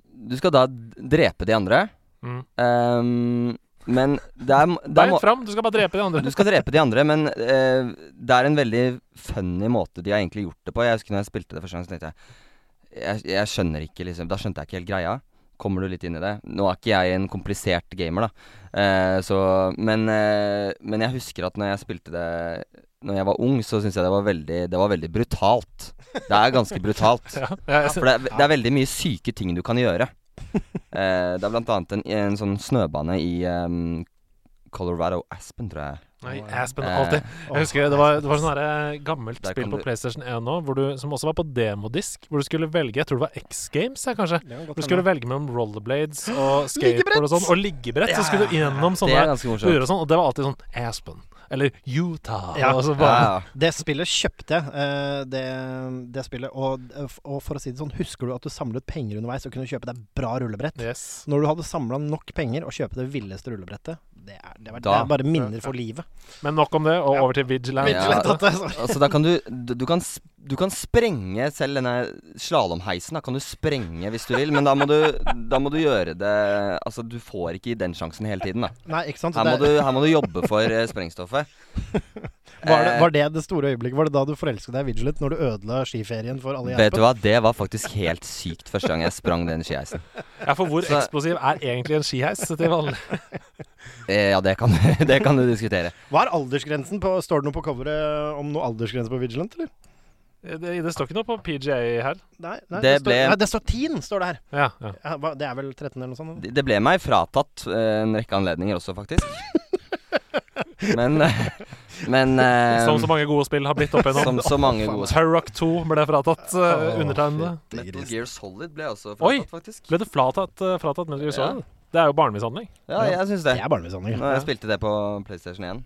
Speaker 5: Du skal da drepe de andre.
Speaker 4: Mm.
Speaker 5: Ehm, men det er, det er
Speaker 4: Beint
Speaker 5: må-
Speaker 4: fram, du skal bare drepe de andre.
Speaker 5: (laughs) Du skal drepe de andre, men eh, det er en veldig funny måte de har egentlig gjort det på. Jeg husker når jeg spilte det første gang, så tenkte jeg jeg, jeg skjønner ikke liksom Da skjønte jeg ikke helt greia. Kommer du litt inn i det? Nå er ikke jeg en komplisert gamer, da. Eh, så men, eh, men jeg husker at når jeg spilte det Når jeg var ung, så syntes jeg det var veldig Det var veldig brutalt. Det er ganske brutalt.
Speaker 4: (laughs) Ja, jeg, jeg,
Speaker 5: For det, er- det er veldig mye syke ting du kan gjøre. Eh, det er blant annet en, en sånn snøbane i eh, Colorado Aspen, tror jeg.
Speaker 4: nei, Aspen,
Speaker 5: Eh,
Speaker 4: alltid. Jeg husker det var, det var sånn her, eh, gammelt
Speaker 5: Der
Speaker 4: spill
Speaker 5: kan
Speaker 4: på
Speaker 5: du-
Speaker 4: PlayStation 1 nå, hvor du, som også var på demodisk, hvor du skulle velge Jeg tror det var X Games, ja, kanskje.
Speaker 3: Det kan godt
Speaker 4: Hvor du skulle
Speaker 3: hende.
Speaker 4: velge mellom rollerblades
Speaker 5: (gasps)
Speaker 4: og skateboard og sånn, og liggebrett. Så skulle du gjennom
Speaker 5: Det er
Speaker 4: sånne
Speaker 5: ganske morsomt.
Speaker 4: buer og sånn, og det var alltid sånn Aspen. Eller Utah.
Speaker 3: Ja.
Speaker 4: Og så
Speaker 5: Ja,
Speaker 4: bare,
Speaker 5: ja.
Speaker 3: Det spillet kjøpte jeg, eh, det, det spillet. Og, og for å si det sånn, husker du at du samlet penger underveis og kunne kjøpe deg bra rullebrett?
Speaker 4: yes.
Speaker 3: Når du hadde samla nok penger og kjøpe det villeste rullebrettet Det er, det var, det
Speaker 5: Da-
Speaker 3: er bare minner for livet.
Speaker 4: Men nok om det, og over til Vigilant.
Speaker 5: Ja.
Speaker 3: Rett og slett, altså.
Speaker 5: Altså, da kan du, du, du, kan, sp- du kan sprenge selv denne slalåmheisen. Da kan du sprenge hvis du vil, men da må du, da må du gjøre det Altså, du får ikke den sjansen hele tiden, da.
Speaker 3: Nei, ikke sant?
Speaker 5: Her må
Speaker 3: Det-
Speaker 5: du, her må du jobbe for eh, sprengstoffet.
Speaker 3: var, det,
Speaker 5: Eh,
Speaker 3: var det det store øyeblikket? Var det da du forelsket deg i Vigilant? Når du ødela skiferien for alle i
Speaker 5: Eh, Vet du
Speaker 3: Aspen?
Speaker 5: hva, det var faktisk helt sykt første gang jeg sprang den skiheisen.
Speaker 4: Ja, for hvor
Speaker 5: Så-
Speaker 4: eksplosiv er egentlig en
Speaker 5: (laughs)
Speaker 4: skiheis til vanlig?
Speaker 5: Eh, Ja, det kan, det kan du (laughs) diskutere.
Speaker 3: Hva er aldersgrensen på Står det noe på coveret om noe aldersgrense på Vigilant, eller?
Speaker 4: Det, det står ikke noe på PGA her.
Speaker 3: Nei, nei,
Speaker 5: Det
Speaker 3: står,
Speaker 5: ble-
Speaker 3: nei, det står 10, står det her.
Speaker 4: Ja, ja.
Speaker 3: Ja, hva- det er vel 13 eller noe sånt? eller?
Speaker 5: Det det ble meg fratatt eh, en rekke anledninger også, faktisk. Men eh, Men eh,
Speaker 4: Som så mange gode spill har blitt opp igjennom.
Speaker 5: som så mange gode
Speaker 4: Turrock 2 ble fratatt uh, undertegnede.
Speaker 5: Metal Gear Solid ble også
Speaker 4: Oi!
Speaker 5: fratatt, faktisk.
Speaker 4: Ble det fratatt, uh, fratatt Metal Gear Solid? Det er jo barnemishandling.
Speaker 5: Ja, jeg syns det.
Speaker 3: Det er barnemishandling.
Speaker 5: Når jeg spilte det på PlayStation 1.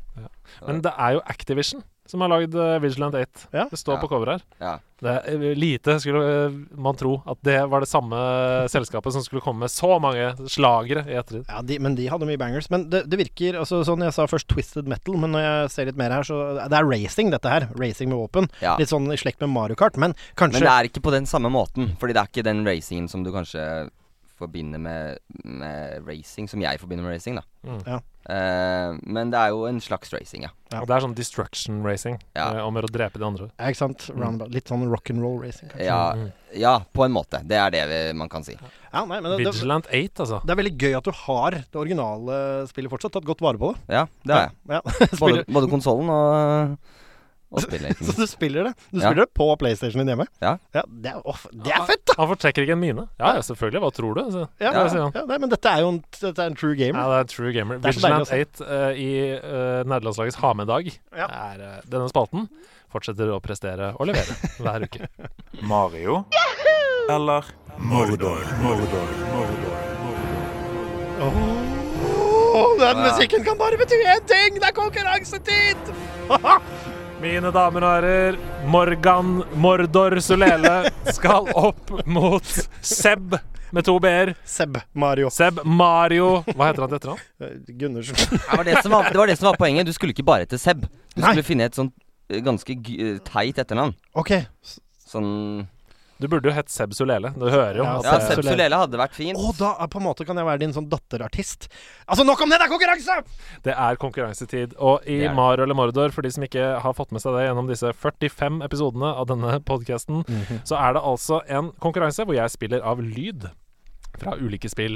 Speaker 4: Men det er jo Activision som har lagd uh, Vigilant 8.
Speaker 3: Ja.
Speaker 4: Det står
Speaker 5: Ja.
Speaker 4: på coveret her.
Speaker 5: Ja.
Speaker 4: Det er, uh, lite skulle uh, man tro at det var det samme eh, selskapet som skulle komme med så mange slagere i ettertid.
Speaker 3: Ja, de, men de hadde mye bangers. Men det, det virker altså, sånn Jeg sa først twisted metal, men når jeg ser litt mer her, så Det er racing, dette her. Racing med våpen.
Speaker 5: Ja.
Speaker 3: Litt sånn i slekt med Mario Kart, men
Speaker 5: Men
Speaker 3: kanskje
Speaker 5: det er ikke på den samme måten, fordi det er ikke den racingen som du kanskje forbinder med, med racing, som jeg forbinder med racing, da.
Speaker 4: Mm.
Speaker 3: Ja.
Speaker 5: Eh, men det er jo en slags racing, ja.
Speaker 3: Ja.
Speaker 4: Og det er sånn destruction racing,
Speaker 5: Ja.
Speaker 4: uh, om å drepe de andre.
Speaker 3: Ja, ikke sant?
Speaker 5: Mm.
Speaker 3: Roundabout. Litt sånn rock'n'roll racing. kanskje.
Speaker 5: ja.
Speaker 4: Mm.
Speaker 5: Ja, på en måte. Det er det vi, man kan si.
Speaker 3: Ja, nei, men det, det,
Speaker 4: Vigilant 8, altså.
Speaker 3: det er veldig gøy at du har det originale spillet fortsatt. Tatt godt vare på det.
Speaker 5: Ja, det har jeg.
Speaker 3: Ja, (laughs)
Speaker 5: Både,
Speaker 3: spiller,
Speaker 5: både konsollen og, og spillet. ikke
Speaker 3: (laughs) så
Speaker 5: minst.
Speaker 3: du spiller det. Du
Speaker 5: Ja.
Speaker 3: spiller det på PlayStation din hjemme.
Speaker 5: Ja.
Speaker 3: det, er, åh, det er fett, da!
Speaker 4: Han fortrekker ikke en mine. Ja, ja, selvfølgelig. Hva tror du? Så.
Speaker 3: Ja,
Speaker 4: Ja,
Speaker 3: ja,
Speaker 4: sier han.
Speaker 3: nei, men dette er jo en, dette er en true
Speaker 4: Ja,
Speaker 3: gamer.
Speaker 4: det er true gamer.
Speaker 3: Det er så deilig
Speaker 4: Vigilant 8 eh, i uh, nederlandslagets Hamedag
Speaker 3: Ja.
Speaker 4: er eh, denne spalten. Fortsetter å prestere og
Speaker 3: (laughs)
Speaker 4: levere hver uke.
Speaker 1: Mario eller Mordor. Mordor. Mordor.
Speaker 3: Åh, den musikken kan bare bety én ting! Det er konkurransetid!
Speaker 4: Mine damer og herrer, Morgan Mordor Sulele skal opp mot Seb med to b-er.
Speaker 3: Seb Mario
Speaker 4: Seb Mario Hva heter han til etternavn?
Speaker 3: eh,
Speaker 5: (laughs)
Speaker 3: Gundersen.
Speaker 5: Det, var det, som var, det var det som var poenget. Du skulle ikke bare hete Seb. Du
Speaker 3: Nei.
Speaker 5: skulle finne et sånt eh, ganske gy- teit etternavn.
Speaker 3: OK. s-
Speaker 5: eh, Sånn
Speaker 4: Du burde jo hett Seb Solele. Du hører jo.
Speaker 3: Ja,
Speaker 4: at
Speaker 5: Ja,
Speaker 4: det-
Speaker 5: Seb Solele hadde vært fint.
Speaker 3: Og da er- på en måte kan jeg være din sånn datterartist. Altså, nok om det! Det er konkurranse!
Speaker 4: Det er konkurransetid. Og i
Speaker 5: Det er det.
Speaker 4: Mario eller Mordor, for de som ikke har fått med seg det gjennom disse 45 episodene av denne podkasten,
Speaker 5: Mhm.
Speaker 4: så er det altså en konkurranse hvor jeg spiller av lyd fra ulike spill.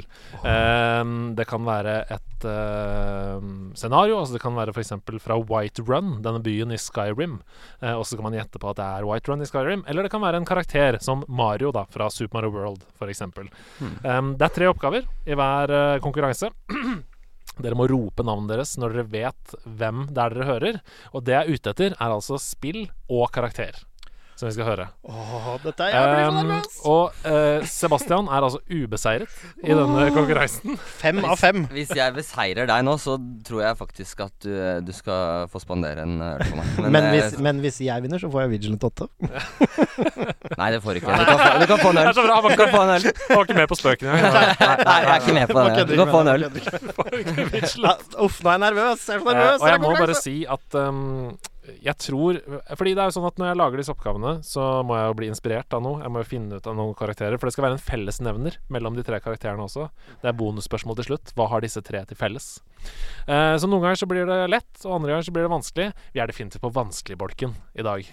Speaker 4: Ehm, det kan være et ehm, scenario. altså Det kan være f.eks. fra White Run, denne byen i Skyrim. Eh, og så kan man gjette på at det er White Run i Skyrim. Eller det kan være en karakter som Mario da, fra Super Mario World, f.eks.
Speaker 5: Hmm.
Speaker 4: Um, det er tre oppgaver i hver eh, konkurranse. Dere må rope navnet deres når dere vet hvem det er dere hører. Og det jeg er ute etter, er altså spill og karakter. Som vi skal høre.
Speaker 3: Åh, dette er Jeg blir så
Speaker 4: Um,
Speaker 3: nervøs!
Speaker 4: og eh, Sebastian er altså ubeseiret i denne konkurransen.
Speaker 3: Fem av fem.
Speaker 5: Hvis jeg beseirer deg nå, så tror jeg faktisk at du, eh, du skal få spandere en øl på
Speaker 3: (laughs)
Speaker 5: meg.
Speaker 3: Men
Speaker 5: eh,
Speaker 3: hvis, men hvis jeg vinner, så får jeg Vigilant 8.
Speaker 5: Nei, det får du ikke. Du kan få, du kan få en
Speaker 4: Det
Speaker 5: øl.
Speaker 4: er så bra,
Speaker 5: Du
Speaker 4: man
Speaker 5: kan få en
Speaker 4: (laughs)
Speaker 5: øl.
Speaker 4: Jeg var ikke med på spøken engang.
Speaker 5: Nei, jeg er ikke med på det. Du kan få en øl.
Speaker 3: (laughs) Ja, Uff, nå er jeg nervøs. Jeg er så
Speaker 4: Eh,
Speaker 3: nervøs.
Speaker 4: og
Speaker 3: det er
Speaker 4: jeg må bare
Speaker 3: konkurranse.
Speaker 4: si at um, jeg tror Fordi det er jo sånn at når jeg lager disse oppgavene, så må jeg jo bli inspirert av noe. Jeg må jo finne ut av noen karakterer. For det skal være en fellesnevner mellom de tre karakterene også. Det er bonusspørsmål til slutt. Hva har disse tre til felles? Eh, så noen ganger så blir det lett, og andre ganger så blir det vanskelig. Vi er definitivt på vanskeligbolken i dag.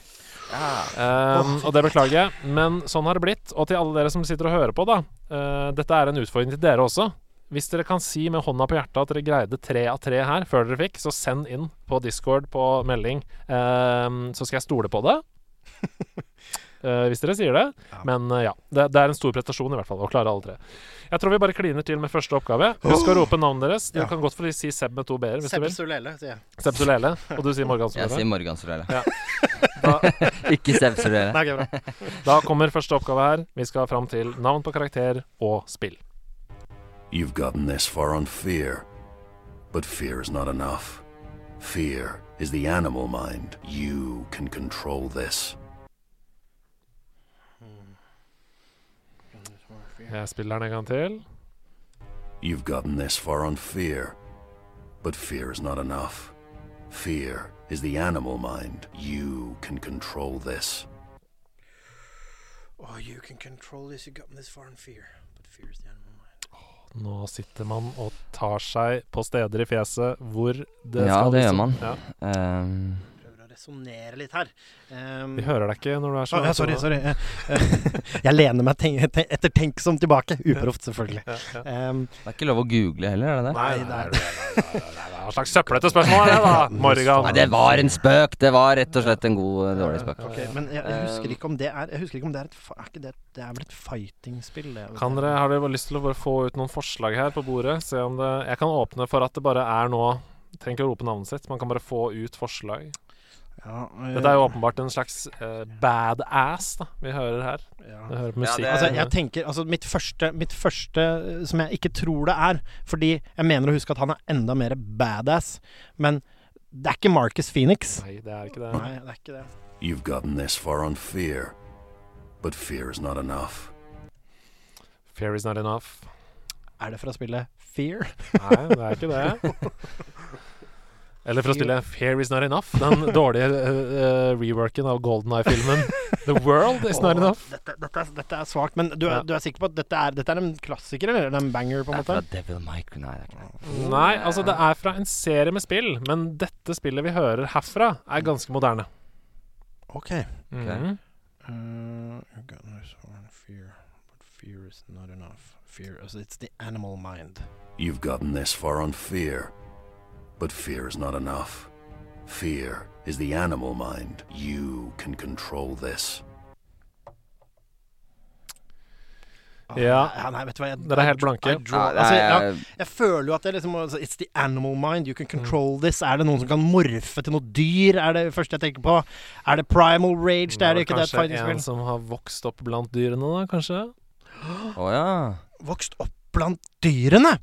Speaker 4: Um, og det beklager jeg, men sånn har det blitt. Og til alle dere som sitter og hører på, da. eh, dette er en utfordring til dere også. Hvis dere kan si med hånda på hjertet at dere greide tre av tre her før dere fikk, så send inn på Discord på melding, ehm, så skal jeg stole på det. Eh, hvis dere sier det. Men eh, ja. Det, det er en stor prestasjon i hvert fall å klare alle tre. Jeg tror vi bare kliner til med første oppgave. Husk å rope navnet deres. Dere
Speaker 3: Ja.
Speaker 4: kan godt få si Seb med to b-er hvis dere
Speaker 3: Sepp
Speaker 4: vil.
Speaker 3: Solele, sier jeg.
Speaker 4: Seb Solele. Og du sier Morgan
Speaker 5: Jeg
Speaker 4: Solele.
Speaker 5: sier Morgan Solele.
Speaker 4: Ja.
Speaker 5: Ikke Seb Solele.
Speaker 3: Nei, ok, bra.
Speaker 4: Da kommer første oppgave her. Vi skal fram til navn på karakter og spill.
Speaker 1: You've gotten this far on fear. But fear is not enough. Fear is the animal mind. You can control this.
Speaker 4: Jeg spiller den en gang til.
Speaker 1: You've gotten this far on fear. But fear is not enough. Fear is the animal mind. You can control this.
Speaker 6: Oh, you can control this. You've gotten this far in fear, but fear is the animal mind.
Speaker 4: Nå sitter man og tar seg på steder i fjeset hvor det
Speaker 5: Ja,
Speaker 4: skal
Speaker 5: det gjør
Speaker 4: liksom-
Speaker 5: man.
Speaker 4: Ja.
Speaker 5: Ehm,
Speaker 3: Prøver å resonnere litt her. Um,
Speaker 4: Vi hører deg ikke når du er
Speaker 3: Å,
Speaker 4: sånn.
Speaker 3: ja, sorry, sorry. Eh, (laughs) Jeg lener meg ten- te- ettertenksomt tilbake. Uproft, selvfølgelig.
Speaker 4: Ja, ja.
Speaker 3: Um,
Speaker 5: det er ikke lov å google heller, er det det?
Speaker 4: Nei, nei, nei, nei, nei, nei. Hva slags søppelete spørsmål er det, (laughs) da? Morgan.
Speaker 5: Nei, det var en spøk! Det var rett og slett en god, eh, dårlig spøk.
Speaker 3: ok, men jeg, jeg husker
Speaker 5: Um,
Speaker 3: ikke om det er Jeg husker ikke om det er et fa- Er ikke det, det er vel et fightingspill? det, vet
Speaker 4: Kan
Speaker 3: jeg.
Speaker 4: dere, har dere lyst til å bare få ut noen forslag her på bordet? Se om det, jeg kan åpne for at det bare er nå Trenger ikke å rope navnet sitt, man kan bare få ut forslag.
Speaker 3: ja,
Speaker 4: Dette er jo åpenbart en slags eh, badass da, vi hører her.
Speaker 3: ja.
Speaker 4: Vi hører på musikk.
Speaker 5: det-
Speaker 3: Altså, jeg tenker, altså mitt første, mitt første eh, som jeg ikke tror det er Fordi jeg mener å huske at han er enda mer badass. Men det er ikke Marcus Phoenix.
Speaker 4: Nei, det er ikke det.
Speaker 3: Nei, det er ikke det.
Speaker 1: You've gotten this far on fear. But fear is not enough.
Speaker 4: Fear is not enough.
Speaker 3: Er det fra spillet Fear?
Speaker 4: Nei, det er ikke
Speaker 3: (laughs)
Speaker 4: det. Eller for å spille Fear is not enough, den dårlige eh, eh, reworken av Golden Eye-filmen The World is not
Speaker 3: Åh,
Speaker 4: enough.
Speaker 3: Dette, dette, er- dette er svakt. Men du er,
Speaker 4: Ja.
Speaker 3: du er sikker på at dette er, dette er en klassiker, eller en banger, på
Speaker 5: Det
Speaker 3: en
Speaker 5: er fra
Speaker 3: måte?
Speaker 5: Devil Mike Nei, det er ikke det.
Speaker 4: Nei, altså det er fra en serie med spill, men dette spillet vi hører herfra, er ganske moderne.
Speaker 3: Ok.
Speaker 4: Mhm.
Speaker 3: Uh, you've gotten this far in fear, but fear is not enough. Fear is it's the animal mind.
Speaker 1: You've gotten this far on fear. But fear is not enough. Fear is the animal mind. You can control this.
Speaker 3: Ah,
Speaker 4: Ja.
Speaker 3: Nei, nei, vet du hva jeg,
Speaker 4: Dere er helt blanke.
Speaker 3: I draw,
Speaker 5: Ja, det
Speaker 3: altså, ja,
Speaker 5: er-
Speaker 3: Jeg føler jo at det liksom altså, It's the animal mind. You can control this. Er det noen som kan morfe til noe dyr? Er det første jeg tenker på. Er det primal rage? Det er det ikke. Det er et
Speaker 4: kanskje en
Speaker 3: fighting-spill.
Speaker 4: som har vokst opp blant dyrene, da, kanskje?
Speaker 5: Å ja.
Speaker 3: Vokst opp blant dyrene!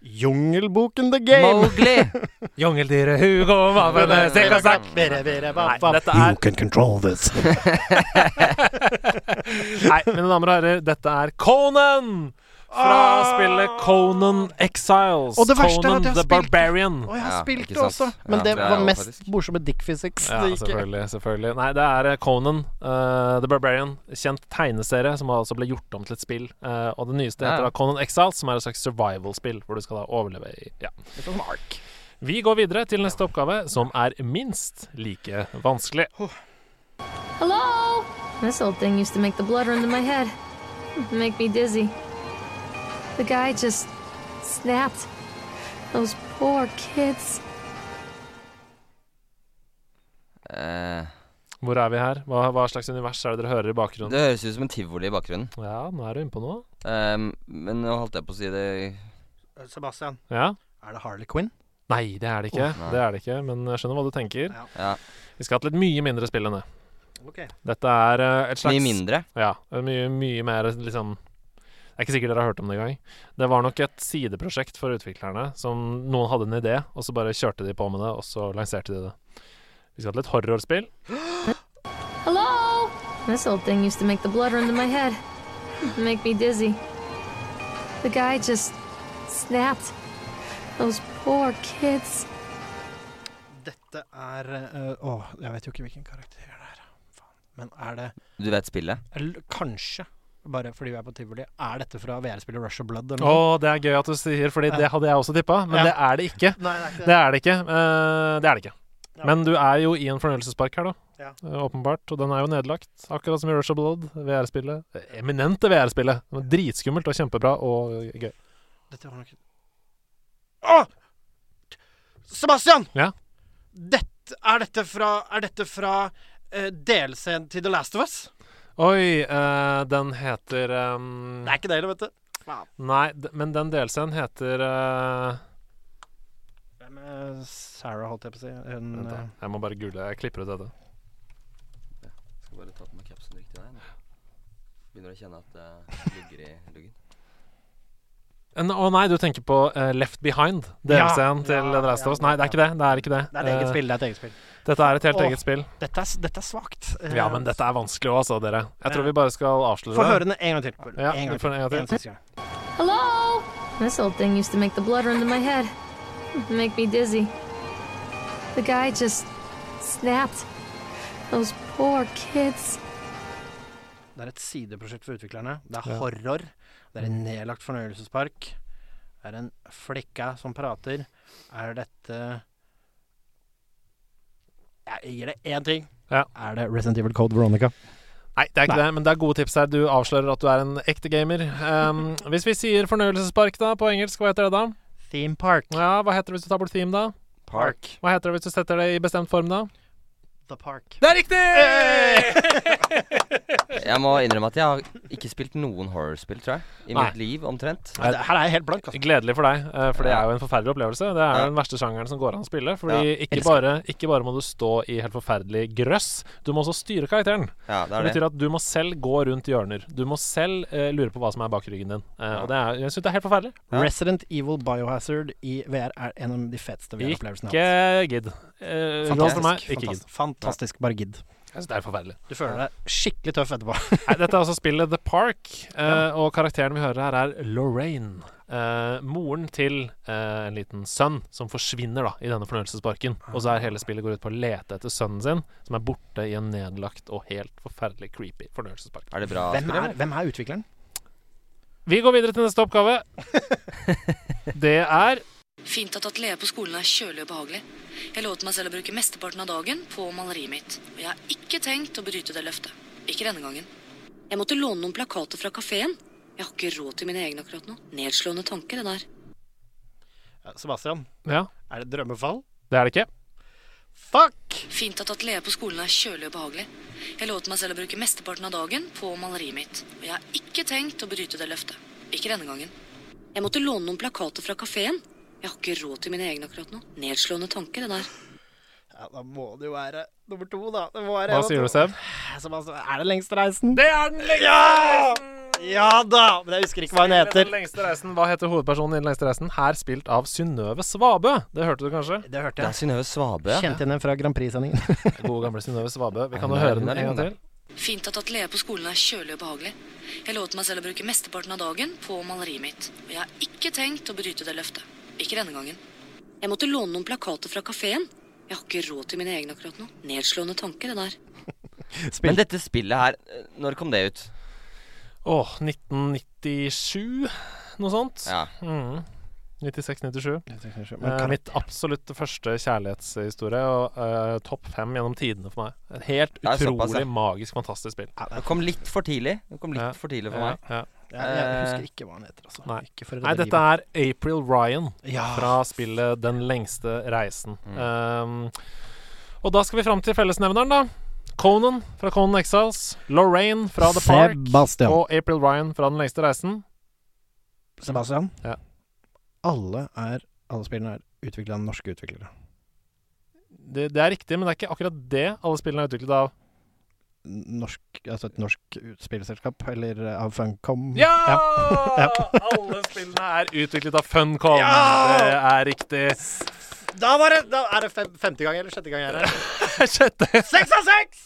Speaker 3: Jungelboken The Game.
Speaker 5: Mowgli!
Speaker 3: (laughs)
Speaker 4: Jungeldyret Hugo hva med det? Stikk og snakk!
Speaker 3: Bere, bere, ba,
Speaker 4: Nei,
Speaker 3: ba.
Speaker 4: dette er
Speaker 3: can control this.
Speaker 4: (laughs) Nei, mine damer og herrer, dette er Conan fra spillet Conan
Speaker 3: Ah!
Speaker 4: Exiles.
Speaker 3: Og det verste er at jeg
Speaker 4: Conan
Speaker 3: har
Speaker 4: the
Speaker 3: spilt det.
Speaker 4: Barbarian.
Speaker 3: Og jeg har
Speaker 5: Ja,
Speaker 3: spilt
Speaker 5: ikke
Speaker 3: det også,
Speaker 5: sant.
Speaker 3: men
Speaker 5: Ja,
Speaker 3: det
Speaker 5: det er
Speaker 3: var
Speaker 5: jo
Speaker 3: mest
Speaker 5: faktisk-
Speaker 3: morsomme dickphysics.
Speaker 4: Ja, selvfølgelig. selvfølgelig Nei, det er eh, Conan eh, the Barbarian. Kjent tegneserie som altså ble gjort om til et spill. Eh, og det nyeste
Speaker 5: Ja.
Speaker 4: heter da Conan Exiles, som er et slags survival-spill hvor du skal da overleve i ja. Vi går videre til neste oppgave, som er minst like vanskelig.
Speaker 7: Hello? This old thing used to make the blood run to my head. It'd Make me dizzy. The guy just snapped. Those poor kids.
Speaker 5: Eh,
Speaker 4: Hvor er vi her? Hva, hva slags univers er det dere hører i bakgrunnen?
Speaker 5: det høres ut som en tivoli i bakgrunnen.
Speaker 4: Ja, nå er du inne på noe.
Speaker 5: Ehm, men nå holdt jeg på å si det
Speaker 3: Eh, Sebastian,
Speaker 4: Ja?
Speaker 3: er det Harley Quinn?
Speaker 4: Nei, det er det ikke.
Speaker 5: Å, nei.
Speaker 4: det er det ikke, men jeg skjønner hva du tenker.
Speaker 5: Ja.
Speaker 4: Vi skal til et mye mindre spill enn det.
Speaker 3: Ok.
Speaker 4: Dette er eh, et
Speaker 5: Mye
Speaker 4: slags
Speaker 5: mindre.
Speaker 4: Ja, det er mye, mye mer liksom Det er ikke sikkert dere har hørt om det engang. Det var nok et sideprosjekt for utviklerne som noen hadde en idé, og så bare kjørte de på med det, og så lanserte de det. Vi skal til et horrorspill.
Speaker 7: Hello? This old thing used to make the blood run to my head. It'd Make me dizzy. The guy just snapped. Those poor kids.
Speaker 3: Dette er eh, Å, jeg vet jo ikke hvilken karakter det er. Faen. Men er det
Speaker 5: Du vet spillet?
Speaker 3: eller Kanskje, bare fordi vi er på tivoli, er dette fra VR-spillet Rush of
Speaker 5: Mm.
Speaker 3: Blood? Eller
Speaker 4: Å,
Speaker 3: noe?
Speaker 4: det er gøy at du sier, fordi det hadde jeg også tippa, men
Speaker 3: Ja.
Speaker 4: det er det ikke.
Speaker 3: Nei, det er ikke
Speaker 4: Det er det ikke. eh, det er det ikke.
Speaker 3: Ja.
Speaker 4: Men du er jo i en fornøyelsespark her, da.
Speaker 3: Ja.
Speaker 4: Eh, Åpenbart. Og den er jo nedlagt, akkurat som i Rush of Blood. VR-spillet. Det Eminente VR-spillet. Det var Dritskummelt og kjempebra og gøy.
Speaker 3: Dette var nok Å! Sebastian!
Speaker 4: Ja?
Speaker 3: Dette, er dette fra, er dette fra eh, DLC-en til The Last of Us?
Speaker 4: Oi, eh, den heter ehm,
Speaker 3: Det er ikke det heller, vet du.
Speaker 4: Nei, d- men den delscenen heter eh,
Speaker 3: Hvem er Sarah, holdt jeg på å si? Hun,
Speaker 4: Vent, da.
Speaker 3: eh,
Speaker 4: Jeg må bare google. Jeg klipper ut dette.
Speaker 5: Skal bare ta på meg capsen riktig der. Begynner å kjenne at eh, det ligger i luggen.
Speaker 4: En- Å nei, du tenker på eh, Left Behind. Delscenen til
Speaker 3: ja,
Speaker 4: The Last
Speaker 3: ja,
Speaker 4: of Us. Nei, det er ikke det. det, er ikke det.
Speaker 3: det er et eget
Speaker 4: Eh,
Speaker 3: spill. Det er et eget spill.
Speaker 4: Dette er et helt
Speaker 3: Åh.
Speaker 4: eget spill.
Speaker 3: Dette er, s- dette er svakt. Eh,
Speaker 4: Ja, men dette er vanskelig òg, altså, dere. Jeg
Speaker 3: Ja.
Speaker 4: tror vi bare skal avsløre
Speaker 3: Få
Speaker 4: det.
Speaker 3: høre den en gang til. Bare
Speaker 4: Ja,
Speaker 3: en gang
Speaker 4: vi får den en gang til.
Speaker 3: En siste gang.
Speaker 7: Hello? This old thing used to make the blood run to my head. It'd Make me dizzy. The guy just snapped. Those poor kids.
Speaker 3: Det er et sideprosjekt for utviklerne. Det er
Speaker 4: Ja. Mm.
Speaker 3: horror. Det er en nedlagt fornøyelsespark. Det er en flikka som prater. Er dette Jeg gir det én ting.
Speaker 4: Ja.
Speaker 3: Er det Resident Evil Code Veronica?
Speaker 4: Nei, det er ikke det, men det er gode tips her. Du avslører at du er en ekte gamer. Um, hvis vi sier fornøyelsespark da, på engelsk, hva heter det da?
Speaker 3: Theme Park.
Speaker 4: Ja, Hva heter det hvis du tar bort theme, da?
Speaker 5: Park.
Speaker 4: Hva heter det hvis du setter det i bestemt form, da?
Speaker 3: The Park.
Speaker 4: Det er riktig!
Speaker 5: Jeg må innrømme at jeg har ikke spilt noen horrorspill, tror jeg. I
Speaker 4: Nei.
Speaker 5: mitt liv, omtrent.
Speaker 3: Nei, det her er jeg helt blank. Altså.
Speaker 4: Gledelig for deg, eh, for det
Speaker 5: Ja.
Speaker 4: er jo en forferdelig opplevelse. Det er
Speaker 5: Ja.
Speaker 4: jo den verste sjangeren som går an å spille. Fordi
Speaker 5: Ja,
Speaker 4: ikke, bare, ikke bare må du stå i helt forferdelig grøss, du må også styre karakteren.
Speaker 5: Ja, det
Speaker 4: Det
Speaker 5: er det.
Speaker 4: betyr at du må selv gå rundt hjørner. Du må selv eh, lure på hva som er bak ryggen din. Eh, Og det er, jeg syns det er helt forferdelig.
Speaker 5: Ja.
Speaker 3: Resident Evil Biohazard i VR er en av de feteste VR-opplevelsene
Speaker 4: Ikke gidd. Eh, råd
Speaker 3: Fantastisk.
Speaker 4: fra meg, ikke gidd.
Speaker 3: Fantastisk. Fantastisk. Bare gidd.
Speaker 4: Jeg syns det er forferdelig.
Speaker 3: Du føler deg skikkelig tøff etterpå.
Speaker 4: Nei, dette er altså spillet The Park, eh, og karakteren vi hører her, er Lorraine. Eh, moren til eh, en liten sønn som forsvinner da i denne fornøyelsesparken. Og så er hele spillet går ut på å lete etter sønnen sin, som er borte i en nedlagt og helt forferdelig creepy fornøyelsespark.
Speaker 5: Er det bra
Speaker 3: Hvem
Speaker 5: spill?
Speaker 3: er,
Speaker 5: eller?
Speaker 3: hvem er utvikleren?
Speaker 4: Vi går videre til neste (laughs) oppgave. Det er
Speaker 8: Fint at atelieret på skolen er kjølig og behagelig. Jeg lovet meg selv å bruke mesteparten av dagen på maleriet mitt, og jeg har ikke tenkt å bryte det løftet. Ikke denne gangen. Jeg måtte låne noen plakater fra kafeen. Jeg har ikke råd til mine egne akkurat nå. Nedslående tanke, det der.
Speaker 3: Sebastian,
Speaker 4: Ja,
Speaker 3: er det drømmefall?
Speaker 4: det er det ikke.
Speaker 3: Fuck!
Speaker 8: Fint at atelieret på skolen er kjølig og behagelig. Jeg lovet meg selv å bruke mesteparten av dagen på maleriet mitt, og jeg har ikke tenkt å bryte det løftet. Ikke denne gangen. Jeg måtte låne noen plakater fra kafeen. Jeg har ikke råd til mine egne akkurat nå. Nedslående tanke, det der.
Speaker 3: Ja, da må det jo være nummer to, da. Det må være
Speaker 4: Hva
Speaker 3: en av
Speaker 4: sier du,
Speaker 3: to. (laughs)
Speaker 4: Seb?
Speaker 3: Som altså, er det lengste reisen?
Speaker 4: Det er den lengste
Speaker 3: Ja da! Men jeg husker ikke hva hun heter.
Speaker 4: Den lengste reisen. Hva heter hovedpersonen i Den lengste reisen? Her spilt av Synnøve Svabø. Det hørte du kanskje?
Speaker 3: Det hørte
Speaker 5: Det er
Speaker 3: jeg.
Speaker 5: Synnøve Svabe, ja.
Speaker 3: Kjente henne fra Grand (laughs) Prix-sendingen.
Speaker 4: Gode gamle Synnøve Svabø. Vi kan
Speaker 5: Hun
Speaker 4: jo
Speaker 5: er-
Speaker 4: høre
Speaker 5: hun
Speaker 4: den
Speaker 5: er
Speaker 4: en gang
Speaker 5: lenge,
Speaker 4: til.
Speaker 8: Fint at atelieret på skolen er kjølig og behagelig. Jeg lovet meg selv å bruke mesteparten av dagen på maleriet mitt. Og jeg har ikke tenkt å bryte det løftet. Ikke denne gangen. Jeg måtte låne noen plakater fra kafeen. Jeg har ikke råd til mine egne akkurat nå. Nedslående tanke, det der.
Speaker 3: Spill.
Speaker 5: Men dette spillet her, eh, når kom det ut?
Speaker 4: Åh, 1997? Noe sånt?
Speaker 5: Ja.
Speaker 4: Mm. 96-97.
Speaker 3: Men
Speaker 4: Eh,
Speaker 3: kan-
Speaker 4: mitt absolutt første kjærlighetshistorie, og eh, topp fem gjennom tidene for meg. Et helt
Speaker 5: Det er
Speaker 4: utrolig
Speaker 5: såpass, ja.
Speaker 4: magisk, fantastisk spill.
Speaker 5: Det kom litt for tidlig. Det kom litt
Speaker 4: Ja.
Speaker 5: for tidlig for
Speaker 4: Ja,
Speaker 5: meg.
Speaker 4: ja.
Speaker 3: Ja, jeg husker ikke hva han heter, altså.
Speaker 4: eh, Nei.
Speaker 3: Ikke for å
Speaker 4: Nei,
Speaker 3: redde
Speaker 4: dette er April Ryan
Speaker 3: livet. ja.
Speaker 5: Ah.
Speaker 4: fra spillet Den lengste reisen.
Speaker 5: Mm.
Speaker 4: Um, og da skal vi fram til fellesnevneren, da. Conan fra Conan Exiles. Lorraine fra The Park.
Speaker 3: Sebastian.
Speaker 4: Og April Ryan fra Den lengste reisen.
Speaker 3: Sebastian.
Speaker 4: Ja.
Speaker 3: Alle, er, alle spillene er utvikla av norske utviklere.
Speaker 4: Det, det er riktig, men det er ikke akkurat det alle spillene er utviklet av.
Speaker 3: Norsk, altså et norsk spillselskap, eller eh, av Funcom.
Speaker 4: Ja!
Speaker 3: Ja. (laughs)
Speaker 4: Alle spillene er utviklet av Funcom. Det er riktig.
Speaker 3: Da, var det, da er det fem, femte gang eller sjette gang jeg er her.
Speaker 4: Sjette.
Speaker 3: Seks av seks!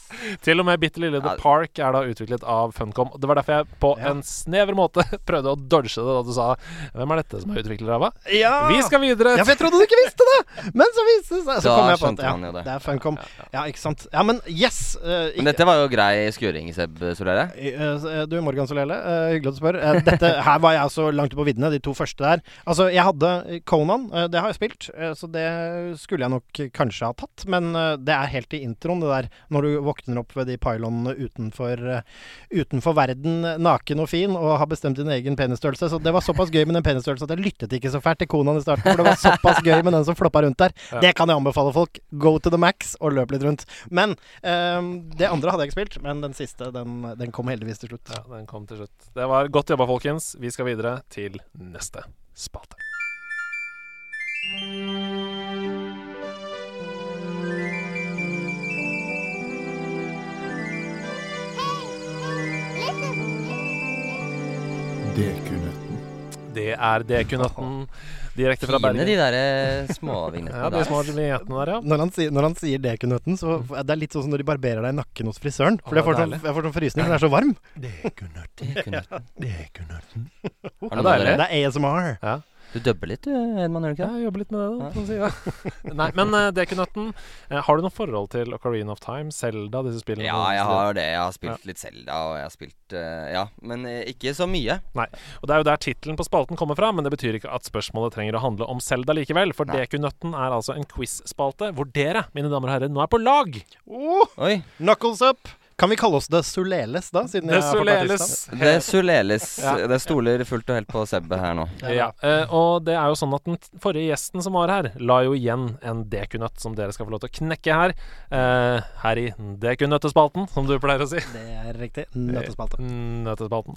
Speaker 4: Til og med bitte lille The
Speaker 5: Ja.
Speaker 4: Park er da utviklet av Funcom. Det var derfor jeg på
Speaker 3: Ja.
Speaker 4: en snever måte (laughs) prøvde å dodge det da du sa Hvem er dette som er utvikler av hva?
Speaker 3: Ja.
Speaker 4: Vi skal videre.
Speaker 3: ja, for jeg trodde du ikke visste det! Men så viste det seg. Så
Speaker 5: Da
Speaker 3: kom jeg på at,
Speaker 5: skjønte man jo det.
Speaker 3: Det er Funcom. Ja, ikke sant. Ja, men yes! eh,
Speaker 5: Men dette var jo grei skuring, Seb Solere.
Speaker 3: Eh, Du, Morgan Solele, eh, hyggelig at du spør. Eh, Dette,
Speaker 5: (laughs)
Speaker 3: her var jeg altså langt ute på viddene, de to første der. Altså, jeg hadde Conan, eh, det har jeg spilt, eh, så det skulle jeg nok kanskje ha tatt. Men eh, det er helt i introen, det der, når du våkner opp ved de pylonene utenfor, eh, utenfor verden, eh, naken og fin, og har bestemt din egen penisstørrelse. Så det var såpass gøy med den penisstørrelsen at jeg lyttet ikke så fælt til Conan i starten, for det var såpass gøy med den som floppa rundt der.
Speaker 4: Ja.
Speaker 3: Det kan jeg anbefale folk. Go to the max, og løp litt rundt. Men Ehm, det andre hadde jeg ikke spilt, men den siste den, den kom heldigvis til slutt.
Speaker 4: Ja, den kom til slutt. Det var godt jobba, folkens. Vi skal videre til neste spate. Det er DQ-nøtten direkte fra
Speaker 5: Fine, de
Speaker 4: Bergen.
Speaker 5: der eh, småvignettene
Speaker 4: Ja, de små
Speaker 5: der.
Speaker 4: vignettene der, ja.
Speaker 3: Når han, sier, når han sier dekunøtten, så det er litt sånn som når de barberer deg i nakken hos frisøren. For
Speaker 4: Å,
Speaker 3: jeg får sånn,
Speaker 4: deilig.
Speaker 3: jeg får sånn frysning, for den er så varm.
Speaker 5: Det
Speaker 4: (laughs)
Speaker 5: kunne vært-
Speaker 2: Dekunøtten.
Speaker 5: Har
Speaker 4: Ja,
Speaker 5: noen av
Speaker 4: deilig.
Speaker 5: dere-
Speaker 3: Det er ASMR.
Speaker 5: Du dubber litt du, Edman, gjør du
Speaker 4: Ja,
Speaker 5: ikke det?
Speaker 4: jeg jobber litt med det, da. på siden. (laughs) Nei, men uh, DQ-nøtten, eh, har du noe forhold til Ocarina of Time, Selda, disse spillene?
Speaker 5: Ja, jeg har det. Jeg har spilt litt Selda, og jeg har spilt eh, Ja, men eh, ikke så mye.
Speaker 4: Og det er jo der tittelen på spalten kommer fra, men det betyr ikke at spørsmålet trenger å handle om Selda likevel. For
Speaker 5: Nei.
Speaker 4: DQ-nøtten er altså en quiz-spalte hvor dere, mine damer og herrer, nå er på lag.
Speaker 3: Åh,
Speaker 5: Oi.
Speaker 3: Oh, knuckles up! Kan vi kalle oss The Soleles, da? Siden jeg
Speaker 4: Det
Speaker 3: har fått
Speaker 4: soleles.
Speaker 3: artistnavn?
Speaker 5: Det (laughs) suleles.
Speaker 4: Ja.
Speaker 5: Det stoler fullt og helt på Seb her nå.
Speaker 4: Ja, eh, og det er jo sånn at den t- forrige gjesten som var her, la jo igjen en DQ-nøtt som dere skal få lov til å knekke her. eh, her i DQ-nøttespalten, som du pleier å si.
Speaker 3: Det er riktig. Nøttespalte.
Speaker 4: Nøttespalten.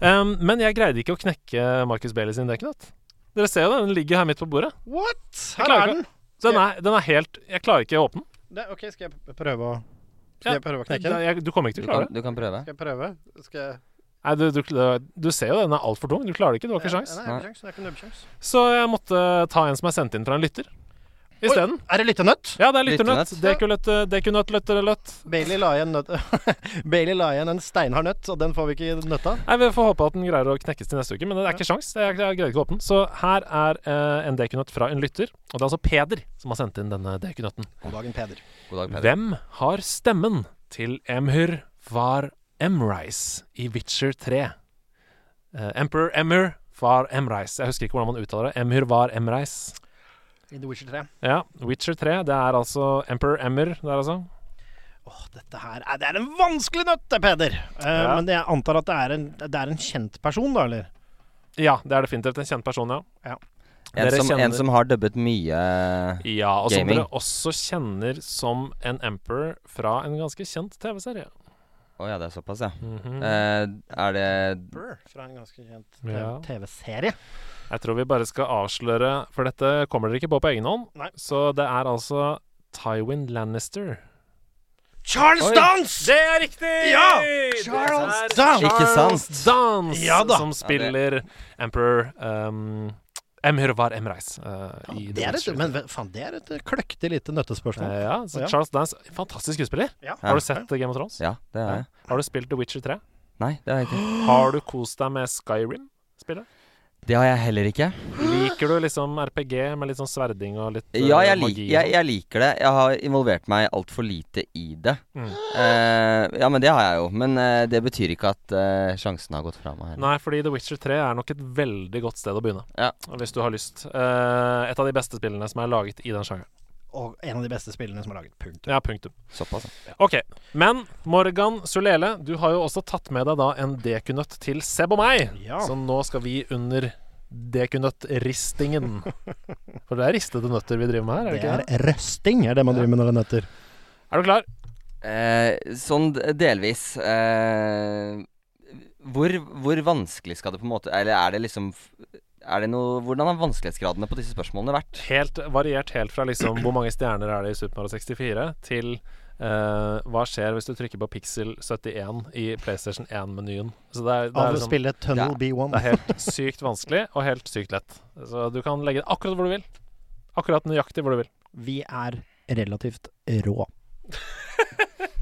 Speaker 4: Um, men jeg greide ikke å knekke Marcus Bailey sin DQ-nøtt. Dere ser jo det, den ligger her midt på bordet.
Speaker 3: What?!
Speaker 4: Jeg
Speaker 3: Her
Speaker 4: klarer
Speaker 3: er den!
Speaker 4: Så den er, den er helt Jeg klarer ikke å åpne den.
Speaker 3: Det, ok, skal jeg p- prøve å Skal jeg prøve å knekke den?
Speaker 4: Ja, jeg- Du kommer
Speaker 5: Du
Speaker 4: ikke til å klare
Speaker 5: kan, du
Speaker 4: det.
Speaker 5: kan prøve.
Speaker 3: Skal jeg prøve? Skal jeg
Speaker 4: Nei, du, du, du ser jo det, den er altfor tung. Du klarer det ikke, du har ikke sjans.
Speaker 3: Nei, jeg har ikke sjans. Jeg har ikke nubbesjans.
Speaker 4: Så jeg måtte ta en som er sendt inn fra en lytter isteden.
Speaker 3: Er det lyttenøtt?
Speaker 4: Ja, det er lytternøtt.
Speaker 3: Lytternøtt.
Speaker 4: Dekunøtt, dekunøtt, løttereløtt.
Speaker 3: Bailey la igjen, nøtt. (laughs) Bailey la igjen en steinhard nøtt, og den får vi ikke i nøtta.
Speaker 4: Nei, Vi får håpe at den greier å knekkes til neste uke, men det er ikke sjans. Jeg, jeg greier ikke å åpne den. Så her er eh, en dekunøtt fra en lytter. Og det er altså Peder som har sendt inn denne dekunøtten.
Speaker 3: God dagen, Peder.
Speaker 5: God dag, Peder.
Speaker 4: Hvem har stemmen til Emhyr var Emrise i Witcher 3? Eh, Emperor Emhyr var Emrise. Jeg husker ikke hvordan man uttaler det. Emhyr var Emrise.
Speaker 3: I The Witcher 3.
Speaker 4: Ja, Witcher 3. Det er altså Emperor Emmer der, altså.
Speaker 3: Åh, dette her er, Det er en vanskelig nøtt, det, Peder. Eh,
Speaker 4: Ja.
Speaker 3: Men jeg antar at det er, en, det er en kjent person, da, eller?
Speaker 4: Ja, det er definitivt en kjent person, ja.
Speaker 5: En
Speaker 4: Dere
Speaker 5: som, en
Speaker 4: kjenner-
Speaker 5: som har dubbet mye
Speaker 4: Ja, Og som
Speaker 5: Gaming.
Speaker 4: dere også kjenner som en Emperor fra en ganske kjent TV-serie.
Speaker 5: Å ja, det er såpass, ja.
Speaker 4: Mhm.
Speaker 5: Eh, er det
Speaker 3: Fra en ganske kjent eh,
Speaker 4: Ja.
Speaker 3: TV-serie.
Speaker 4: Jeg tror vi bare skal avsløre, for dette kommer dere ikke på på egen hånd.
Speaker 3: Nei.
Speaker 4: Så det er altså Tywin Lannister.
Speaker 3: Charles
Speaker 5: Oi.
Speaker 3: Dance!
Speaker 4: Det er riktig!
Speaker 3: Ja!
Speaker 4: Det er
Speaker 3: Charles Dance!
Speaker 5: Ikke sant?
Speaker 4: Charles Dance
Speaker 3: Ja da.
Speaker 4: som spiller Emperor um, Emhyr var Emreis eh, i
Speaker 3: Det
Speaker 4: The
Speaker 3: er et,
Speaker 4: Witcher 3.
Speaker 3: men ve- faen, det er et kløktig lite nøttespørsmål.
Speaker 4: Eh, ja, så
Speaker 3: Ja.
Speaker 4: Charles Dance, fantastisk skuespiller.
Speaker 3: Ja.
Speaker 5: Ah!
Speaker 4: Har du sett eh, Game of Thrones?
Speaker 5: Ja, det er jeg.
Speaker 4: Har du spilt The Witcher 3?
Speaker 5: Nei, det har jeg ikke.
Speaker 4: Har du kost deg med Skyrim-spillet?
Speaker 5: Det har jeg heller ikke.
Speaker 4: Liker du liksom RPG med litt sånn sverding og litt eh,
Speaker 5: Ja, jeg, lik,
Speaker 4: magi? og
Speaker 5: jeg,
Speaker 4: sånn?
Speaker 5: jeg liker det. Jeg har involvert meg altfor lite i det.
Speaker 4: Mm.
Speaker 5: Eh, ja, men det har jeg jo. Men eh, det betyr ikke at eh, sjansen har gått fra meg. heller.
Speaker 4: Nei, fordi The Witcher 3 er nok et veldig godt sted å begynne.
Speaker 5: Ja.
Speaker 4: Hvis du har lyst. Eh, et av de beste spillene som er laget i den sjangeren.
Speaker 3: Og en av de beste spillene som er laget. Punktum.
Speaker 4: Ja, punktum.
Speaker 5: Såpass. ja.
Speaker 4: Ok, men Morgan Sulele, du har jo også tatt med deg da en dekunøtt til Seb og meg.
Speaker 3: Ja. (laughs)
Speaker 4: Så nå skal vi under dekunøttristingen. For det er ristede nøtter vi driver med her, er
Speaker 3: Det
Speaker 4: det, ikke
Speaker 3: er
Speaker 4: det?
Speaker 3: røsting, er det man driver med når det er nøtter.
Speaker 4: Er du klar?
Speaker 5: Eh, sånn d- delvis. Eh, hvor, hvor vanskelig skal det på en måte Eller er det liksom f- er det noe, Hvordan har vanskelighetsgradene på disse spørsmålene vært?
Speaker 4: Helt variert helt fra liksom hvor mange stjerner er det i Super Mario 64, til eh, hva skjer hvis du trykker på pixel 71 i PlayStation 1-menyen. Så det er, det
Speaker 3: Av
Speaker 4: er
Speaker 3: å
Speaker 4: liksom
Speaker 3: spille Tunnel B1.
Speaker 4: Det er helt sykt vanskelig og helt sykt lett. Så du kan legge det akkurat hvor du vil. Akkurat nøyaktig hvor du vil.
Speaker 3: Vi er relativt rå.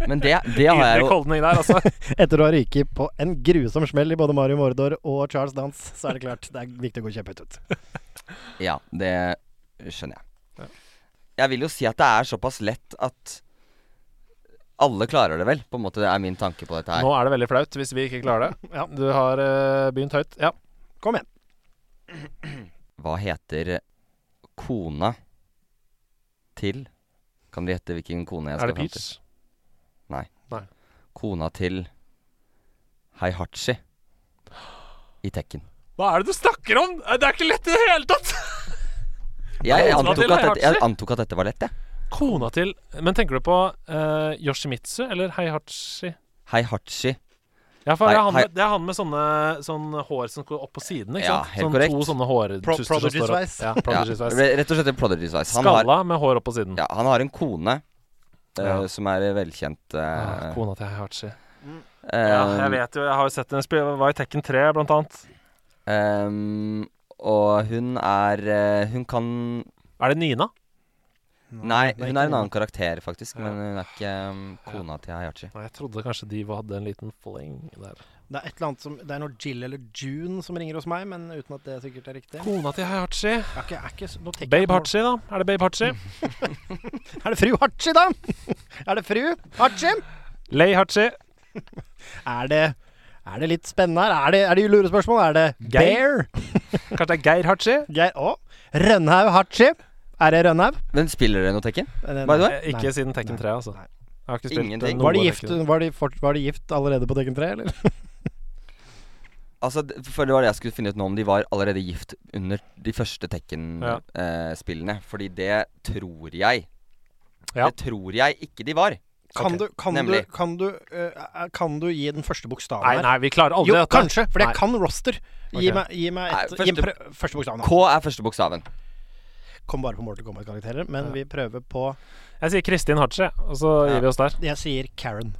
Speaker 5: Men det, det har jeg
Speaker 4: Ydmyk
Speaker 5: jo
Speaker 4: holdning der,
Speaker 5: (laughs)
Speaker 4: altså.
Speaker 3: Etter å ha ryket på en grusom smell i både Mario Mordor og Charles Dance, så er det klart det er viktig å gå kjempehøyt ut.
Speaker 5: Ja, det skjønner jeg. Jeg vil jo si at det er såpass lett at alle klarer det vel, på en måte. Det er min tanke på dette her.
Speaker 4: Nå er det veldig flaut hvis vi ikke klarer det. Ja, du har eh, begynt høyt. Ja.
Speaker 3: Kom igjen.
Speaker 5: Hva heter kona til Kan dere gjette hvilken kone jeg
Speaker 4: Er
Speaker 5: skal
Speaker 4: det
Speaker 5: fram til?
Speaker 4: Peach?
Speaker 5: Kona til Heihachi i Tekken.
Speaker 4: Hva er det du snakker om?! Eh, Det er ikke lett i det hele tatt!
Speaker 5: Jeg
Speaker 4: kona
Speaker 5: antok at
Speaker 4: til
Speaker 5: dette, jeg
Speaker 4: Heihachi?
Speaker 5: antok at dette var lett, jeg.
Speaker 4: Kona til Men tenker du på eh, Yoshimitsu eller Heihachi?
Speaker 5: Heihachi.
Speaker 4: Ja, for det er, han
Speaker 5: Hei-
Speaker 4: med, det er han med sånne, sånn hår som går opp på siden, ikke
Speaker 5: Ja,
Speaker 4: sant?
Speaker 5: helt
Speaker 4: sånn
Speaker 5: korrekt.
Speaker 4: to sånne
Speaker 3: Pro-
Speaker 4: hårtuster som står opp.
Speaker 3: Prodigy-sveis.
Speaker 4: Ja,
Speaker 5: Ja,
Speaker 4: Prodigy-sveis.
Speaker 5: re- rett og slett en prodigy sveis. Han, har-
Speaker 4: Skalla med hår opp på siden.
Speaker 5: ja, han har en kone eh,
Speaker 4: Ja.
Speaker 5: som er velkjent.
Speaker 4: Ah,
Speaker 5: eh,
Speaker 4: kona til Heihachi.
Speaker 5: eh,
Speaker 4: Ja, jeg vet jo, jeg har jo sett henne spille. Var i Tekken 3, blant annet.
Speaker 5: ehm, og hun er eh, Hun kan
Speaker 4: Er det Nina?
Speaker 5: Nei,
Speaker 3: det er
Speaker 5: hun
Speaker 3: ikke
Speaker 5: er en
Speaker 3: noe.
Speaker 5: annen karakter, faktisk.
Speaker 4: Ja.
Speaker 5: Men hun er ikke eh, kona til Heihachi.
Speaker 4: Nei, jeg trodde kanskje de hadde en liten fleng der.
Speaker 3: Det er et eller annet som Det er noe Jill eller June som ringer hos meg, men uten at det sikkert er riktig.
Speaker 4: Kona til
Speaker 3: Jeg
Speaker 4: Heihachi.
Speaker 3: er ikke, jeg er ikke, Mm. så- nå tenker jeg
Speaker 4: Babe
Speaker 3: på-
Speaker 4: Hachi, da. Er det Babe Hachi?
Speaker 3: Er det fru Hachi, da? (laughs) er det fru Hachi?
Speaker 4: Lei Hachi.
Speaker 3: Er det er det litt spennende her? Er det, er det lurespørsmål? Er det
Speaker 4: Geir?
Speaker 3: Bear?
Speaker 4: Kanskje det er Geir Hachi?
Speaker 3: Geir Å? Rønhaug Hachi? Er det Rønhaug?
Speaker 5: Men spiller dere noe Tekken?
Speaker 3: Nei,
Speaker 5: By the way?
Speaker 4: Eh, Ikke siden Tekken 3, altså.
Speaker 3: Nei.
Speaker 4: Jeg har ikke spilt
Speaker 5: Ingenting.
Speaker 4: eh, noe
Speaker 3: Var de,
Speaker 4: av
Speaker 3: gift,
Speaker 4: Tekken.
Speaker 3: var, de fort, var de gift allerede på Tekken 3, eller?
Speaker 5: Altså, d- for det var det jeg skulle finne ut nå, om de var allerede gift under de første
Speaker 4: Ja.
Speaker 5: Tekken-spillene. Fordi det tror jeg.
Speaker 4: Ja.
Speaker 5: Det tror jeg ikke de var.
Speaker 3: Kan,
Speaker 4: Ok,
Speaker 3: du, kan, du,
Speaker 5: nemlig.
Speaker 3: kan, du, eh, kan du gi den første bokstaven
Speaker 4: Nei, nei, vi klarer aldri
Speaker 3: jo,
Speaker 4: dette.
Speaker 3: kanskje, for jeg
Speaker 4: Nei.
Speaker 3: kan roster. Gi
Speaker 4: Ok.
Speaker 3: meg, gi meg et,
Speaker 5: Nei,
Speaker 3: gi meg
Speaker 5: første-
Speaker 3: prø- første bokstaven. da.
Speaker 5: K er første bokstaven.
Speaker 3: Kom bare på Mortal Kombat-karakterer, men
Speaker 4: Ja.
Speaker 3: vi prøver på
Speaker 4: Jeg sier Kristin Hachi, og så
Speaker 5: Ja.
Speaker 4: gir vi oss der.
Speaker 3: Jeg sier Karen.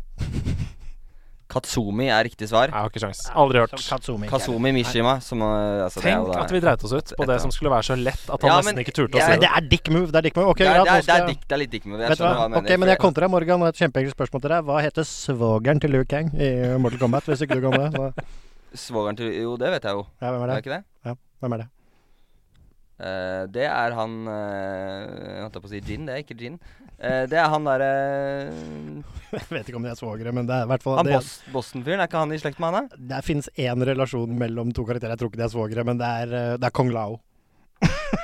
Speaker 5: Katsumi er riktig svar.
Speaker 4: Jeg har ikke sjans. Aldri hørt.
Speaker 3: Som Katsumi. Karen.
Speaker 5: Kazumi Mishima, som eh, altså, det er jo
Speaker 4: Tenk
Speaker 5: da-
Speaker 4: at vi dreit oss ut på
Speaker 5: Et-
Speaker 4: det som skulle være så lett at han
Speaker 5: Ja,
Speaker 4: nesten
Speaker 5: men-
Speaker 4: ikke turte å
Speaker 5: jeg-
Speaker 4: si
Speaker 3: Men
Speaker 4: det.
Speaker 3: det er dick move. Det er dick move. Ok,
Speaker 5: det, er,
Speaker 3: greit,
Speaker 5: det, er,
Speaker 3: nå
Speaker 5: det,
Speaker 3: skal
Speaker 5: er
Speaker 3: jeg-
Speaker 5: dick, det er litt dick move. Jeg
Speaker 3: Vet du hva?
Speaker 5: skjønner hva du mener.
Speaker 3: Ok, men jeg
Speaker 5: for-
Speaker 3: kontrer Morgan og et kjempeekkelt spørsmål til deg. Hva heter svogeren til Luke Kang i Mortal Kombat, hvis ikke du kan det? Så,
Speaker 5: Svogeren til Jo, det vet jeg jo.
Speaker 3: ja, hvem
Speaker 5: Er
Speaker 3: er
Speaker 5: det
Speaker 3: det?
Speaker 5: ikke det?
Speaker 3: Hvem er det?
Speaker 5: Eh, det er han eh, Jeg holdt på å si Jin, det er ikke Jin. Eh, det er han derre
Speaker 3: Jeg vet ikke om de er svogere, men det er i hvert fall
Speaker 5: Han
Speaker 3: det,
Speaker 5: boss, Boston-fyren, er ikke han i slekt med han, da?
Speaker 3: det finnes én relasjon mellom to karakterer. Jeg tror ikke de er svogere, men det er, eh, det er Kong Lao.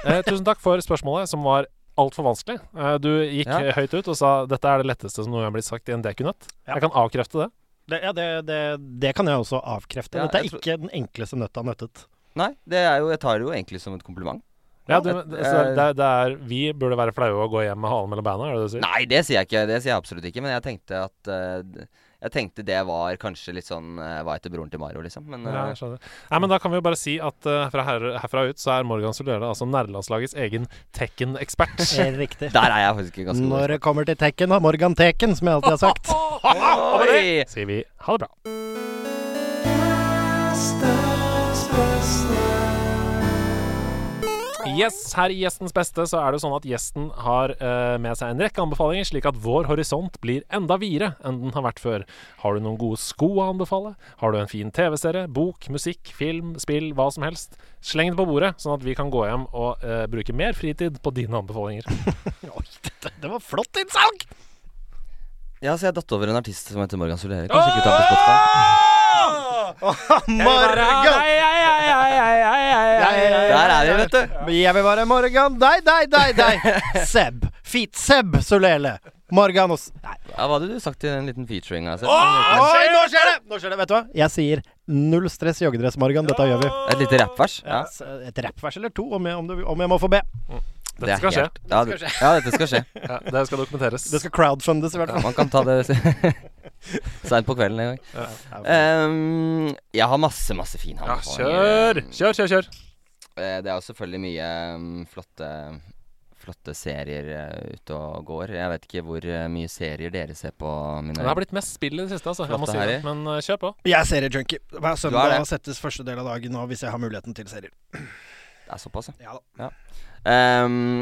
Speaker 4: Eh, tusen takk for spørsmålet, som var altfor vanskelig. Eh, du gikk
Speaker 5: Ja.
Speaker 4: eh, høyt ut og sa dette er det letteste som noen gang er blitt sagt i en dekunøtt.
Speaker 3: Ja.
Speaker 4: Jeg kan avkrefte det.
Speaker 3: Det, ja, det, det, det kan jeg også avkrefte.
Speaker 5: Ja,
Speaker 3: Dette er
Speaker 5: jeg tror-
Speaker 3: ikke den enkleste nøtta nøttet.
Speaker 5: Nei, det er jo, jeg tar det jo egentlig som et kompliment.
Speaker 4: Ja,
Speaker 5: Ja,
Speaker 4: du,
Speaker 5: et- eh,
Speaker 4: det, så det, er- det er, vi burde være flaue og gå hjem med halen mellom beina, er det det du sier?
Speaker 5: Nei, det sier jeg ikke. Det sier jeg absolutt ikke. Men jeg tenkte at eh, d- Jeg tenkte det var kanskje litt sånn eh, Hva heter broren til Mario, liksom? Men
Speaker 4: Ja,
Speaker 5: eh,
Speaker 4: jeg skjønner. Nei, men Da kan vi jo bare si at eh, fra her, herfra ut så er Morgan Solera altså nerdelandslagets egen Tekken-ekspert.
Speaker 5: (laughs)
Speaker 3: Riktig.
Speaker 5: der er jeg faktisk ganske god.
Speaker 3: Når det kommer til Tekken, da. Morgan Teken, som jeg alltid har sagt.
Speaker 4: Og med det
Speaker 5: Oi!
Speaker 4: (laughs) sier vi ha det bra. Yes, her i Gjestens beste så er det sånn at gjesten har eh, med seg en rekke anbefalinger, slik at vår horisont blir enda videre enn den har vært før. Har du noen gode sko å anbefale? Har du en fin TV-serie, bok, musikk, film, spill, hva som helst? Sleng det på bordet, sånn at vi kan gå hjem og eh, bruke mer fritid på dine anbefalinger.
Speaker 3: Oi, dette, det var flott innsalg!
Speaker 5: Ja, så jeg datt over en artist som heter Morgan Solere. Kanskje ikke ta på Spotify.
Speaker 3: Morgan!
Speaker 5: Der er vi, vet du.
Speaker 3: Jeg vil være Morgan. Deg, deg, deg, deg. Seb. Fit Seb Solele. Morgan hos Nei.
Speaker 5: Ja, hva hadde du sagt til en liten featuring? Altså?
Speaker 3: Oi, nå skjer det! Nå skjer det, Vet du hva? Jeg sier null stress joggedress, Morgan. Dette gjør vi.
Speaker 5: Et lite rappvers? Ja,
Speaker 3: S- eh, Et rappvers eller to, om jeg, om, du, om jeg må få be.
Speaker 5: det
Speaker 4: Dette
Speaker 5: er
Speaker 4: skal skje.
Speaker 5: helt- Ja, det- ja, dette skal skje.
Speaker 4: Ja, det skal dokumenteres.
Speaker 3: Det skal crowdfundes, i hvert
Speaker 5: Ja,
Speaker 3: fall.
Speaker 5: man kan ta det (laughs) seint på kvelden en gang.
Speaker 3: Eh,
Speaker 5: Ehm, jeg har masse, masse fin
Speaker 4: Ja,
Speaker 5: handel.
Speaker 4: kjør! Kjør, kjør, kjør.
Speaker 5: Eh, Det er jo selvfølgelig mye mm, flotte, flotte serier eh, ute og går. Jeg vet ikke hvor eh, mye serier dere ser på, mine
Speaker 4: Det har blitt mest spill i det siste, altså. Jeg
Speaker 5: Flott
Speaker 4: må
Speaker 5: det
Speaker 4: si
Speaker 5: her,
Speaker 4: det.
Speaker 5: jeg.
Speaker 4: Men eh, kjør på.
Speaker 3: Jeg er seriejunkie. Hver
Speaker 5: Du er
Speaker 3: søndag
Speaker 5: det.
Speaker 3: settes første del av dagen nå, hvis jeg har muligheten til serier.
Speaker 5: Det er såpass,
Speaker 3: Ja da.
Speaker 5: Ehm,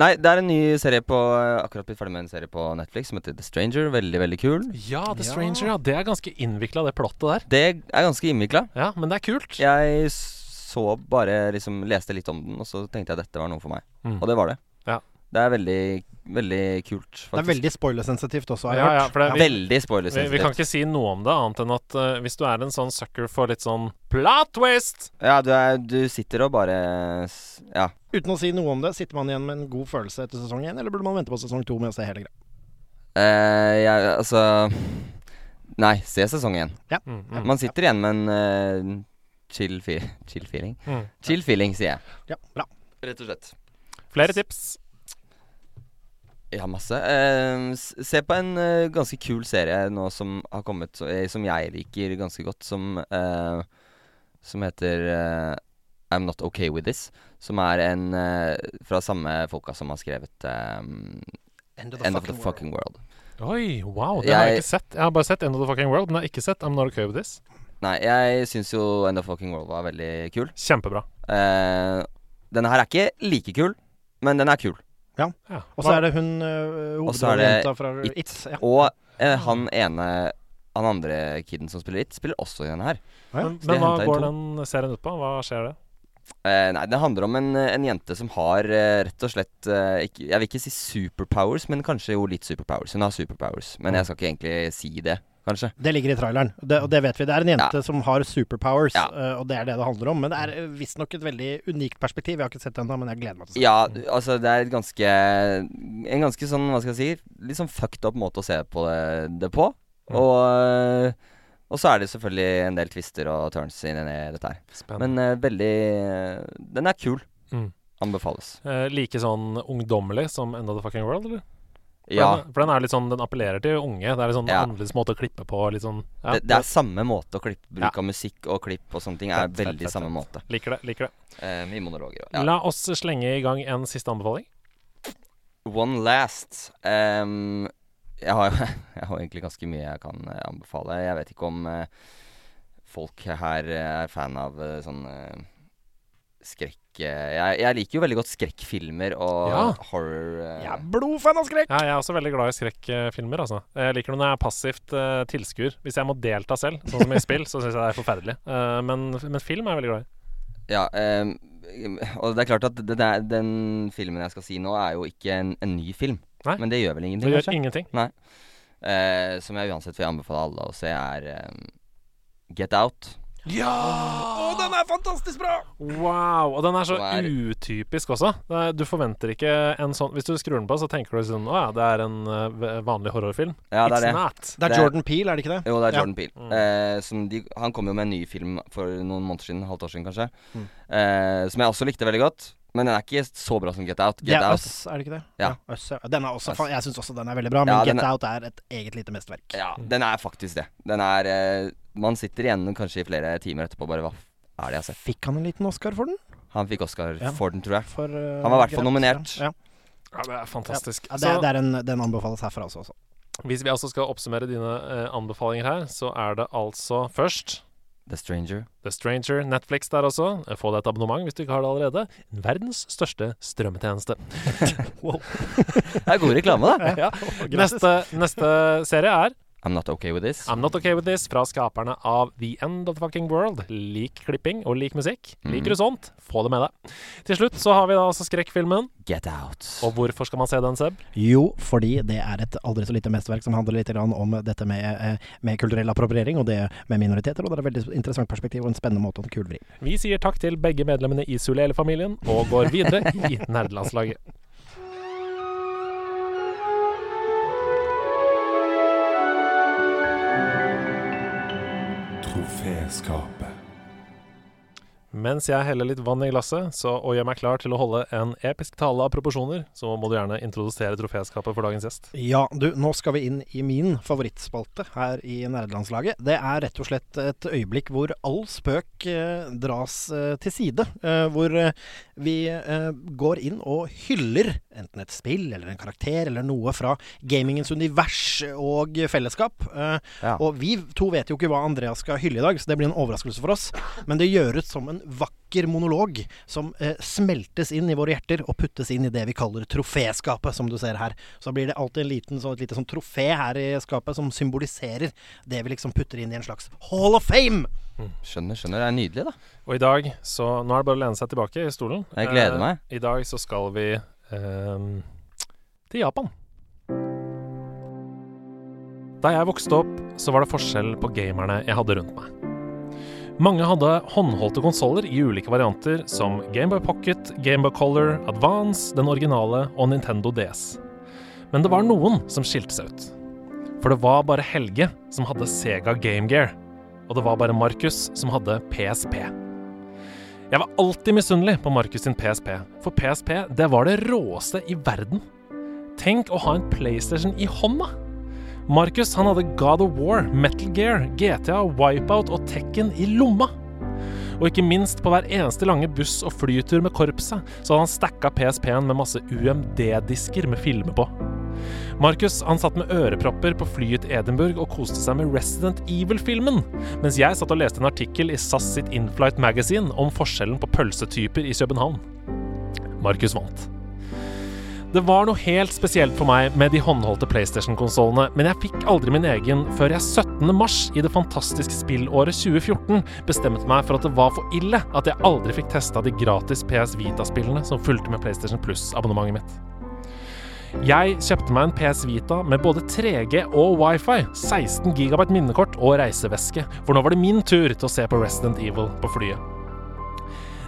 Speaker 5: nei, det er en ny serie på eh, Akkurat blitt ferdig med en serie på Netflix som heter The Stranger. Veldig, veldig kul.
Speaker 4: Ja, The Stranger, ja. Det er ganske innvikla, det plottet der.
Speaker 5: Det er ganske innvikla.
Speaker 4: Ja, men det er kult.
Speaker 5: Jeg så bare liksom Leste litt om den, og så tenkte jeg dette var noe for meg.
Speaker 4: Mm.
Speaker 5: Og det var det.
Speaker 4: Ja.
Speaker 5: Det er veldig, veldig kult, faktisk.
Speaker 3: Det er veldig spoilersensitivt også, har jeg
Speaker 4: Ja, ja,
Speaker 3: hørt.
Speaker 4: for det, vi,
Speaker 5: Veldig
Speaker 4: vi, vi kan
Speaker 5: spoilersensitivt.
Speaker 4: ikke si noe om det, annet enn at eh, hvis du er en sånn sucker for litt sånn plot twist
Speaker 5: Ja, du, er, du sitter og bare s- Ja.
Speaker 3: Uten å si noe om det, sitter man igjen med en god følelse etter sesong én, eller burde man vente på sesong to med å se hele greia?
Speaker 5: Eh, jeg, altså Nei, se sesong én.
Speaker 4: mm, mm.
Speaker 5: Man sitter igjen med en eh, chill, fe chill feeling.
Speaker 4: Mm.
Speaker 5: Chill feeling, sier jeg.
Speaker 3: Ja, bra.
Speaker 5: Rett og slett.
Speaker 4: Flere tips.
Speaker 5: Ja, masse. Eh, s- se på en eh, ganske kul serie nå som har kommet, så- eh, som jeg liker ganske godt, som, eh, som heter eh, I'm Not Okay With This. Som er en eh, fra samme folka som har skrevet eh,
Speaker 3: End
Speaker 5: End of the Fucking World.
Speaker 4: Oi, wow. Det har jeg
Speaker 5: Jeg-
Speaker 4: ikke sett. Jeg har bare sett End of the Fucking World, men jeg har ikke sett I'm Not Okay With This.
Speaker 5: Nei, jeg syns jo End of Fucking World var veldig kul.
Speaker 4: Kjempebra.
Speaker 5: Eh, denne her er ikke like kul, men den er kul.
Speaker 4: Ja.
Speaker 3: Og så er det hun øh,
Speaker 5: Og så er det
Speaker 3: hovedrollejenta fra
Speaker 5: It.
Speaker 3: It. ja.
Speaker 5: Og eh, han ene Han andre kiden som spiller It, spiller også i denne her.
Speaker 4: Men,
Speaker 5: Så de
Speaker 4: men hva
Speaker 5: hentet inn
Speaker 4: går
Speaker 5: to.
Speaker 4: den serien ut på? Hva skjer det?
Speaker 5: Eh, nei, det handler om en, en jente som har eh, rett og slett eh, ikke, Jeg vil ikke si superpowers, men kanskje jo litt superpowers. Hun har superpowers, men
Speaker 4: Mm.
Speaker 5: jeg skal ikke egentlig si det, kanskje.
Speaker 3: Det ligger i traileren, det, og det vet vi. Det er en jente som har superpowers,
Speaker 5: Ja.
Speaker 3: øh, og det er det det handler om. Men det er øh, visstnok et veldig unikt perspektiv. Jeg har ikke sett den ennå, men jeg gleder meg til å se den.
Speaker 5: Ja, altså det er et ganske En ganske sånn, hva skal jeg si, litt sånn fucked up måte å se på det, det på.
Speaker 4: Mm.
Speaker 5: Og, eh, og så er det selvfølgelig en del twister og turns inni dette her.
Speaker 4: Spennende.
Speaker 5: Men eh, veldig eh, Den er kul.
Speaker 4: Mm.
Speaker 5: Anbefales.
Speaker 4: Eh, like sånn ungdommelig som End of the Fucking World, eller? For
Speaker 5: Ja.
Speaker 4: Den, for den er litt sånn, den appellerer til unge. Det er litt sånn
Speaker 5: Ja.
Speaker 4: annerledes måte å klippe på. Litt sånn, ja,
Speaker 5: Det, det er samme måte å klippe. Bruk
Speaker 4: Ja.
Speaker 5: av musikk og klipp og sånne ting er
Speaker 4: Fett, fett,
Speaker 5: veldig
Speaker 4: fett,
Speaker 5: samme
Speaker 4: fett.
Speaker 5: måte.
Speaker 4: Liker det. liker det
Speaker 5: Eh, I monologer. og- Ja.
Speaker 4: La oss slenge i gang en siste anbefaling.
Speaker 5: One last. Ehm, jeg, har, (laughs) jeg har egentlig ganske mye jeg kan eh, anbefale. Jeg vet ikke om eh, folk her eh, er fan av eh, sånn eh, skrekk eh, jeg, jeg liker jo veldig godt skrekkfilmer og
Speaker 4: Ja.
Speaker 5: horror. eh,
Speaker 3: Jeg er blodfan av skrekk!
Speaker 4: Ja, jeg er også veldig glad i skrekkfilmer. Altså. Jeg liker det når jeg er passivt uh, tilskuer. Hvis jeg må delta selv, sånn
Speaker 5: (laughs)
Speaker 4: som i spill, så syns jeg det er forferdelig. Eh, men, men film er jeg veldig glad i.
Speaker 5: Ja, ehm, og det er klart at den, er, den filmen jeg skal si nå, er jo ikke en, en ny film.
Speaker 4: Nei.
Speaker 5: Men det gjør vel ingenting,
Speaker 4: Det gjør
Speaker 5: kanskje?
Speaker 4: ingenting.
Speaker 5: Eh, som jeg uansett vil anbefale alle å se, er ehm, Get Out.
Speaker 4: Wow, Og den er så
Speaker 5: Den er-
Speaker 4: utypisk også. Det er- Du forventer ikke en sånn Hvis du skrur den på, så tenker du sånn Å ja, det er en eh, v- vanlig horrorfilm.
Speaker 5: Ja, det
Speaker 4: It's
Speaker 5: er det.
Speaker 4: not.
Speaker 3: Det er
Speaker 5: Det-
Speaker 3: Jordan Peel, er det ikke det?
Speaker 5: Jo, det er
Speaker 3: Ja.
Speaker 5: Jordan Peele. Eh, som de, han kom jo med en ny film for noen måneder siden, halvt år siden kanskje. Eh, som jeg også likte veldig godt. Men den er ikke så bra som Get Out.
Speaker 3: det
Speaker 5: Get
Speaker 3: er
Speaker 5: Out.
Speaker 3: Us, er det ikke det?
Speaker 5: Ja.
Speaker 3: Us, ja. Den er også,
Speaker 5: Us.
Speaker 3: fa- jeg syns også den er veldig bra, men
Speaker 5: Ja, den
Speaker 3: Get
Speaker 5: er-
Speaker 3: Out er et eget lite mesterverk.
Speaker 5: Ja, den er faktisk det. Den er eh, Man sitter igjen kanskje i flere timer etterpå bare Hva f- er det jeg har sett?
Speaker 3: Fikk han en liten Oscar for den?
Speaker 5: Han fikk Oscar
Speaker 3: Ja.
Speaker 5: for den, tror jeg.
Speaker 3: For, øh,
Speaker 5: Han var i hvert fall
Speaker 3: Get Out,
Speaker 5: nominert.
Speaker 3: Ja.
Speaker 4: Ja, det er fantastisk.
Speaker 3: Ja, det,
Speaker 4: Så-
Speaker 3: det er en, den anbefales herfra også. også.
Speaker 4: Hvis vi altså skal oppsummere dine eh, anbefalinger her, så er det altså først
Speaker 5: The Stranger.
Speaker 4: The Stranger, Netflix der også. Få deg et abonnement hvis du ikke har det allerede. Verdens største strømmetjeneste.
Speaker 5: Det er god reklame,
Speaker 4: (laughs)
Speaker 5: da.
Speaker 4: Ja. Neste, neste serie er
Speaker 5: I'm not okay with this.
Speaker 4: I'm Not Okay With This fra skaperne av The End of the Fucking World. Lik klipping og lik musikk. Liker du sånt, få det med deg. Til slutt så har vi da altså skrekkfilmen.
Speaker 5: Get out.
Speaker 4: Og hvorfor skal man se den, Seb?
Speaker 3: Jo, fordi det er et aldri så lite mesterverk som handler litt grann om dette med, eh, med kulturell appropriering og det med minoriteter. Og det er et veldig interessant perspektiv og en spennende måte å kul vri.
Speaker 4: Vi sier takk til begge medlemmene i Sulele-familien og går videre i nerdelandslaget.
Speaker 1: Troféskapet.
Speaker 4: Mens jeg heller litt vann i glasset så, og gjør meg klar til å holde en episk tale av proporsjoner, så må du gjerne introdusere troféskapet for dagens gjest.
Speaker 3: Ja, du, nå skal vi inn i min favorittspalte her i nerdelandslaget. Det er rett og slett et øyeblikk hvor all spøk eh, dras eh, til side. Eh, hvor eh, vi eh, går inn og hyller enten et spill eller en karakter eller noe fra gamingens univers og fellesskap. Eh,
Speaker 5: Ja.
Speaker 3: Og vi to vet jo ikke hva Andreas skal hylle i dag, så det blir en overraskelse for oss. Men det gjøres som en vakker monolog som eh, smeltes inn i våre hjerter og puttes inn i det vi kaller troféskapet, som du ser her. Så blir det alltid en liten, sånn, et lite sånn trofé her i skapet som symboliserer det vi liksom putter inn i en slags hall of fame.
Speaker 5: Skjønner, skjønner. Det er nydelig, da.
Speaker 4: Og i dag, så nå er det bare å lene seg tilbake i stolen.
Speaker 5: Jeg gleder meg.
Speaker 4: Eh, I dag så skal vi ehm, til Japan. Da jeg vokste opp, så var det forskjell på gamerne jeg hadde rundt meg. Mange hadde håndholdte konsoller i ulike varianter, som Gameboy Pocket, Gameboy Color, Advance, den originale og Nintendo DS. Men det var noen som skilte seg ut. For det var bare Helge som hadde Sega Game Gear, og det var bare Markus som hadde PSP. Jeg var alltid misunnelig på Markus sin PSP, for PSP det var det råeste i verden. Tenk å ha en PlayStation i hånda! Markus han hadde God of War, Metal Gear, GTA, Wipeout og Tekken i lomma. Og ikke minst, på hver eneste lange buss- og flytur med korpset, så hadde han stacka PSP-en med masse UMD-disker med filmer på. Markus han satt med ørepropper på flyet til Edinburgh og koste seg med Resident Evil-filmen, mens jeg satt og leste en artikkel i SAS sitt Inflight Magazine om forskjellen på pølsetyper i København. Markus vant. Det var noe helt spesielt for meg med de håndholdte PlayStation-konsollene, men jeg fikk aldri min egen før jeg 17. mars i det fantastiske spillåret 2014 bestemte meg for at det var for ille at jeg aldri fikk testa de gratis PS Vita-spillene som fulgte med PlayStation Plus-abonnementet mitt. Jeg kjøpte meg en PS Vita med både 3G og wifi, 16 GB minnekort og reiseveske, for nå var det min tur til å se på Resident Evil på flyet.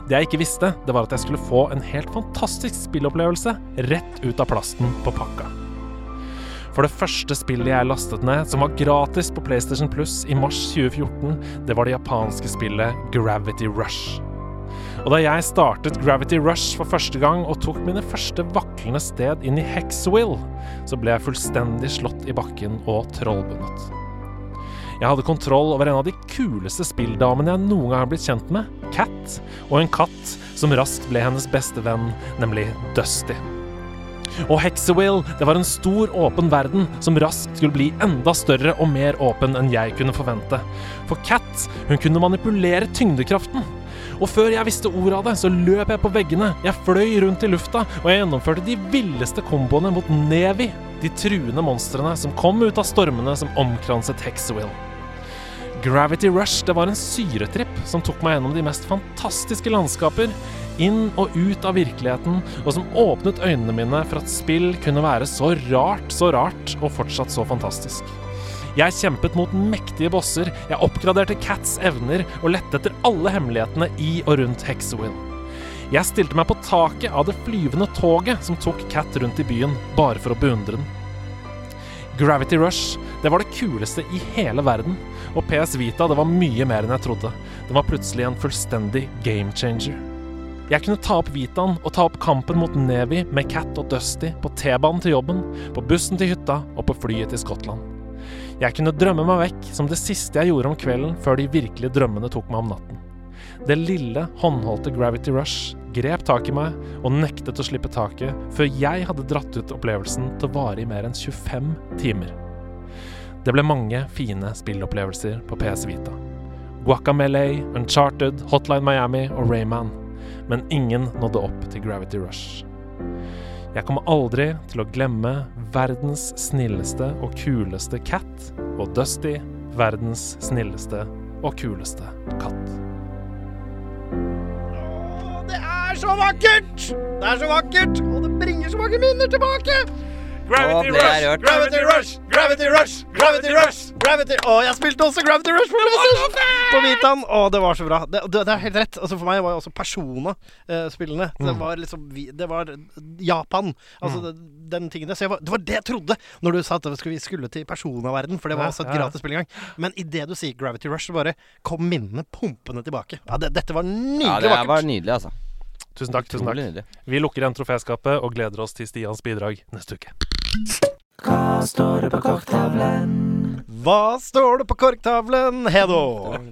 Speaker 4: Det jeg ikke visste, det var at jeg skulle få en helt fantastisk spillopplevelse rett ut av plasten på pakka. For det første spillet jeg lastet ned, som var gratis på PlayStation Plus i mars 2014, det var det japanske spillet Gravity Rush. Og da jeg startet Gravity Rush for første gang og tok mine første vaklende sted inn i Hexwill, så ble jeg fullstendig slått i bakken og trollbundet. Jeg hadde kontroll over en av de kuleste spilldamene jeg noen gang har blitt kjent med, Cat, og en katt som raskt ble hennes beste venn, nemlig Dusty. Og Hexawill, det var en stor, åpen verden som raskt skulle bli enda større og mer åpen enn jeg kunne forvente. For Cat, hun kunne manipulere tyngdekraften. Og før jeg visste ordet av det, så løp jeg på veggene, jeg fløy rundt i lufta, og jeg gjennomførte de villeste komboene mot Nevi, de truende monstrene som kom ut av stormene som omkranset Hexawill. Gravity Rush det var en syretripp som tok meg gjennom de mest fantastiske landskaper, inn og ut av virkeligheten, og som åpnet øynene mine for at spill kunne være så rart, så rart, og fortsatt så fantastisk. Jeg kjempet mot mektige bosser, jeg oppgraderte Cats evner og lette etter alle hemmelighetene i og rundt Hexawill. Jeg stilte meg på taket av det flyvende toget som tok Cat rundt i byen, bare for å beundre den. Gravity Rush det var det kuleste i hele verden, og PS Vita det var mye mer enn jeg trodde. Den var plutselig en fullstendig game changer. Jeg kunne ta opp Vitaen og ta opp kampen mot Nevi med Cat og Dusty på T-banen til jobben, på bussen til hytta og på flyet til Skottland. Jeg kunne drømme meg vekk som det siste jeg gjorde om kvelden før de virkelige drømmene tok meg om natten. Det lille, håndholdte Gravity Rush grep tak i meg og nektet å slippe taket før jeg hadde dratt ut opplevelsen til å vare i mer enn 25 timer. Det ble mange fine spillopplevelser på PS Vita. Guacamele, Uncharted, Hotline Miami og Rayman, men ingen nådde opp til Gravity Rush. Jeg kommer aldri til å glemme verdens snilleste og kuleste cat og Dusty, verdens snilleste og kuleste katt.
Speaker 3: Det er så vakkert! Det er så vakkert, og det bringer så mange minner tilbake.
Speaker 5: Gravity ble jeg Rush, rørt.
Speaker 3: Gravity Rush, Gravity Rush, Gravity Rush. Gravity Å, jeg spilte også Gravity Rush på PlayStation! På Vitaen. Å, det var så bra. Det, det, det er helt rett. Altså, for meg var jo også Persona-spillene Det var liksom vi- Det var Japan. Altså det, den tingen der. Så jeg var, det var det jeg trodde når du sa at vi skulle- vi skulle til Persona-verden, for det var
Speaker 4: Ja,
Speaker 3: også et
Speaker 4: ja, ja.
Speaker 3: gratis spill engang. Men idet du sier Gravity Rush, så bare kom minnene pumpende tilbake. Ja, det, dette var nydelig
Speaker 5: Ja, det her
Speaker 3: vakkert.
Speaker 5: var nydelig, altså.
Speaker 4: Tusen takk. tusen
Speaker 5: Utrolig
Speaker 4: takk.
Speaker 5: Nydelig.
Speaker 4: Vi lukker igjen troféskapet og gleder oss til Stians bidrag neste uke.
Speaker 3: Hva står det på korktavlen, Hedo?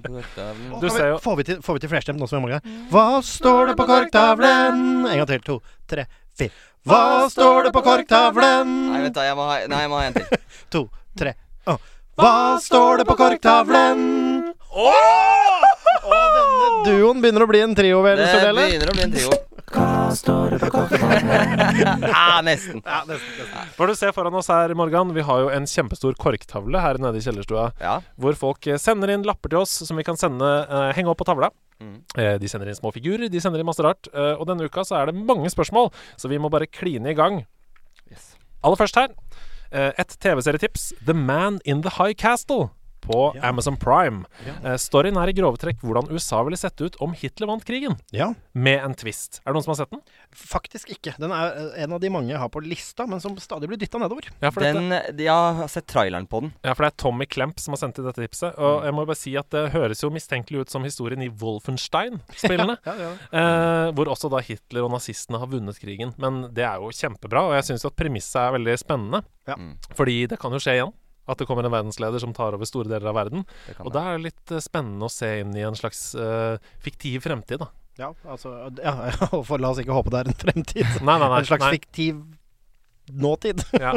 Speaker 5: Korktavlen.
Speaker 4: Du
Speaker 3: Kan vi-
Speaker 4: ser jo-
Speaker 3: Får vi til, får vi til flerstemt nå som vi er mange ganger? Hva Mm. står det på korktavlen? En gang til. To, tre, fire. Hva står det på
Speaker 5: Nei,
Speaker 3: korktavlen?
Speaker 5: vent da, jeg må ha, nei, jeg må ha en til.
Speaker 3: To, tre. å. Hva står det på korktavlen? Og denne duoen begynner å bli en trio, vel,
Speaker 5: Det
Speaker 3: Sordelle?
Speaker 5: begynner å bli en trio. (laughs) ah, nesten.
Speaker 3: Ja, nesten, nesten.
Speaker 4: Hva du ser foran oss her, Morgan, vi har jo en kjempestor korktavle her nede i kjellerstua.
Speaker 5: Ja.
Speaker 4: hvor folk eh, sender inn lapper til oss som vi kan sende, eh, henge opp på tavla.
Speaker 5: Mm.
Speaker 4: Eh, de sender inn små figurer, de sender inn masse rart. eh, og denne uka så er det mange spørsmål, så vi må bare kline i gang.
Speaker 5: Yes.
Speaker 4: Aller først her, eh, et TV-serietips. The Man in the High Castle. På Amazon Prime. Eh, storyen er i grove trekk hvordan USA ville sett ut om Hitler vant krigen.
Speaker 3: ja.
Speaker 4: Med en twist. Er det noen som har sett den?
Speaker 3: Faktisk ikke. Den er eh, en av de mange jeg har på lista, men som stadig blir dytta nedover.
Speaker 4: Ja, for dette-
Speaker 5: Den, de- jeg har sett traileren på den.
Speaker 4: Ja, for det er Tommy Klemp som har sendt inn dette tipset.
Speaker 5: Mm.
Speaker 4: Og jeg må bare si at det høres jo mistenkelig ut som historien
Speaker 5: (laughs)
Speaker 4: i Wolfenstein-spillene. eh, hvor også da Hitler og nazistene har vunnet krigen. Men det er jo kjempebra, og jeg syns at premisset er veldig spennende.
Speaker 3: Ja.
Speaker 5: Mm.
Speaker 4: Fordi det kan jo skje igjen. At det kommer en verdensleder som tar over store deler av verden.
Speaker 5: Det kan
Speaker 4: Og
Speaker 5: jeg.
Speaker 4: da er det litt eh, spennende å se inn i en slags eh, fiktiv fremtid, da.
Speaker 3: Ja, altså ja, (laughs) For la oss ikke håpe det er en fremtid.
Speaker 4: Nei, nei,
Speaker 3: (laughs)
Speaker 4: nei.
Speaker 3: En slags
Speaker 4: nei.
Speaker 3: fiktiv nåtid.
Speaker 4: Ja.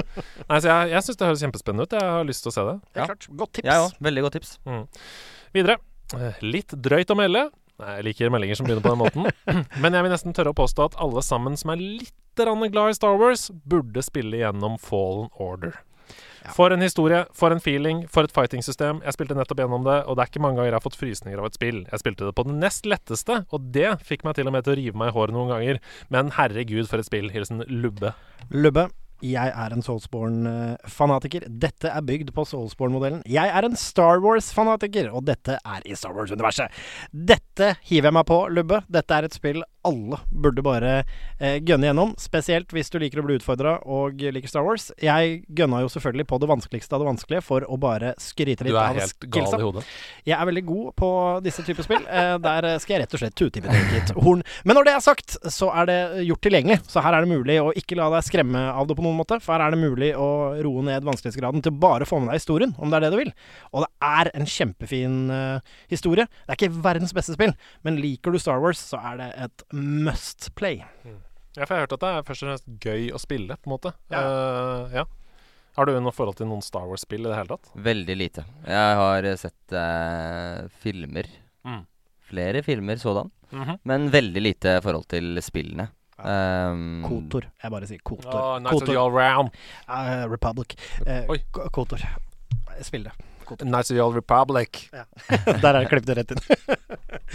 Speaker 4: Nei, så jeg, jeg syns det høres kjempespennende ut. Jeg har lyst til å se det.
Speaker 5: Ja.
Speaker 3: Helt klart. Godt tips.
Speaker 5: Jeg òg. Veldig godt tips.
Speaker 4: Videre. Eh, Litt drøyt å melde. Nei, jeg liker meldinger som begynner på den måten.
Speaker 3: (laughs)
Speaker 4: Men jeg vil nesten tørre å påstå at alle sammen som er litt grann glad i Star Wars, burde spille gjennom Fallen Order.
Speaker 3: Ja.
Speaker 4: For en historie, for en feeling, for et fighting-system. Jeg spilte nettopp gjennom det, og det er ikke mange ganger jeg har fått frysninger av et spill. Jeg spilte det på det nest letteste, og det fikk meg til og med til å rive meg i håret noen ganger. Men herregud, for et spill. Hilsen Lubbe.
Speaker 3: Lubbe, jeg er en Soulsborne-fanatiker. Dette er bygd på Soulsborne-modellen. Jeg er en Star Wars-fanatiker, og dette er i Star Wars-universet. Dette hiver jeg meg på, Lubbe. Dette er et spill alle burde bare eh, gønne gjennom. Spesielt hvis du liker å bli utfordra og liker Star Wars. Jeg gønna jo selvfølgelig på det vanskeligste av det vanskelige for å bare skryte
Speaker 4: Du
Speaker 3: litt
Speaker 4: er
Speaker 3: av
Speaker 4: helt gal
Speaker 3: skillsa.
Speaker 4: i hodet.
Speaker 3: Jeg er veldig god på disse typer spill. Eh, der eh, skal jeg rett og slett tute i mitt eget horn. Men når det er sagt, så er det gjort tilgjengelig. Så her er det mulig å ikke la deg skremme av det på noen måte. For her er det mulig å roe ned vanskelighetsgraden til bare å få med deg historien, om det er det du vil. Og det er en kjempefin eh, historie. Det er ikke verdens beste spill, men liker du Star Wars, så er det et must play.
Speaker 4: Ja, for jeg har hørt at det er først og fremst gøy å spille, på en måte. Eh, ja. Har du noe forhold til noen Star Wars-spill i det hele tatt?
Speaker 5: Veldig lite. Jeg har eh, sett eh, filmer.
Speaker 4: Mm.
Speaker 5: Flere filmer sådan.
Speaker 4: Mhm.
Speaker 5: Men veldig lite forhold til spillene. Um,
Speaker 3: Kotor. Jeg bare sier Kotor.
Speaker 4: Åh, Ah, Knights of the
Speaker 3: Kotor.
Speaker 4: Old Round.
Speaker 3: Eh, Republic. Eh,
Speaker 4: Oi.
Speaker 3: K- Kotor. Spill det.
Speaker 4: Knights of the Old Republic.
Speaker 3: (laughs) Der er det klippet rett inn.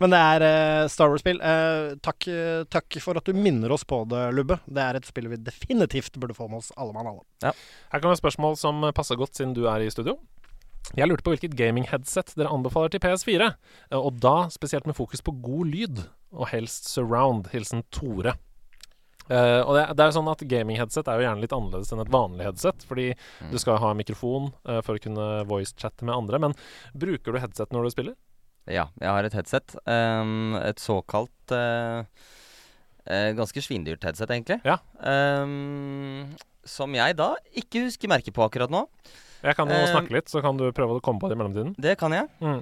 Speaker 3: Men det er eh, Star Wars-spill. Eh, takk, eh, takk for at du minner oss på det, Lubbe. Det er et spill vi definitivt burde få med oss alle mann alle.
Speaker 4: Her kommer et spørsmål som passer godt siden du er i studio. Jeg lurte på hvilket gaming-headset dere anbefaler til PS4, eh, og da spesielt med fokus på god lyd, og helst surround. Hilsen Tore. Eh, og det, det er jo sånn at Gaming-headset er jo gjerne litt annerledes enn et vanlig headset, fordi du skal jo ha en mikrofon eh, for å kunne voice-chatte med andre. Men bruker du headset når du spiller?
Speaker 5: Ja, jeg har et headset. Ehm, et såkalt eh, eh, ganske svindyrt headset, egentlig.
Speaker 4: Ja.
Speaker 5: Ehm, som jeg da ikke husker merket på akkurat nå.
Speaker 4: Jeg kan jo
Speaker 5: Eh,
Speaker 4: snakke litt, så kan du prøve å komme på det i mellomtiden.
Speaker 5: Det kan jeg.
Speaker 4: Mm.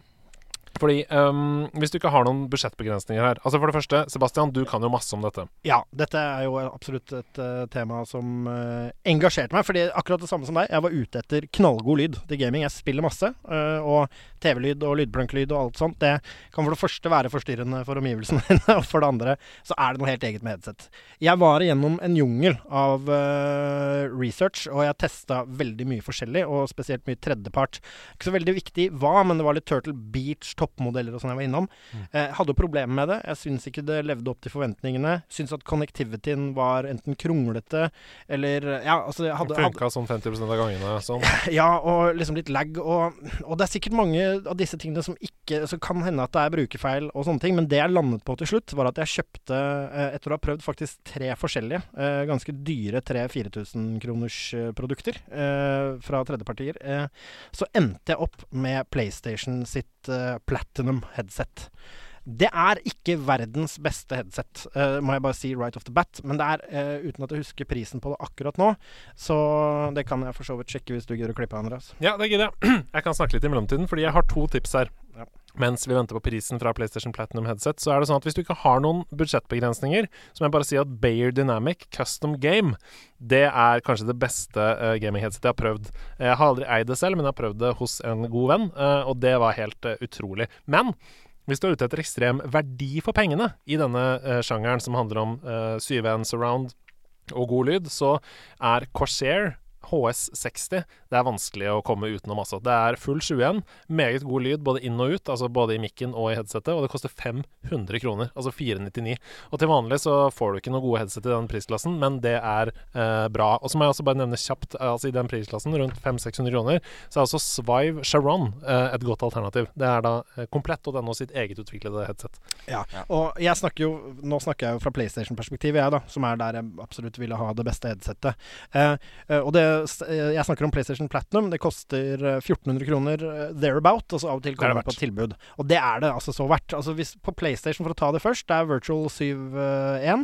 Speaker 4: Fordi ehm, hvis du ikke har noen budsjettbegrensninger her Altså For det første, Sebastian, du kan jo masse om dette.
Speaker 3: Ja, dette er jo absolutt et eh, tema som eh, engasjerte meg. Fordi akkurat det samme som deg, jeg var ute etter knallgod lyd til gaming. Jeg spiller masse. eh, og TV-lyd og lydplanklyd og alt sånt. Det kan for det første være forstyrrende for omgivelsene (laughs) dine, og for det andre så er det noe helt eget med headset. Jeg var igjennom en jungel av eh, research, og jeg testa veldig mye forskjellig, og spesielt mye tredjepart. Ikke så veldig viktig hva, men det var litt Turtle Beach, toppmodeller og sånn jeg var innom. Eh, hadde jo problemer med det. Jeg syns ikke det levde opp til forventningene. Syns at connectivityen var enten kronglete eller Ja, altså jeg hadde, hadde
Speaker 4: Funka sånn 50 av gangene. Sånn.
Speaker 3: (clears throat) ja, og liksom litt lag, og, og det er sikkert mange av disse tingene som ikke Så kan hende at det er brukerfeil og sånne ting, men det jeg landet på til slutt, var at jeg kjøpte, eh, etter å ha prøvd faktisk tre forskjellige, eh, ganske dyre 3000-4000 kroners eh, produkter eh, fra tredjepartier, eh, så endte jeg opp med PlayStation sitt eh, Platinum headset. Det er ikke verdens beste headset, eh, må jeg bare si right off the bat. Men det er, eh, uten at jeg husker prisen på det akkurat nå, så det kan jeg for så vidt sjekke hvis du gidder å klippe, Andreas.
Speaker 4: Ja, det (clears throat) gidder jeg. Jeg kan snakke litt i mellomtiden, fordi jeg har to tips her.
Speaker 3: Ja.
Speaker 4: Mens vi venter på prisen fra PlayStation Platinum headset, så er det sånn at hvis du ikke har noen budsjettbegrensninger, så må jeg bare si at Bayer Dynamic Custom Game, det er kanskje det beste eh, gaming-headsetet jeg har prøvd. Jeg har aldri eid det selv, men jeg har prøvd det hos en god venn, eh, og det var helt eh, utrolig. Men hvis du er ute etter ekstrem verdi for pengene i denne eh, sjangeren som handler om uh, syven surround og god lyd, så er Corsair HS60 Det er vanskelig å komme utenom, altså. Det er full 21, meget god lyd både inn og ut, altså både i mikken og i headsetet, og det koster 500 kroner, altså 499. Og til vanlig så får du ikke noe gode headset i den prisklassen, men det er eh, bra. Og så må jeg også bare nevne kjapt, eh, altså i den prisklassen, rundt 500-600 kroner, så er altså Svive Charon eh, et godt alternativ. Det er da eh, komplett og denne og sitt eget utviklede headset.
Speaker 3: Ja. Og jeg snakker jo, nå snakker jeg jo fra PlayStation-perspektivet, jeg, da, som er der jeg absolutt ville ha det beste headsetet. Eh, eh, og det, s- eh, jeg snakker om PlayStation Platinum. Det koster eh, 1400 kroner eh, thereabout, og så av og til
Speaker 4: Det er
Speaker 3: kommer
Speaker 4: det
Speaker 3: det på tilbud. Og det er det altså så verdt. Altså hvis, på PlayStation, for å ta det først, det er Virtual 7.1 eh,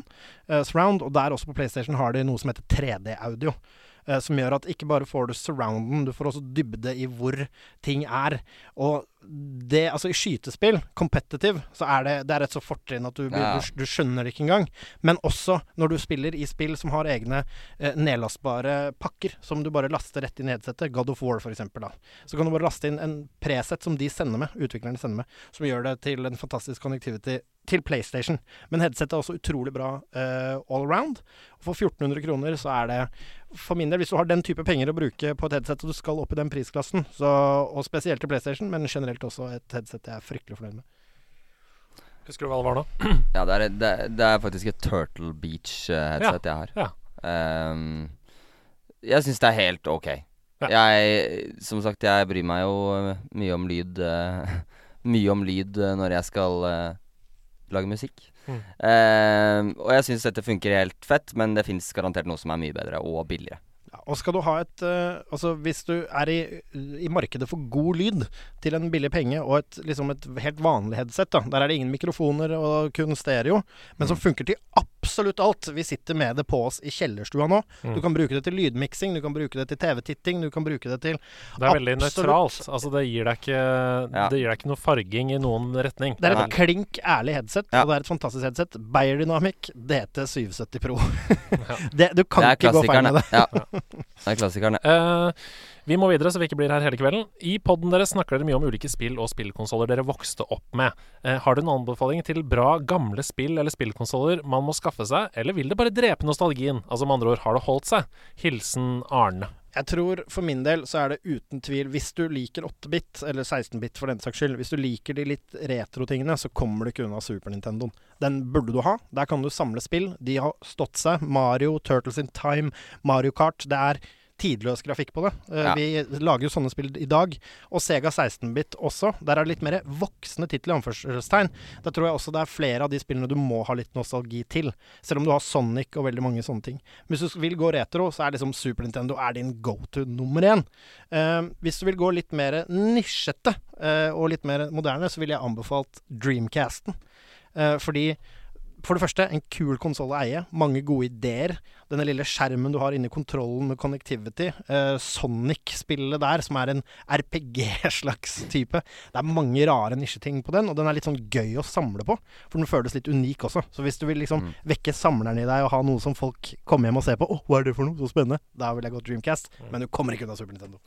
Speaker 3: surround, og der også på PlayStation har de noe som heter 3D-audio. eh, Som gjør at ikke bare får du surrounden, du får også dybde i hvor ting er. Og det, altså i skytespill, competitive, så er det, det er et så fortrinn at du, blir,
Speaker 5: Ja.
Speaker 3: du, du skjønner det ikke engang. Men også når du spiller i spill som har egne eh, nedlastbare pakker, som du bare laster rett inn i headsetet. God of War, for eksempel, da. Så kan du bare laste inn en preset som de sender med, utviklerne sender med, som gjør det til en fantastisk connectivity til PlayStation. Men headsetet er også utrolig bra eh, all around. Og for 1400 kroner så er det for min del, hvis du har den type penger å bruke på et headset, og du skal opp i den prisklassen, så, og spesielt til PlayStation, men generelt også et headset jeg er fryktelig fornøyd med.
Speaker 4: Husker du hva det var nå?
Speaker 5: Ja, det er, det, er- det er faktisk et Turtle Beach-headset jeg har.
Speaker 4: ja.
Speaker 5: Ehm, jeg syns det er helt ok.
Speaker 4: Ja.
Speaker 5: Jeg, som sagt, jeg bryr meg jo eh, mye om lyd eh, (laughs) Mye om lyd eh, når jeg skal eh, lage musikk.
Speaker 4: Mm.
Speaker 5: Ehm, og jeg syns dette funker helt fett, men det fins garantert noe som er mye bedre og billigere.
Speaker 3: Ja, og skal du ha et eh, Altså, hvis du er i, i markedet for god lyd til en billig penge, og et, liksom et helt vanlig headset, da, der er det ingen mikrofoner og kun stereo, men som funker til absolutt alt Vi sitter med det på oss i kjellerstua nå. Du kan bruke det til lydmiksing, du kan bruke det til TV-titting, du kan bruke det til
Speaker 4: Det er veldig
Speaker 3: Absolutt.
Speaker 4: nøytralt. Altså, det gir deg ikke,
Speaker 5: Ja.
Speaker 4: det gir deg ikke noe farging i noen retning.
Speaker 3: Det er
Speaker 5: Nei.
Speaker 3: et klink ærlig headset,
Speaker 5: Ja.
Speaker 3: og det er et fantastisk headset. Beyer Dynamic DT 770 Pro. det, du kan
Speaker 5: Det er
Speaker 3: ikke gå feil
Speaker 5: klassikeren,
Speaker 3: med
Speaker 5: det.
Speaker 3: det.
Speaker 4: (laughs)
Speaker 5: Ja. Det er klassikeren, det.
Speaker 4: Eh, vi må videre, så vi ikke blir her hele kvelden. I podden deres snakker dere mye om ulike spill og spillkonsoller dere vokste opp med. Eh, har du en anbefaling til bra gamle spill eller spillkonsoller man må skaffe seg, eller vil det bare drepe nostalgien? Altså med andre ord, har det holdt seg? Hilsen Arne.
Speaker 3: Jeg tror for min del så er det uten tvil Hvis du liker 8-bit, eller 16-bit for den saks skyld, hvis du liker de litt retro-tingene, så kommer du ikke unna Super Nintendoen. Den burde du ha. Der kan du samle spill. De har stått seg. Mario, Turtles in Time, Mario Kart. Det er tidløs grafikk på det. Eh,
Speaker 5: Ja.
Speaker 3: Vi lager jo sånne spill i dag. Og Sega 16-bit også. Der er det litt mer voksne titler i anførselstegn. Da tror jeg også det er flere av de spillene du må ha litt nostalgi til. Selv om du har Sonic og veldig mange sånne ting. Men Hvis du vil gå retro, så er liksom Super Nintendo er din go-to nummer én. Eh, hvis du vil gå litt mer nisjete eh, og litt mer moderne, så ville jeg anbefalt Dreamcasten. Eh, fordi For det første, en kul konsoll å eie. Mange gode ideer. Denne lille skjermen du har inni kontrollen med connectivity. eh, Sonic-spillet der, som er en RPG-slags type. Det er mange rare nisjeting på den, og den er litt sånn gøy å samle på. For den føles litt unik også. Så hvis du vil liksom vekke samleren i deg og ha noe som folk kommer hjem og ser på Å, hva er det for noe? Så spennende. Da vil jeg gått Dreamcast. Men du kommer ikke unna Super Nintendo.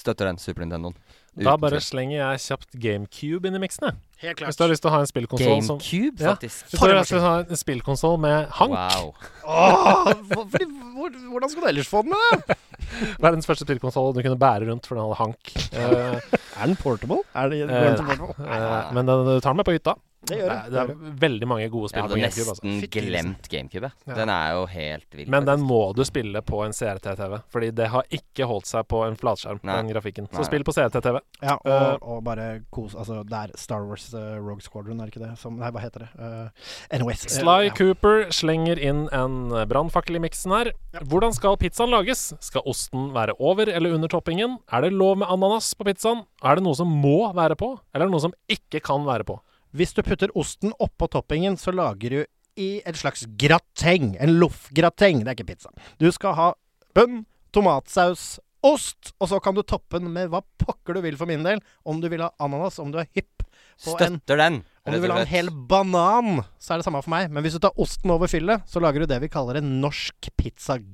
Speaker 5: Støtter den Super Nintendoen.
Speaker 4: Da
Speaker 5: Uten
Speaker 4: bare
Speaker 5: tvil.
Speaker 4: slenger jeg kjapt GameCube inn i miksen, jeg.
Speaker 3: Helt
Speaker 4: Hvis du har lyst til å ha en spillkonsoll som
Speaker 5: GameCube,
Speaker 4: Ja.
Speaker 5: faktisk.
Speaker 4: Hvis du har lyst til å ha en spillkonsoll med hank,
Speaker 5: Wow.
Speaker 3: Åh, hvor- fordi, hvor, hvordan skulle du ellers få den med det?
Speaker 4: (laughs) verdens første spillkonsoll du kunne bære rundt for den hadde hank. Eh,
Speaker 5: (laughs)
Speaker 3: Er den portable? Er det,
Speaker 4: Eh,
Speaker 3: går den til portable?
Speaker 4: eh, men den, du tar den med på hytta.
Speaker 3: (laughs) Det
Speaker 4: Det
Speaker 3: gjør
Speaker 4: er,
Speaker 3: den.
Speaker 4: det er veldig mange gode
Speaker 5: Jeg
Speaker 4: spill
Speaker 5: hadde
Speaker 4: på GameCube. Altså.
Speaker 5: nesten
Speaker 3: Fytti grisen.
Speaker 5: glemt GameCube. jeg.
Speaker 4: Ja.
Speaker 5: Den er jo helt vill.
Speaker 4: Men den må du spille på en CRT-TV, fordi det har ikke holdt seg på en flatskjerm.
Speaker 5: Nei.
Speaker 4: Den grafikken
Speaker 5: Nei.
Speaker 4: Så spill på CRT-TV.
Speaker 3: Ja, og, og bare kos Altså, det er Star Wars eh, Rogue Squadron, er det ikke det? Som, nei, hva heter det? Eh, anyways. eh,
Speaker 4: Sly
Speaker 3: ja.
Speaker 4: Cooper slenger inn en brannfakkel i miksen her. Hvordan skal pizzaen lages? Skal osten være over eller under toppingen? Er det lov med ananas på pizzaen? Er det noe som må være på, eller er det noe som ikke kan være på?
Speaker 3: Hvis du putter osten oppå toppingen, så lager du i et slags grateng. En loffgrateng. Det er ikke pizza. Du skal ha bønn, tomatsaus, ost, og så kan du toppe den med hva pokker du vil for min del. Om du vil ha ananas, om du er hypp på en
Speaker 5: Støtter den!
Speaker 3: Om du
Speaker 5: rett og
Speaker 3: vil ha en
Speaker 5: slett.
Speaker 3: hel banan, så er det samme for meg. Men hvis du tar osten over fyllet, så lager du det vi kaller en norsk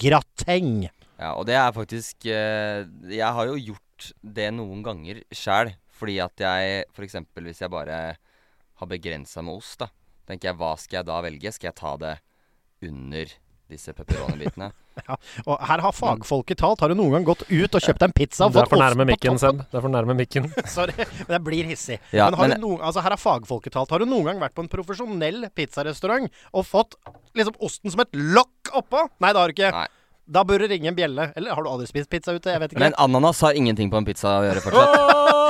Speaker 3: pizzagrateng.
Speaker 5: Ja, og det er faktisk eh, Jeg har jo gjort det noen ganger sjæl. Fordi at jeg f.eks. hvis jeg bare har begrensa med ost, da, tenker jeg hva skal jeg da velge? Skal jeg ta det under disse
Speaker 3: (laughs)
Speaker 5: pepperoni-bitene?
Speaker 3: Og her har fagfolket talt. Har du noen gang gått ut og kjøpt deg en pizza og
Speaker 4: Du er
Speaker 3: fått
Speaker 4: for
Speaker 3: ost
Speaker 4: nærme
Speaker 3: på
Speaker 4: mikken,
Speaker 3: toppen?
Speaker 4: Seb. Det er for nærme mikken.
Speaker 3: Sorry, men jeg blir hissig.
Speaker 5: Ja,
Speaker 3: men har
Speaker 5: men-
Speaker 3: du noen, altså her har fagfolket talt. Har du noen gang vært på en profesjonell pizzarestaurant og fått liksom osten som et lokk oppå? Nei, det har du ikke.
Speaker 5: Nei.
Speaker 3: Da bør det ringe en bjelle. Eller har du aldri spist pizza ute? Jeg vet ikke.
Speaker 5: Men ananas har ingenting på en pizza å gjøre fortsatt.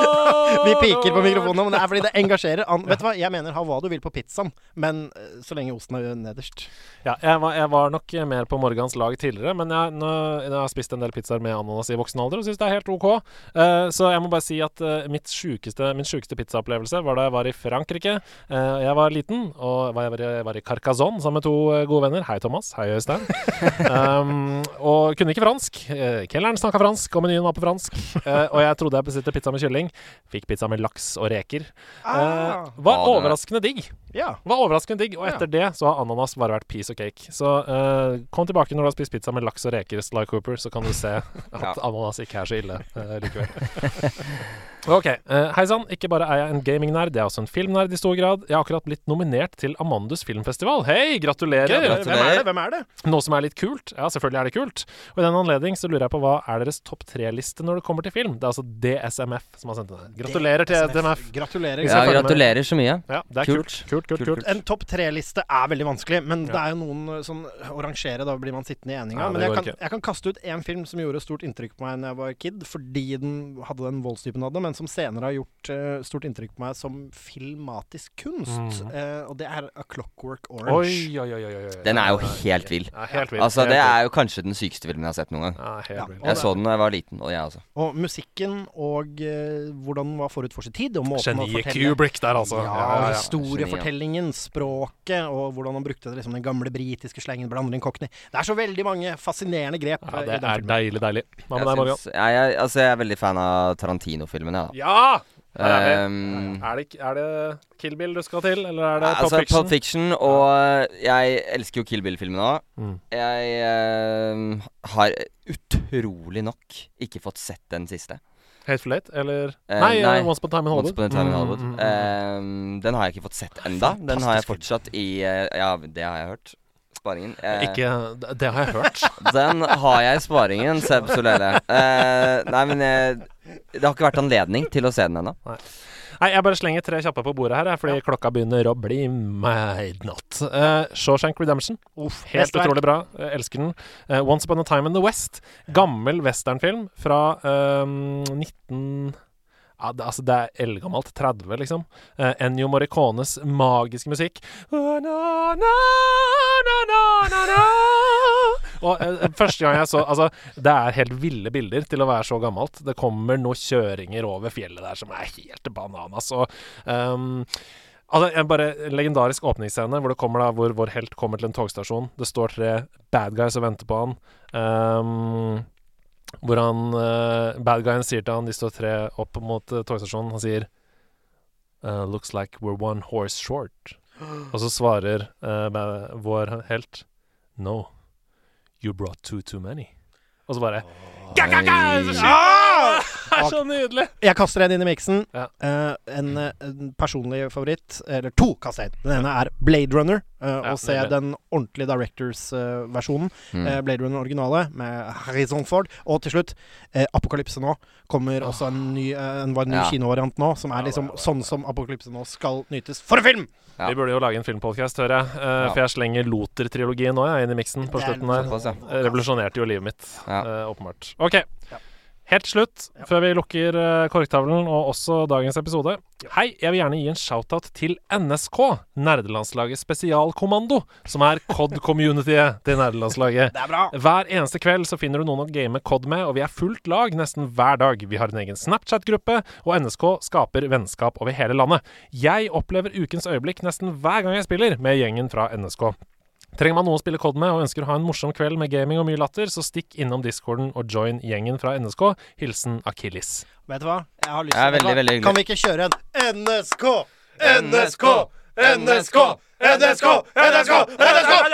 Speaker 3: (laughs) Vi piker på mikrofonene, men det er fordi det engasjerer.
Speaker 5: (laughs)
Speaker 3: An Vet du hva, jeg mener ha hva du vil på pizzaen, men eh, så lenge osten er nederst.
Speaker 4: Ja, jeg var, jeg var nok mer på Morgans lag tidligere, men jeg, nå, jeg har spist en del pizzaer med ananas i voksen alder og syns det er helt OK. Eh, så jeg må bare si at eh, mitt sjukeste, min sjukeste pizzaopplevelse var da jeg var i Frankrike. Eh, jeg var liten, og var, jeg var, i- var i Carcassonne sammen med to eh, gode venner. Hei, Thomas. Hei, Øystein. um, og kunne ikke fransk. Uh, kelneren snakka fransk, og menyen var på fransk. Eh, og jeg trodde jeg bestilte pizza med kylling. Fikk pizza med laks og reker. Eh,
Speaker 5: Ah,
Speaker 4: var
Speaker 5: det er-
Speaker 4: overraskende digg.
Speaker 3: Ja.
Speaker 4: Det var overraskende digg, og etter det så har ananas bare vært piece og cake. Så eh, kom tilbake når du har spist pizza med laks og reker, Sly Cooper, så kan du se at
Speaker 5: Ja.
Speaker 4: ananas ikke er så ille eh, likevel. Ok. Uh, Hei sann, ikke bare er jeg en gamingnerd, jeg er også en filmnerd i stor grad. Jeg har akkurat blitt nominert til Amandus filmfestival. Hei, gratulerer!
Speaker 5: Gratulerer.
Speaker 3: Hvem er det? Hvem er det?
Speaker 4: Noe som er litt kult. Ja, selvfølgelig er det kult. Og i den anledning så lurer jeg på hva er deres topp tre-liste når det kommer til film? Det er altså DSMF som har sendt den. her. Gratulerer til DSMF.
Speaker 5: Ja,
Speaker 3: Gratulerer.
Speaker 4: jeg følger med.
Speaker 5: gratulerer så mye.
Speaker 4: Ja, det er kult. Kult, kult, kult.
Speaker 3: En topp tre-liste er veldig vanskelig, men det er jo noen eh, sånn å rangere, da blir man sittende i eninga.
Speaker 4: Ja, det
Speaker 3: men jeg
Speaker 4: går
Speaker 3: kan,
Speaker 4: ikke.
Speaker 3: jeg kan kaste ut én film som gjorde stort inntrykk på meg da jeg var kid, fordi den hadde den voldstypen den hadde, men som senere har gjort eh, stort inntrykk på meg som filmatisk kunst. eh, og det er A Clockwork
Speaker 4: Mhm. Oi,
Speaker 3: Orange.
Speaker 4: oi, oi, oi, oi. oi.
Speaker 5: Den er jo helt vill.
Speaker 4: Ja, helt vild.
Speaker 5: Altså,
Speaker 4: helt
Speaker 5: det
Speaker 4: vild.
Speaker 5: er jo kanskje den sykeste filmen jeg har sett noen gang.
Speaker 4: Ja, helt
Speaker 3: Ja.
Speaker 4: vild.
Speaker 5: Jeg så den da jeg var liten, og jeg også.
Speaker 3: Og musikken og eh, hvordan den var forut for sin tid, og måten å
Speaker 4: Geniet
Speaker 3: fortelle
Speaker 4: Kubrick der, altså.
Speaker 3: Ja,
Speaker 4: Ja, ja, ja.
Speaker 3: historiefortellingen, språket og hvordan han brukte det, liksom, den gamle britiske slengen, blander inn cockney. Det er så veldig mange fascinerende grep.
Speaker 4: Ja,
Speaker 3: eh,
Speaker 4: det
Speaker 3: i den
Speaker 4: er
Speaker 3: filmen.
Speaker 4: deilig, deilig. Hva med
Speaker 5: Jeg
Speaker 4: deg, Morgan?
Speaker 5: syns- ja, jeg, altså, jeg er veldig fan av Tarantino-filmene, ja.
Speaker 4: Ja! Der er vi.
Speaker 5: Ehm,
Speaker 4: Er det, ikke- er det Kill Bill du skal til, eller er det
Speaker 5: Ja,
Speaker 4: Pop
Speaker 5: altså,
Speaker 4: Fiction?
Speaker 5: Pulp Fiction, og eh, jeg elsker jo Kill Bill-filmen òg.
Speaker 4: Mm.
Speaker 5: Jeg eh, har utrolig nok ikke fått sett den siste.
Speaker 4: Hateful Eight, eller
Speaker 5: Eh,
Speaker 4: nei,
Speaker 5: nei.
Speaker 4: Once Upon a Time in
Speaker 5: Once
Speaker 4: Hollywood.
Speaker 5: upon a time in
Speaker 4: Mm,
Speaker 5: Hollywood.
Speaker 4: mm, mm, mm.
Speaker 5: Eh, den har jeg ikke fått sett enda. Den har jeg fortsatt i eh, Ja, det har jeg hørt. Sparingen. Eh,
Speaker 4: Ikke det- Det har jeg
Speaker 5: (laughs)
Speaker 4: hørt.
Speaker 5: Den har jeg i sparingen, Seb Solele. Eh, nei, men jeg, det har ikke vært anledning til å se den ennå.
Speaker 4: Nei, jeg bare slenger tre kjappe på bordet her, jeg, fordi klokka begynner å bli midnatt. Uh, Shawshank Redemption. Helt
Speaker 3: mesterverk.
Speaker 4: utrolig bra. Jeg elsker den. Eh, Once Upon a Time in the West. Gammel westernfilm fra ehm, 19... Ja, det, altså, det er eldgammelt. 30, liksom. Eh, Ennio Morricones magiske musikk. Na, na, na, na, na, na. Og eh, første gang jeg så Altså, det er helt ville bilder til å være så gammelt. Det kommer noen kjøringer over fjellet der som er helt bananas. Og ehm, Altså, jeg bare Legendarisk åpningsscene hvor det kommer da Hvor vår helt kommer til en togstasjon. Det står tre bad guys og venter på han. Ehm, hvor han eh, Bad guyen sier til han De står tre opp mot eh, togstasjonen. Han sier eh, Looks like we're one horse short. Og så svarer eh, ba- vår helt No, you brought two too many. Og så bare Ga, ga, ga! Så skyter han! (laughs) Det er så nydelig!
Speaker 3: Jeg kaster den inn i miksen.
Speaker 4: Ja.
Speaker 3: Eh, en, eh, en personlig favoritt, eller to kaster jeg inn. Den ene er Blade Runner. eh,
Speaker 4: Ja,
Speaker 3: og se
Speaker 4: nydelig.
Speaker 3: den ordentlige Directors-versjonen.
Speaker 5: Mm.
Speaker 4: Eh,
Speaker 3: eh, Blade Runner originale med Harrison Ford. Og til slutt, eh, Apokalypse nå. Kommer også en ny, eh, en, var en ny
Speaker 5: Ja.
Speaker 3: kinovariant nå, som er liksom sånn som Apokalypse nå skal nytes for en film!
Speaker 5: Ja.
Speaker 4: Vi burde jo lage en filmpodkast, hører jeg. Eh, For jeg slenger Loter-trilogien nå jeg, inn i miksen på
Speaker 3: Det er
Speaker 4: slutten der.
Speaker 5: Såpass, ja.
Speaker 4: Eh, Revolusjonerte jo livet mitt,
Speaker 5: Ja.
Speaker 4: eh, åpenbart. OK. Helt slutt, før vi lukker eh, korktavlen og også dagens episode. Hei, jeg vil gjerne gi en shoutout til NSK, Nerdelandslaget spesialkommando, som er
Speaker 3: (laughs)
Speaker 4: COD-communityet til nerdelandslaget.
Speaker 3: Det er bra!
Speaker 4: Hver eneste kveld så finner du noen å game COD med, og vi er fullt lag nesten hver dag. Vi har en egen Snapchat-gruppe, og NSK skaper vennskap over hele landet. Jeg opplever ukens øyeblikk nesten hver gang jeg spiller med gjengen fra NSK. Trenger man noe å spille COD med og ønsker å ha en morsom kveld med gaming og mye latter, så stikk innom discorden og join gjengen fra NSK. Hilsen Akilles.
Speaker 3: Vet du hva? Jeg har lyst
Speaker 5: Det er
Speaker 3: vet
Speaker 5: veldig,
Speaker 3: du hva?
Speaker 5: veldig hyggelig.
Speaker 3: Kan vi ikke kjøre en NSK? NSK! NSK! NSK! NSK! NSK!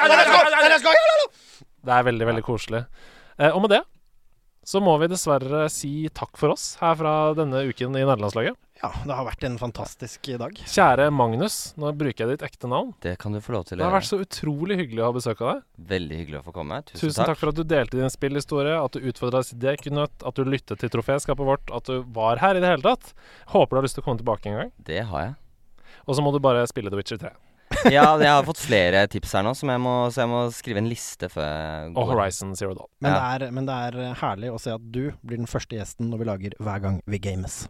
Speaker 3: NSK! NSK!
Speaker 4: Det er veldig, veldig koselig. Eh, og med det så må vi dessverre si takk for oss her fra denne uken i nederlandslaget.
Speaker 3: Ja, det har vært en fantastisk dag.
Speaker 4: Kjære Magnus, nå bruker jeg ditt ekte navn.
Speaker 5: Det kan du få lov til
Speaker 4: Det
Speaker 5: å
Speaker 4: har vært
Speaker 5: gjøre.
Speaker 4: så utrolig hyggelig å ha besøk av deg.
Speaker 5: Veldig hyggelig å få komme. Tusen,
Speaker 4: Tusen takk for at du delte din spillhistorie, at du utfordra Sideknut, at du lyttet til troféskapet vårt, at du var her i det hele tatt. Håper du har lyst til å komme tilbake en gang.
Speaker 5: Det har jeg.
Speaker 4: Og så må du bare spille The Witcher 3.
Speaker 5: Ja, jeg har fått flere tips her nå, som jeg må, så jeg må skrive en liste før jeg
Speaker 4: Og
Speaker 5: går.
Speaker 4: Horizon Zero Dawn.
Speaker 5: Ja.
Speaker 3: Men, det er, men det er herlig å se at du blir den første gjesten når vi lager Hver gang vi games.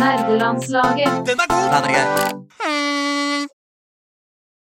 Speaker 9: Nerdelandslaget.
Speaker 2: Den er god!
Speaker 1: Den er grei.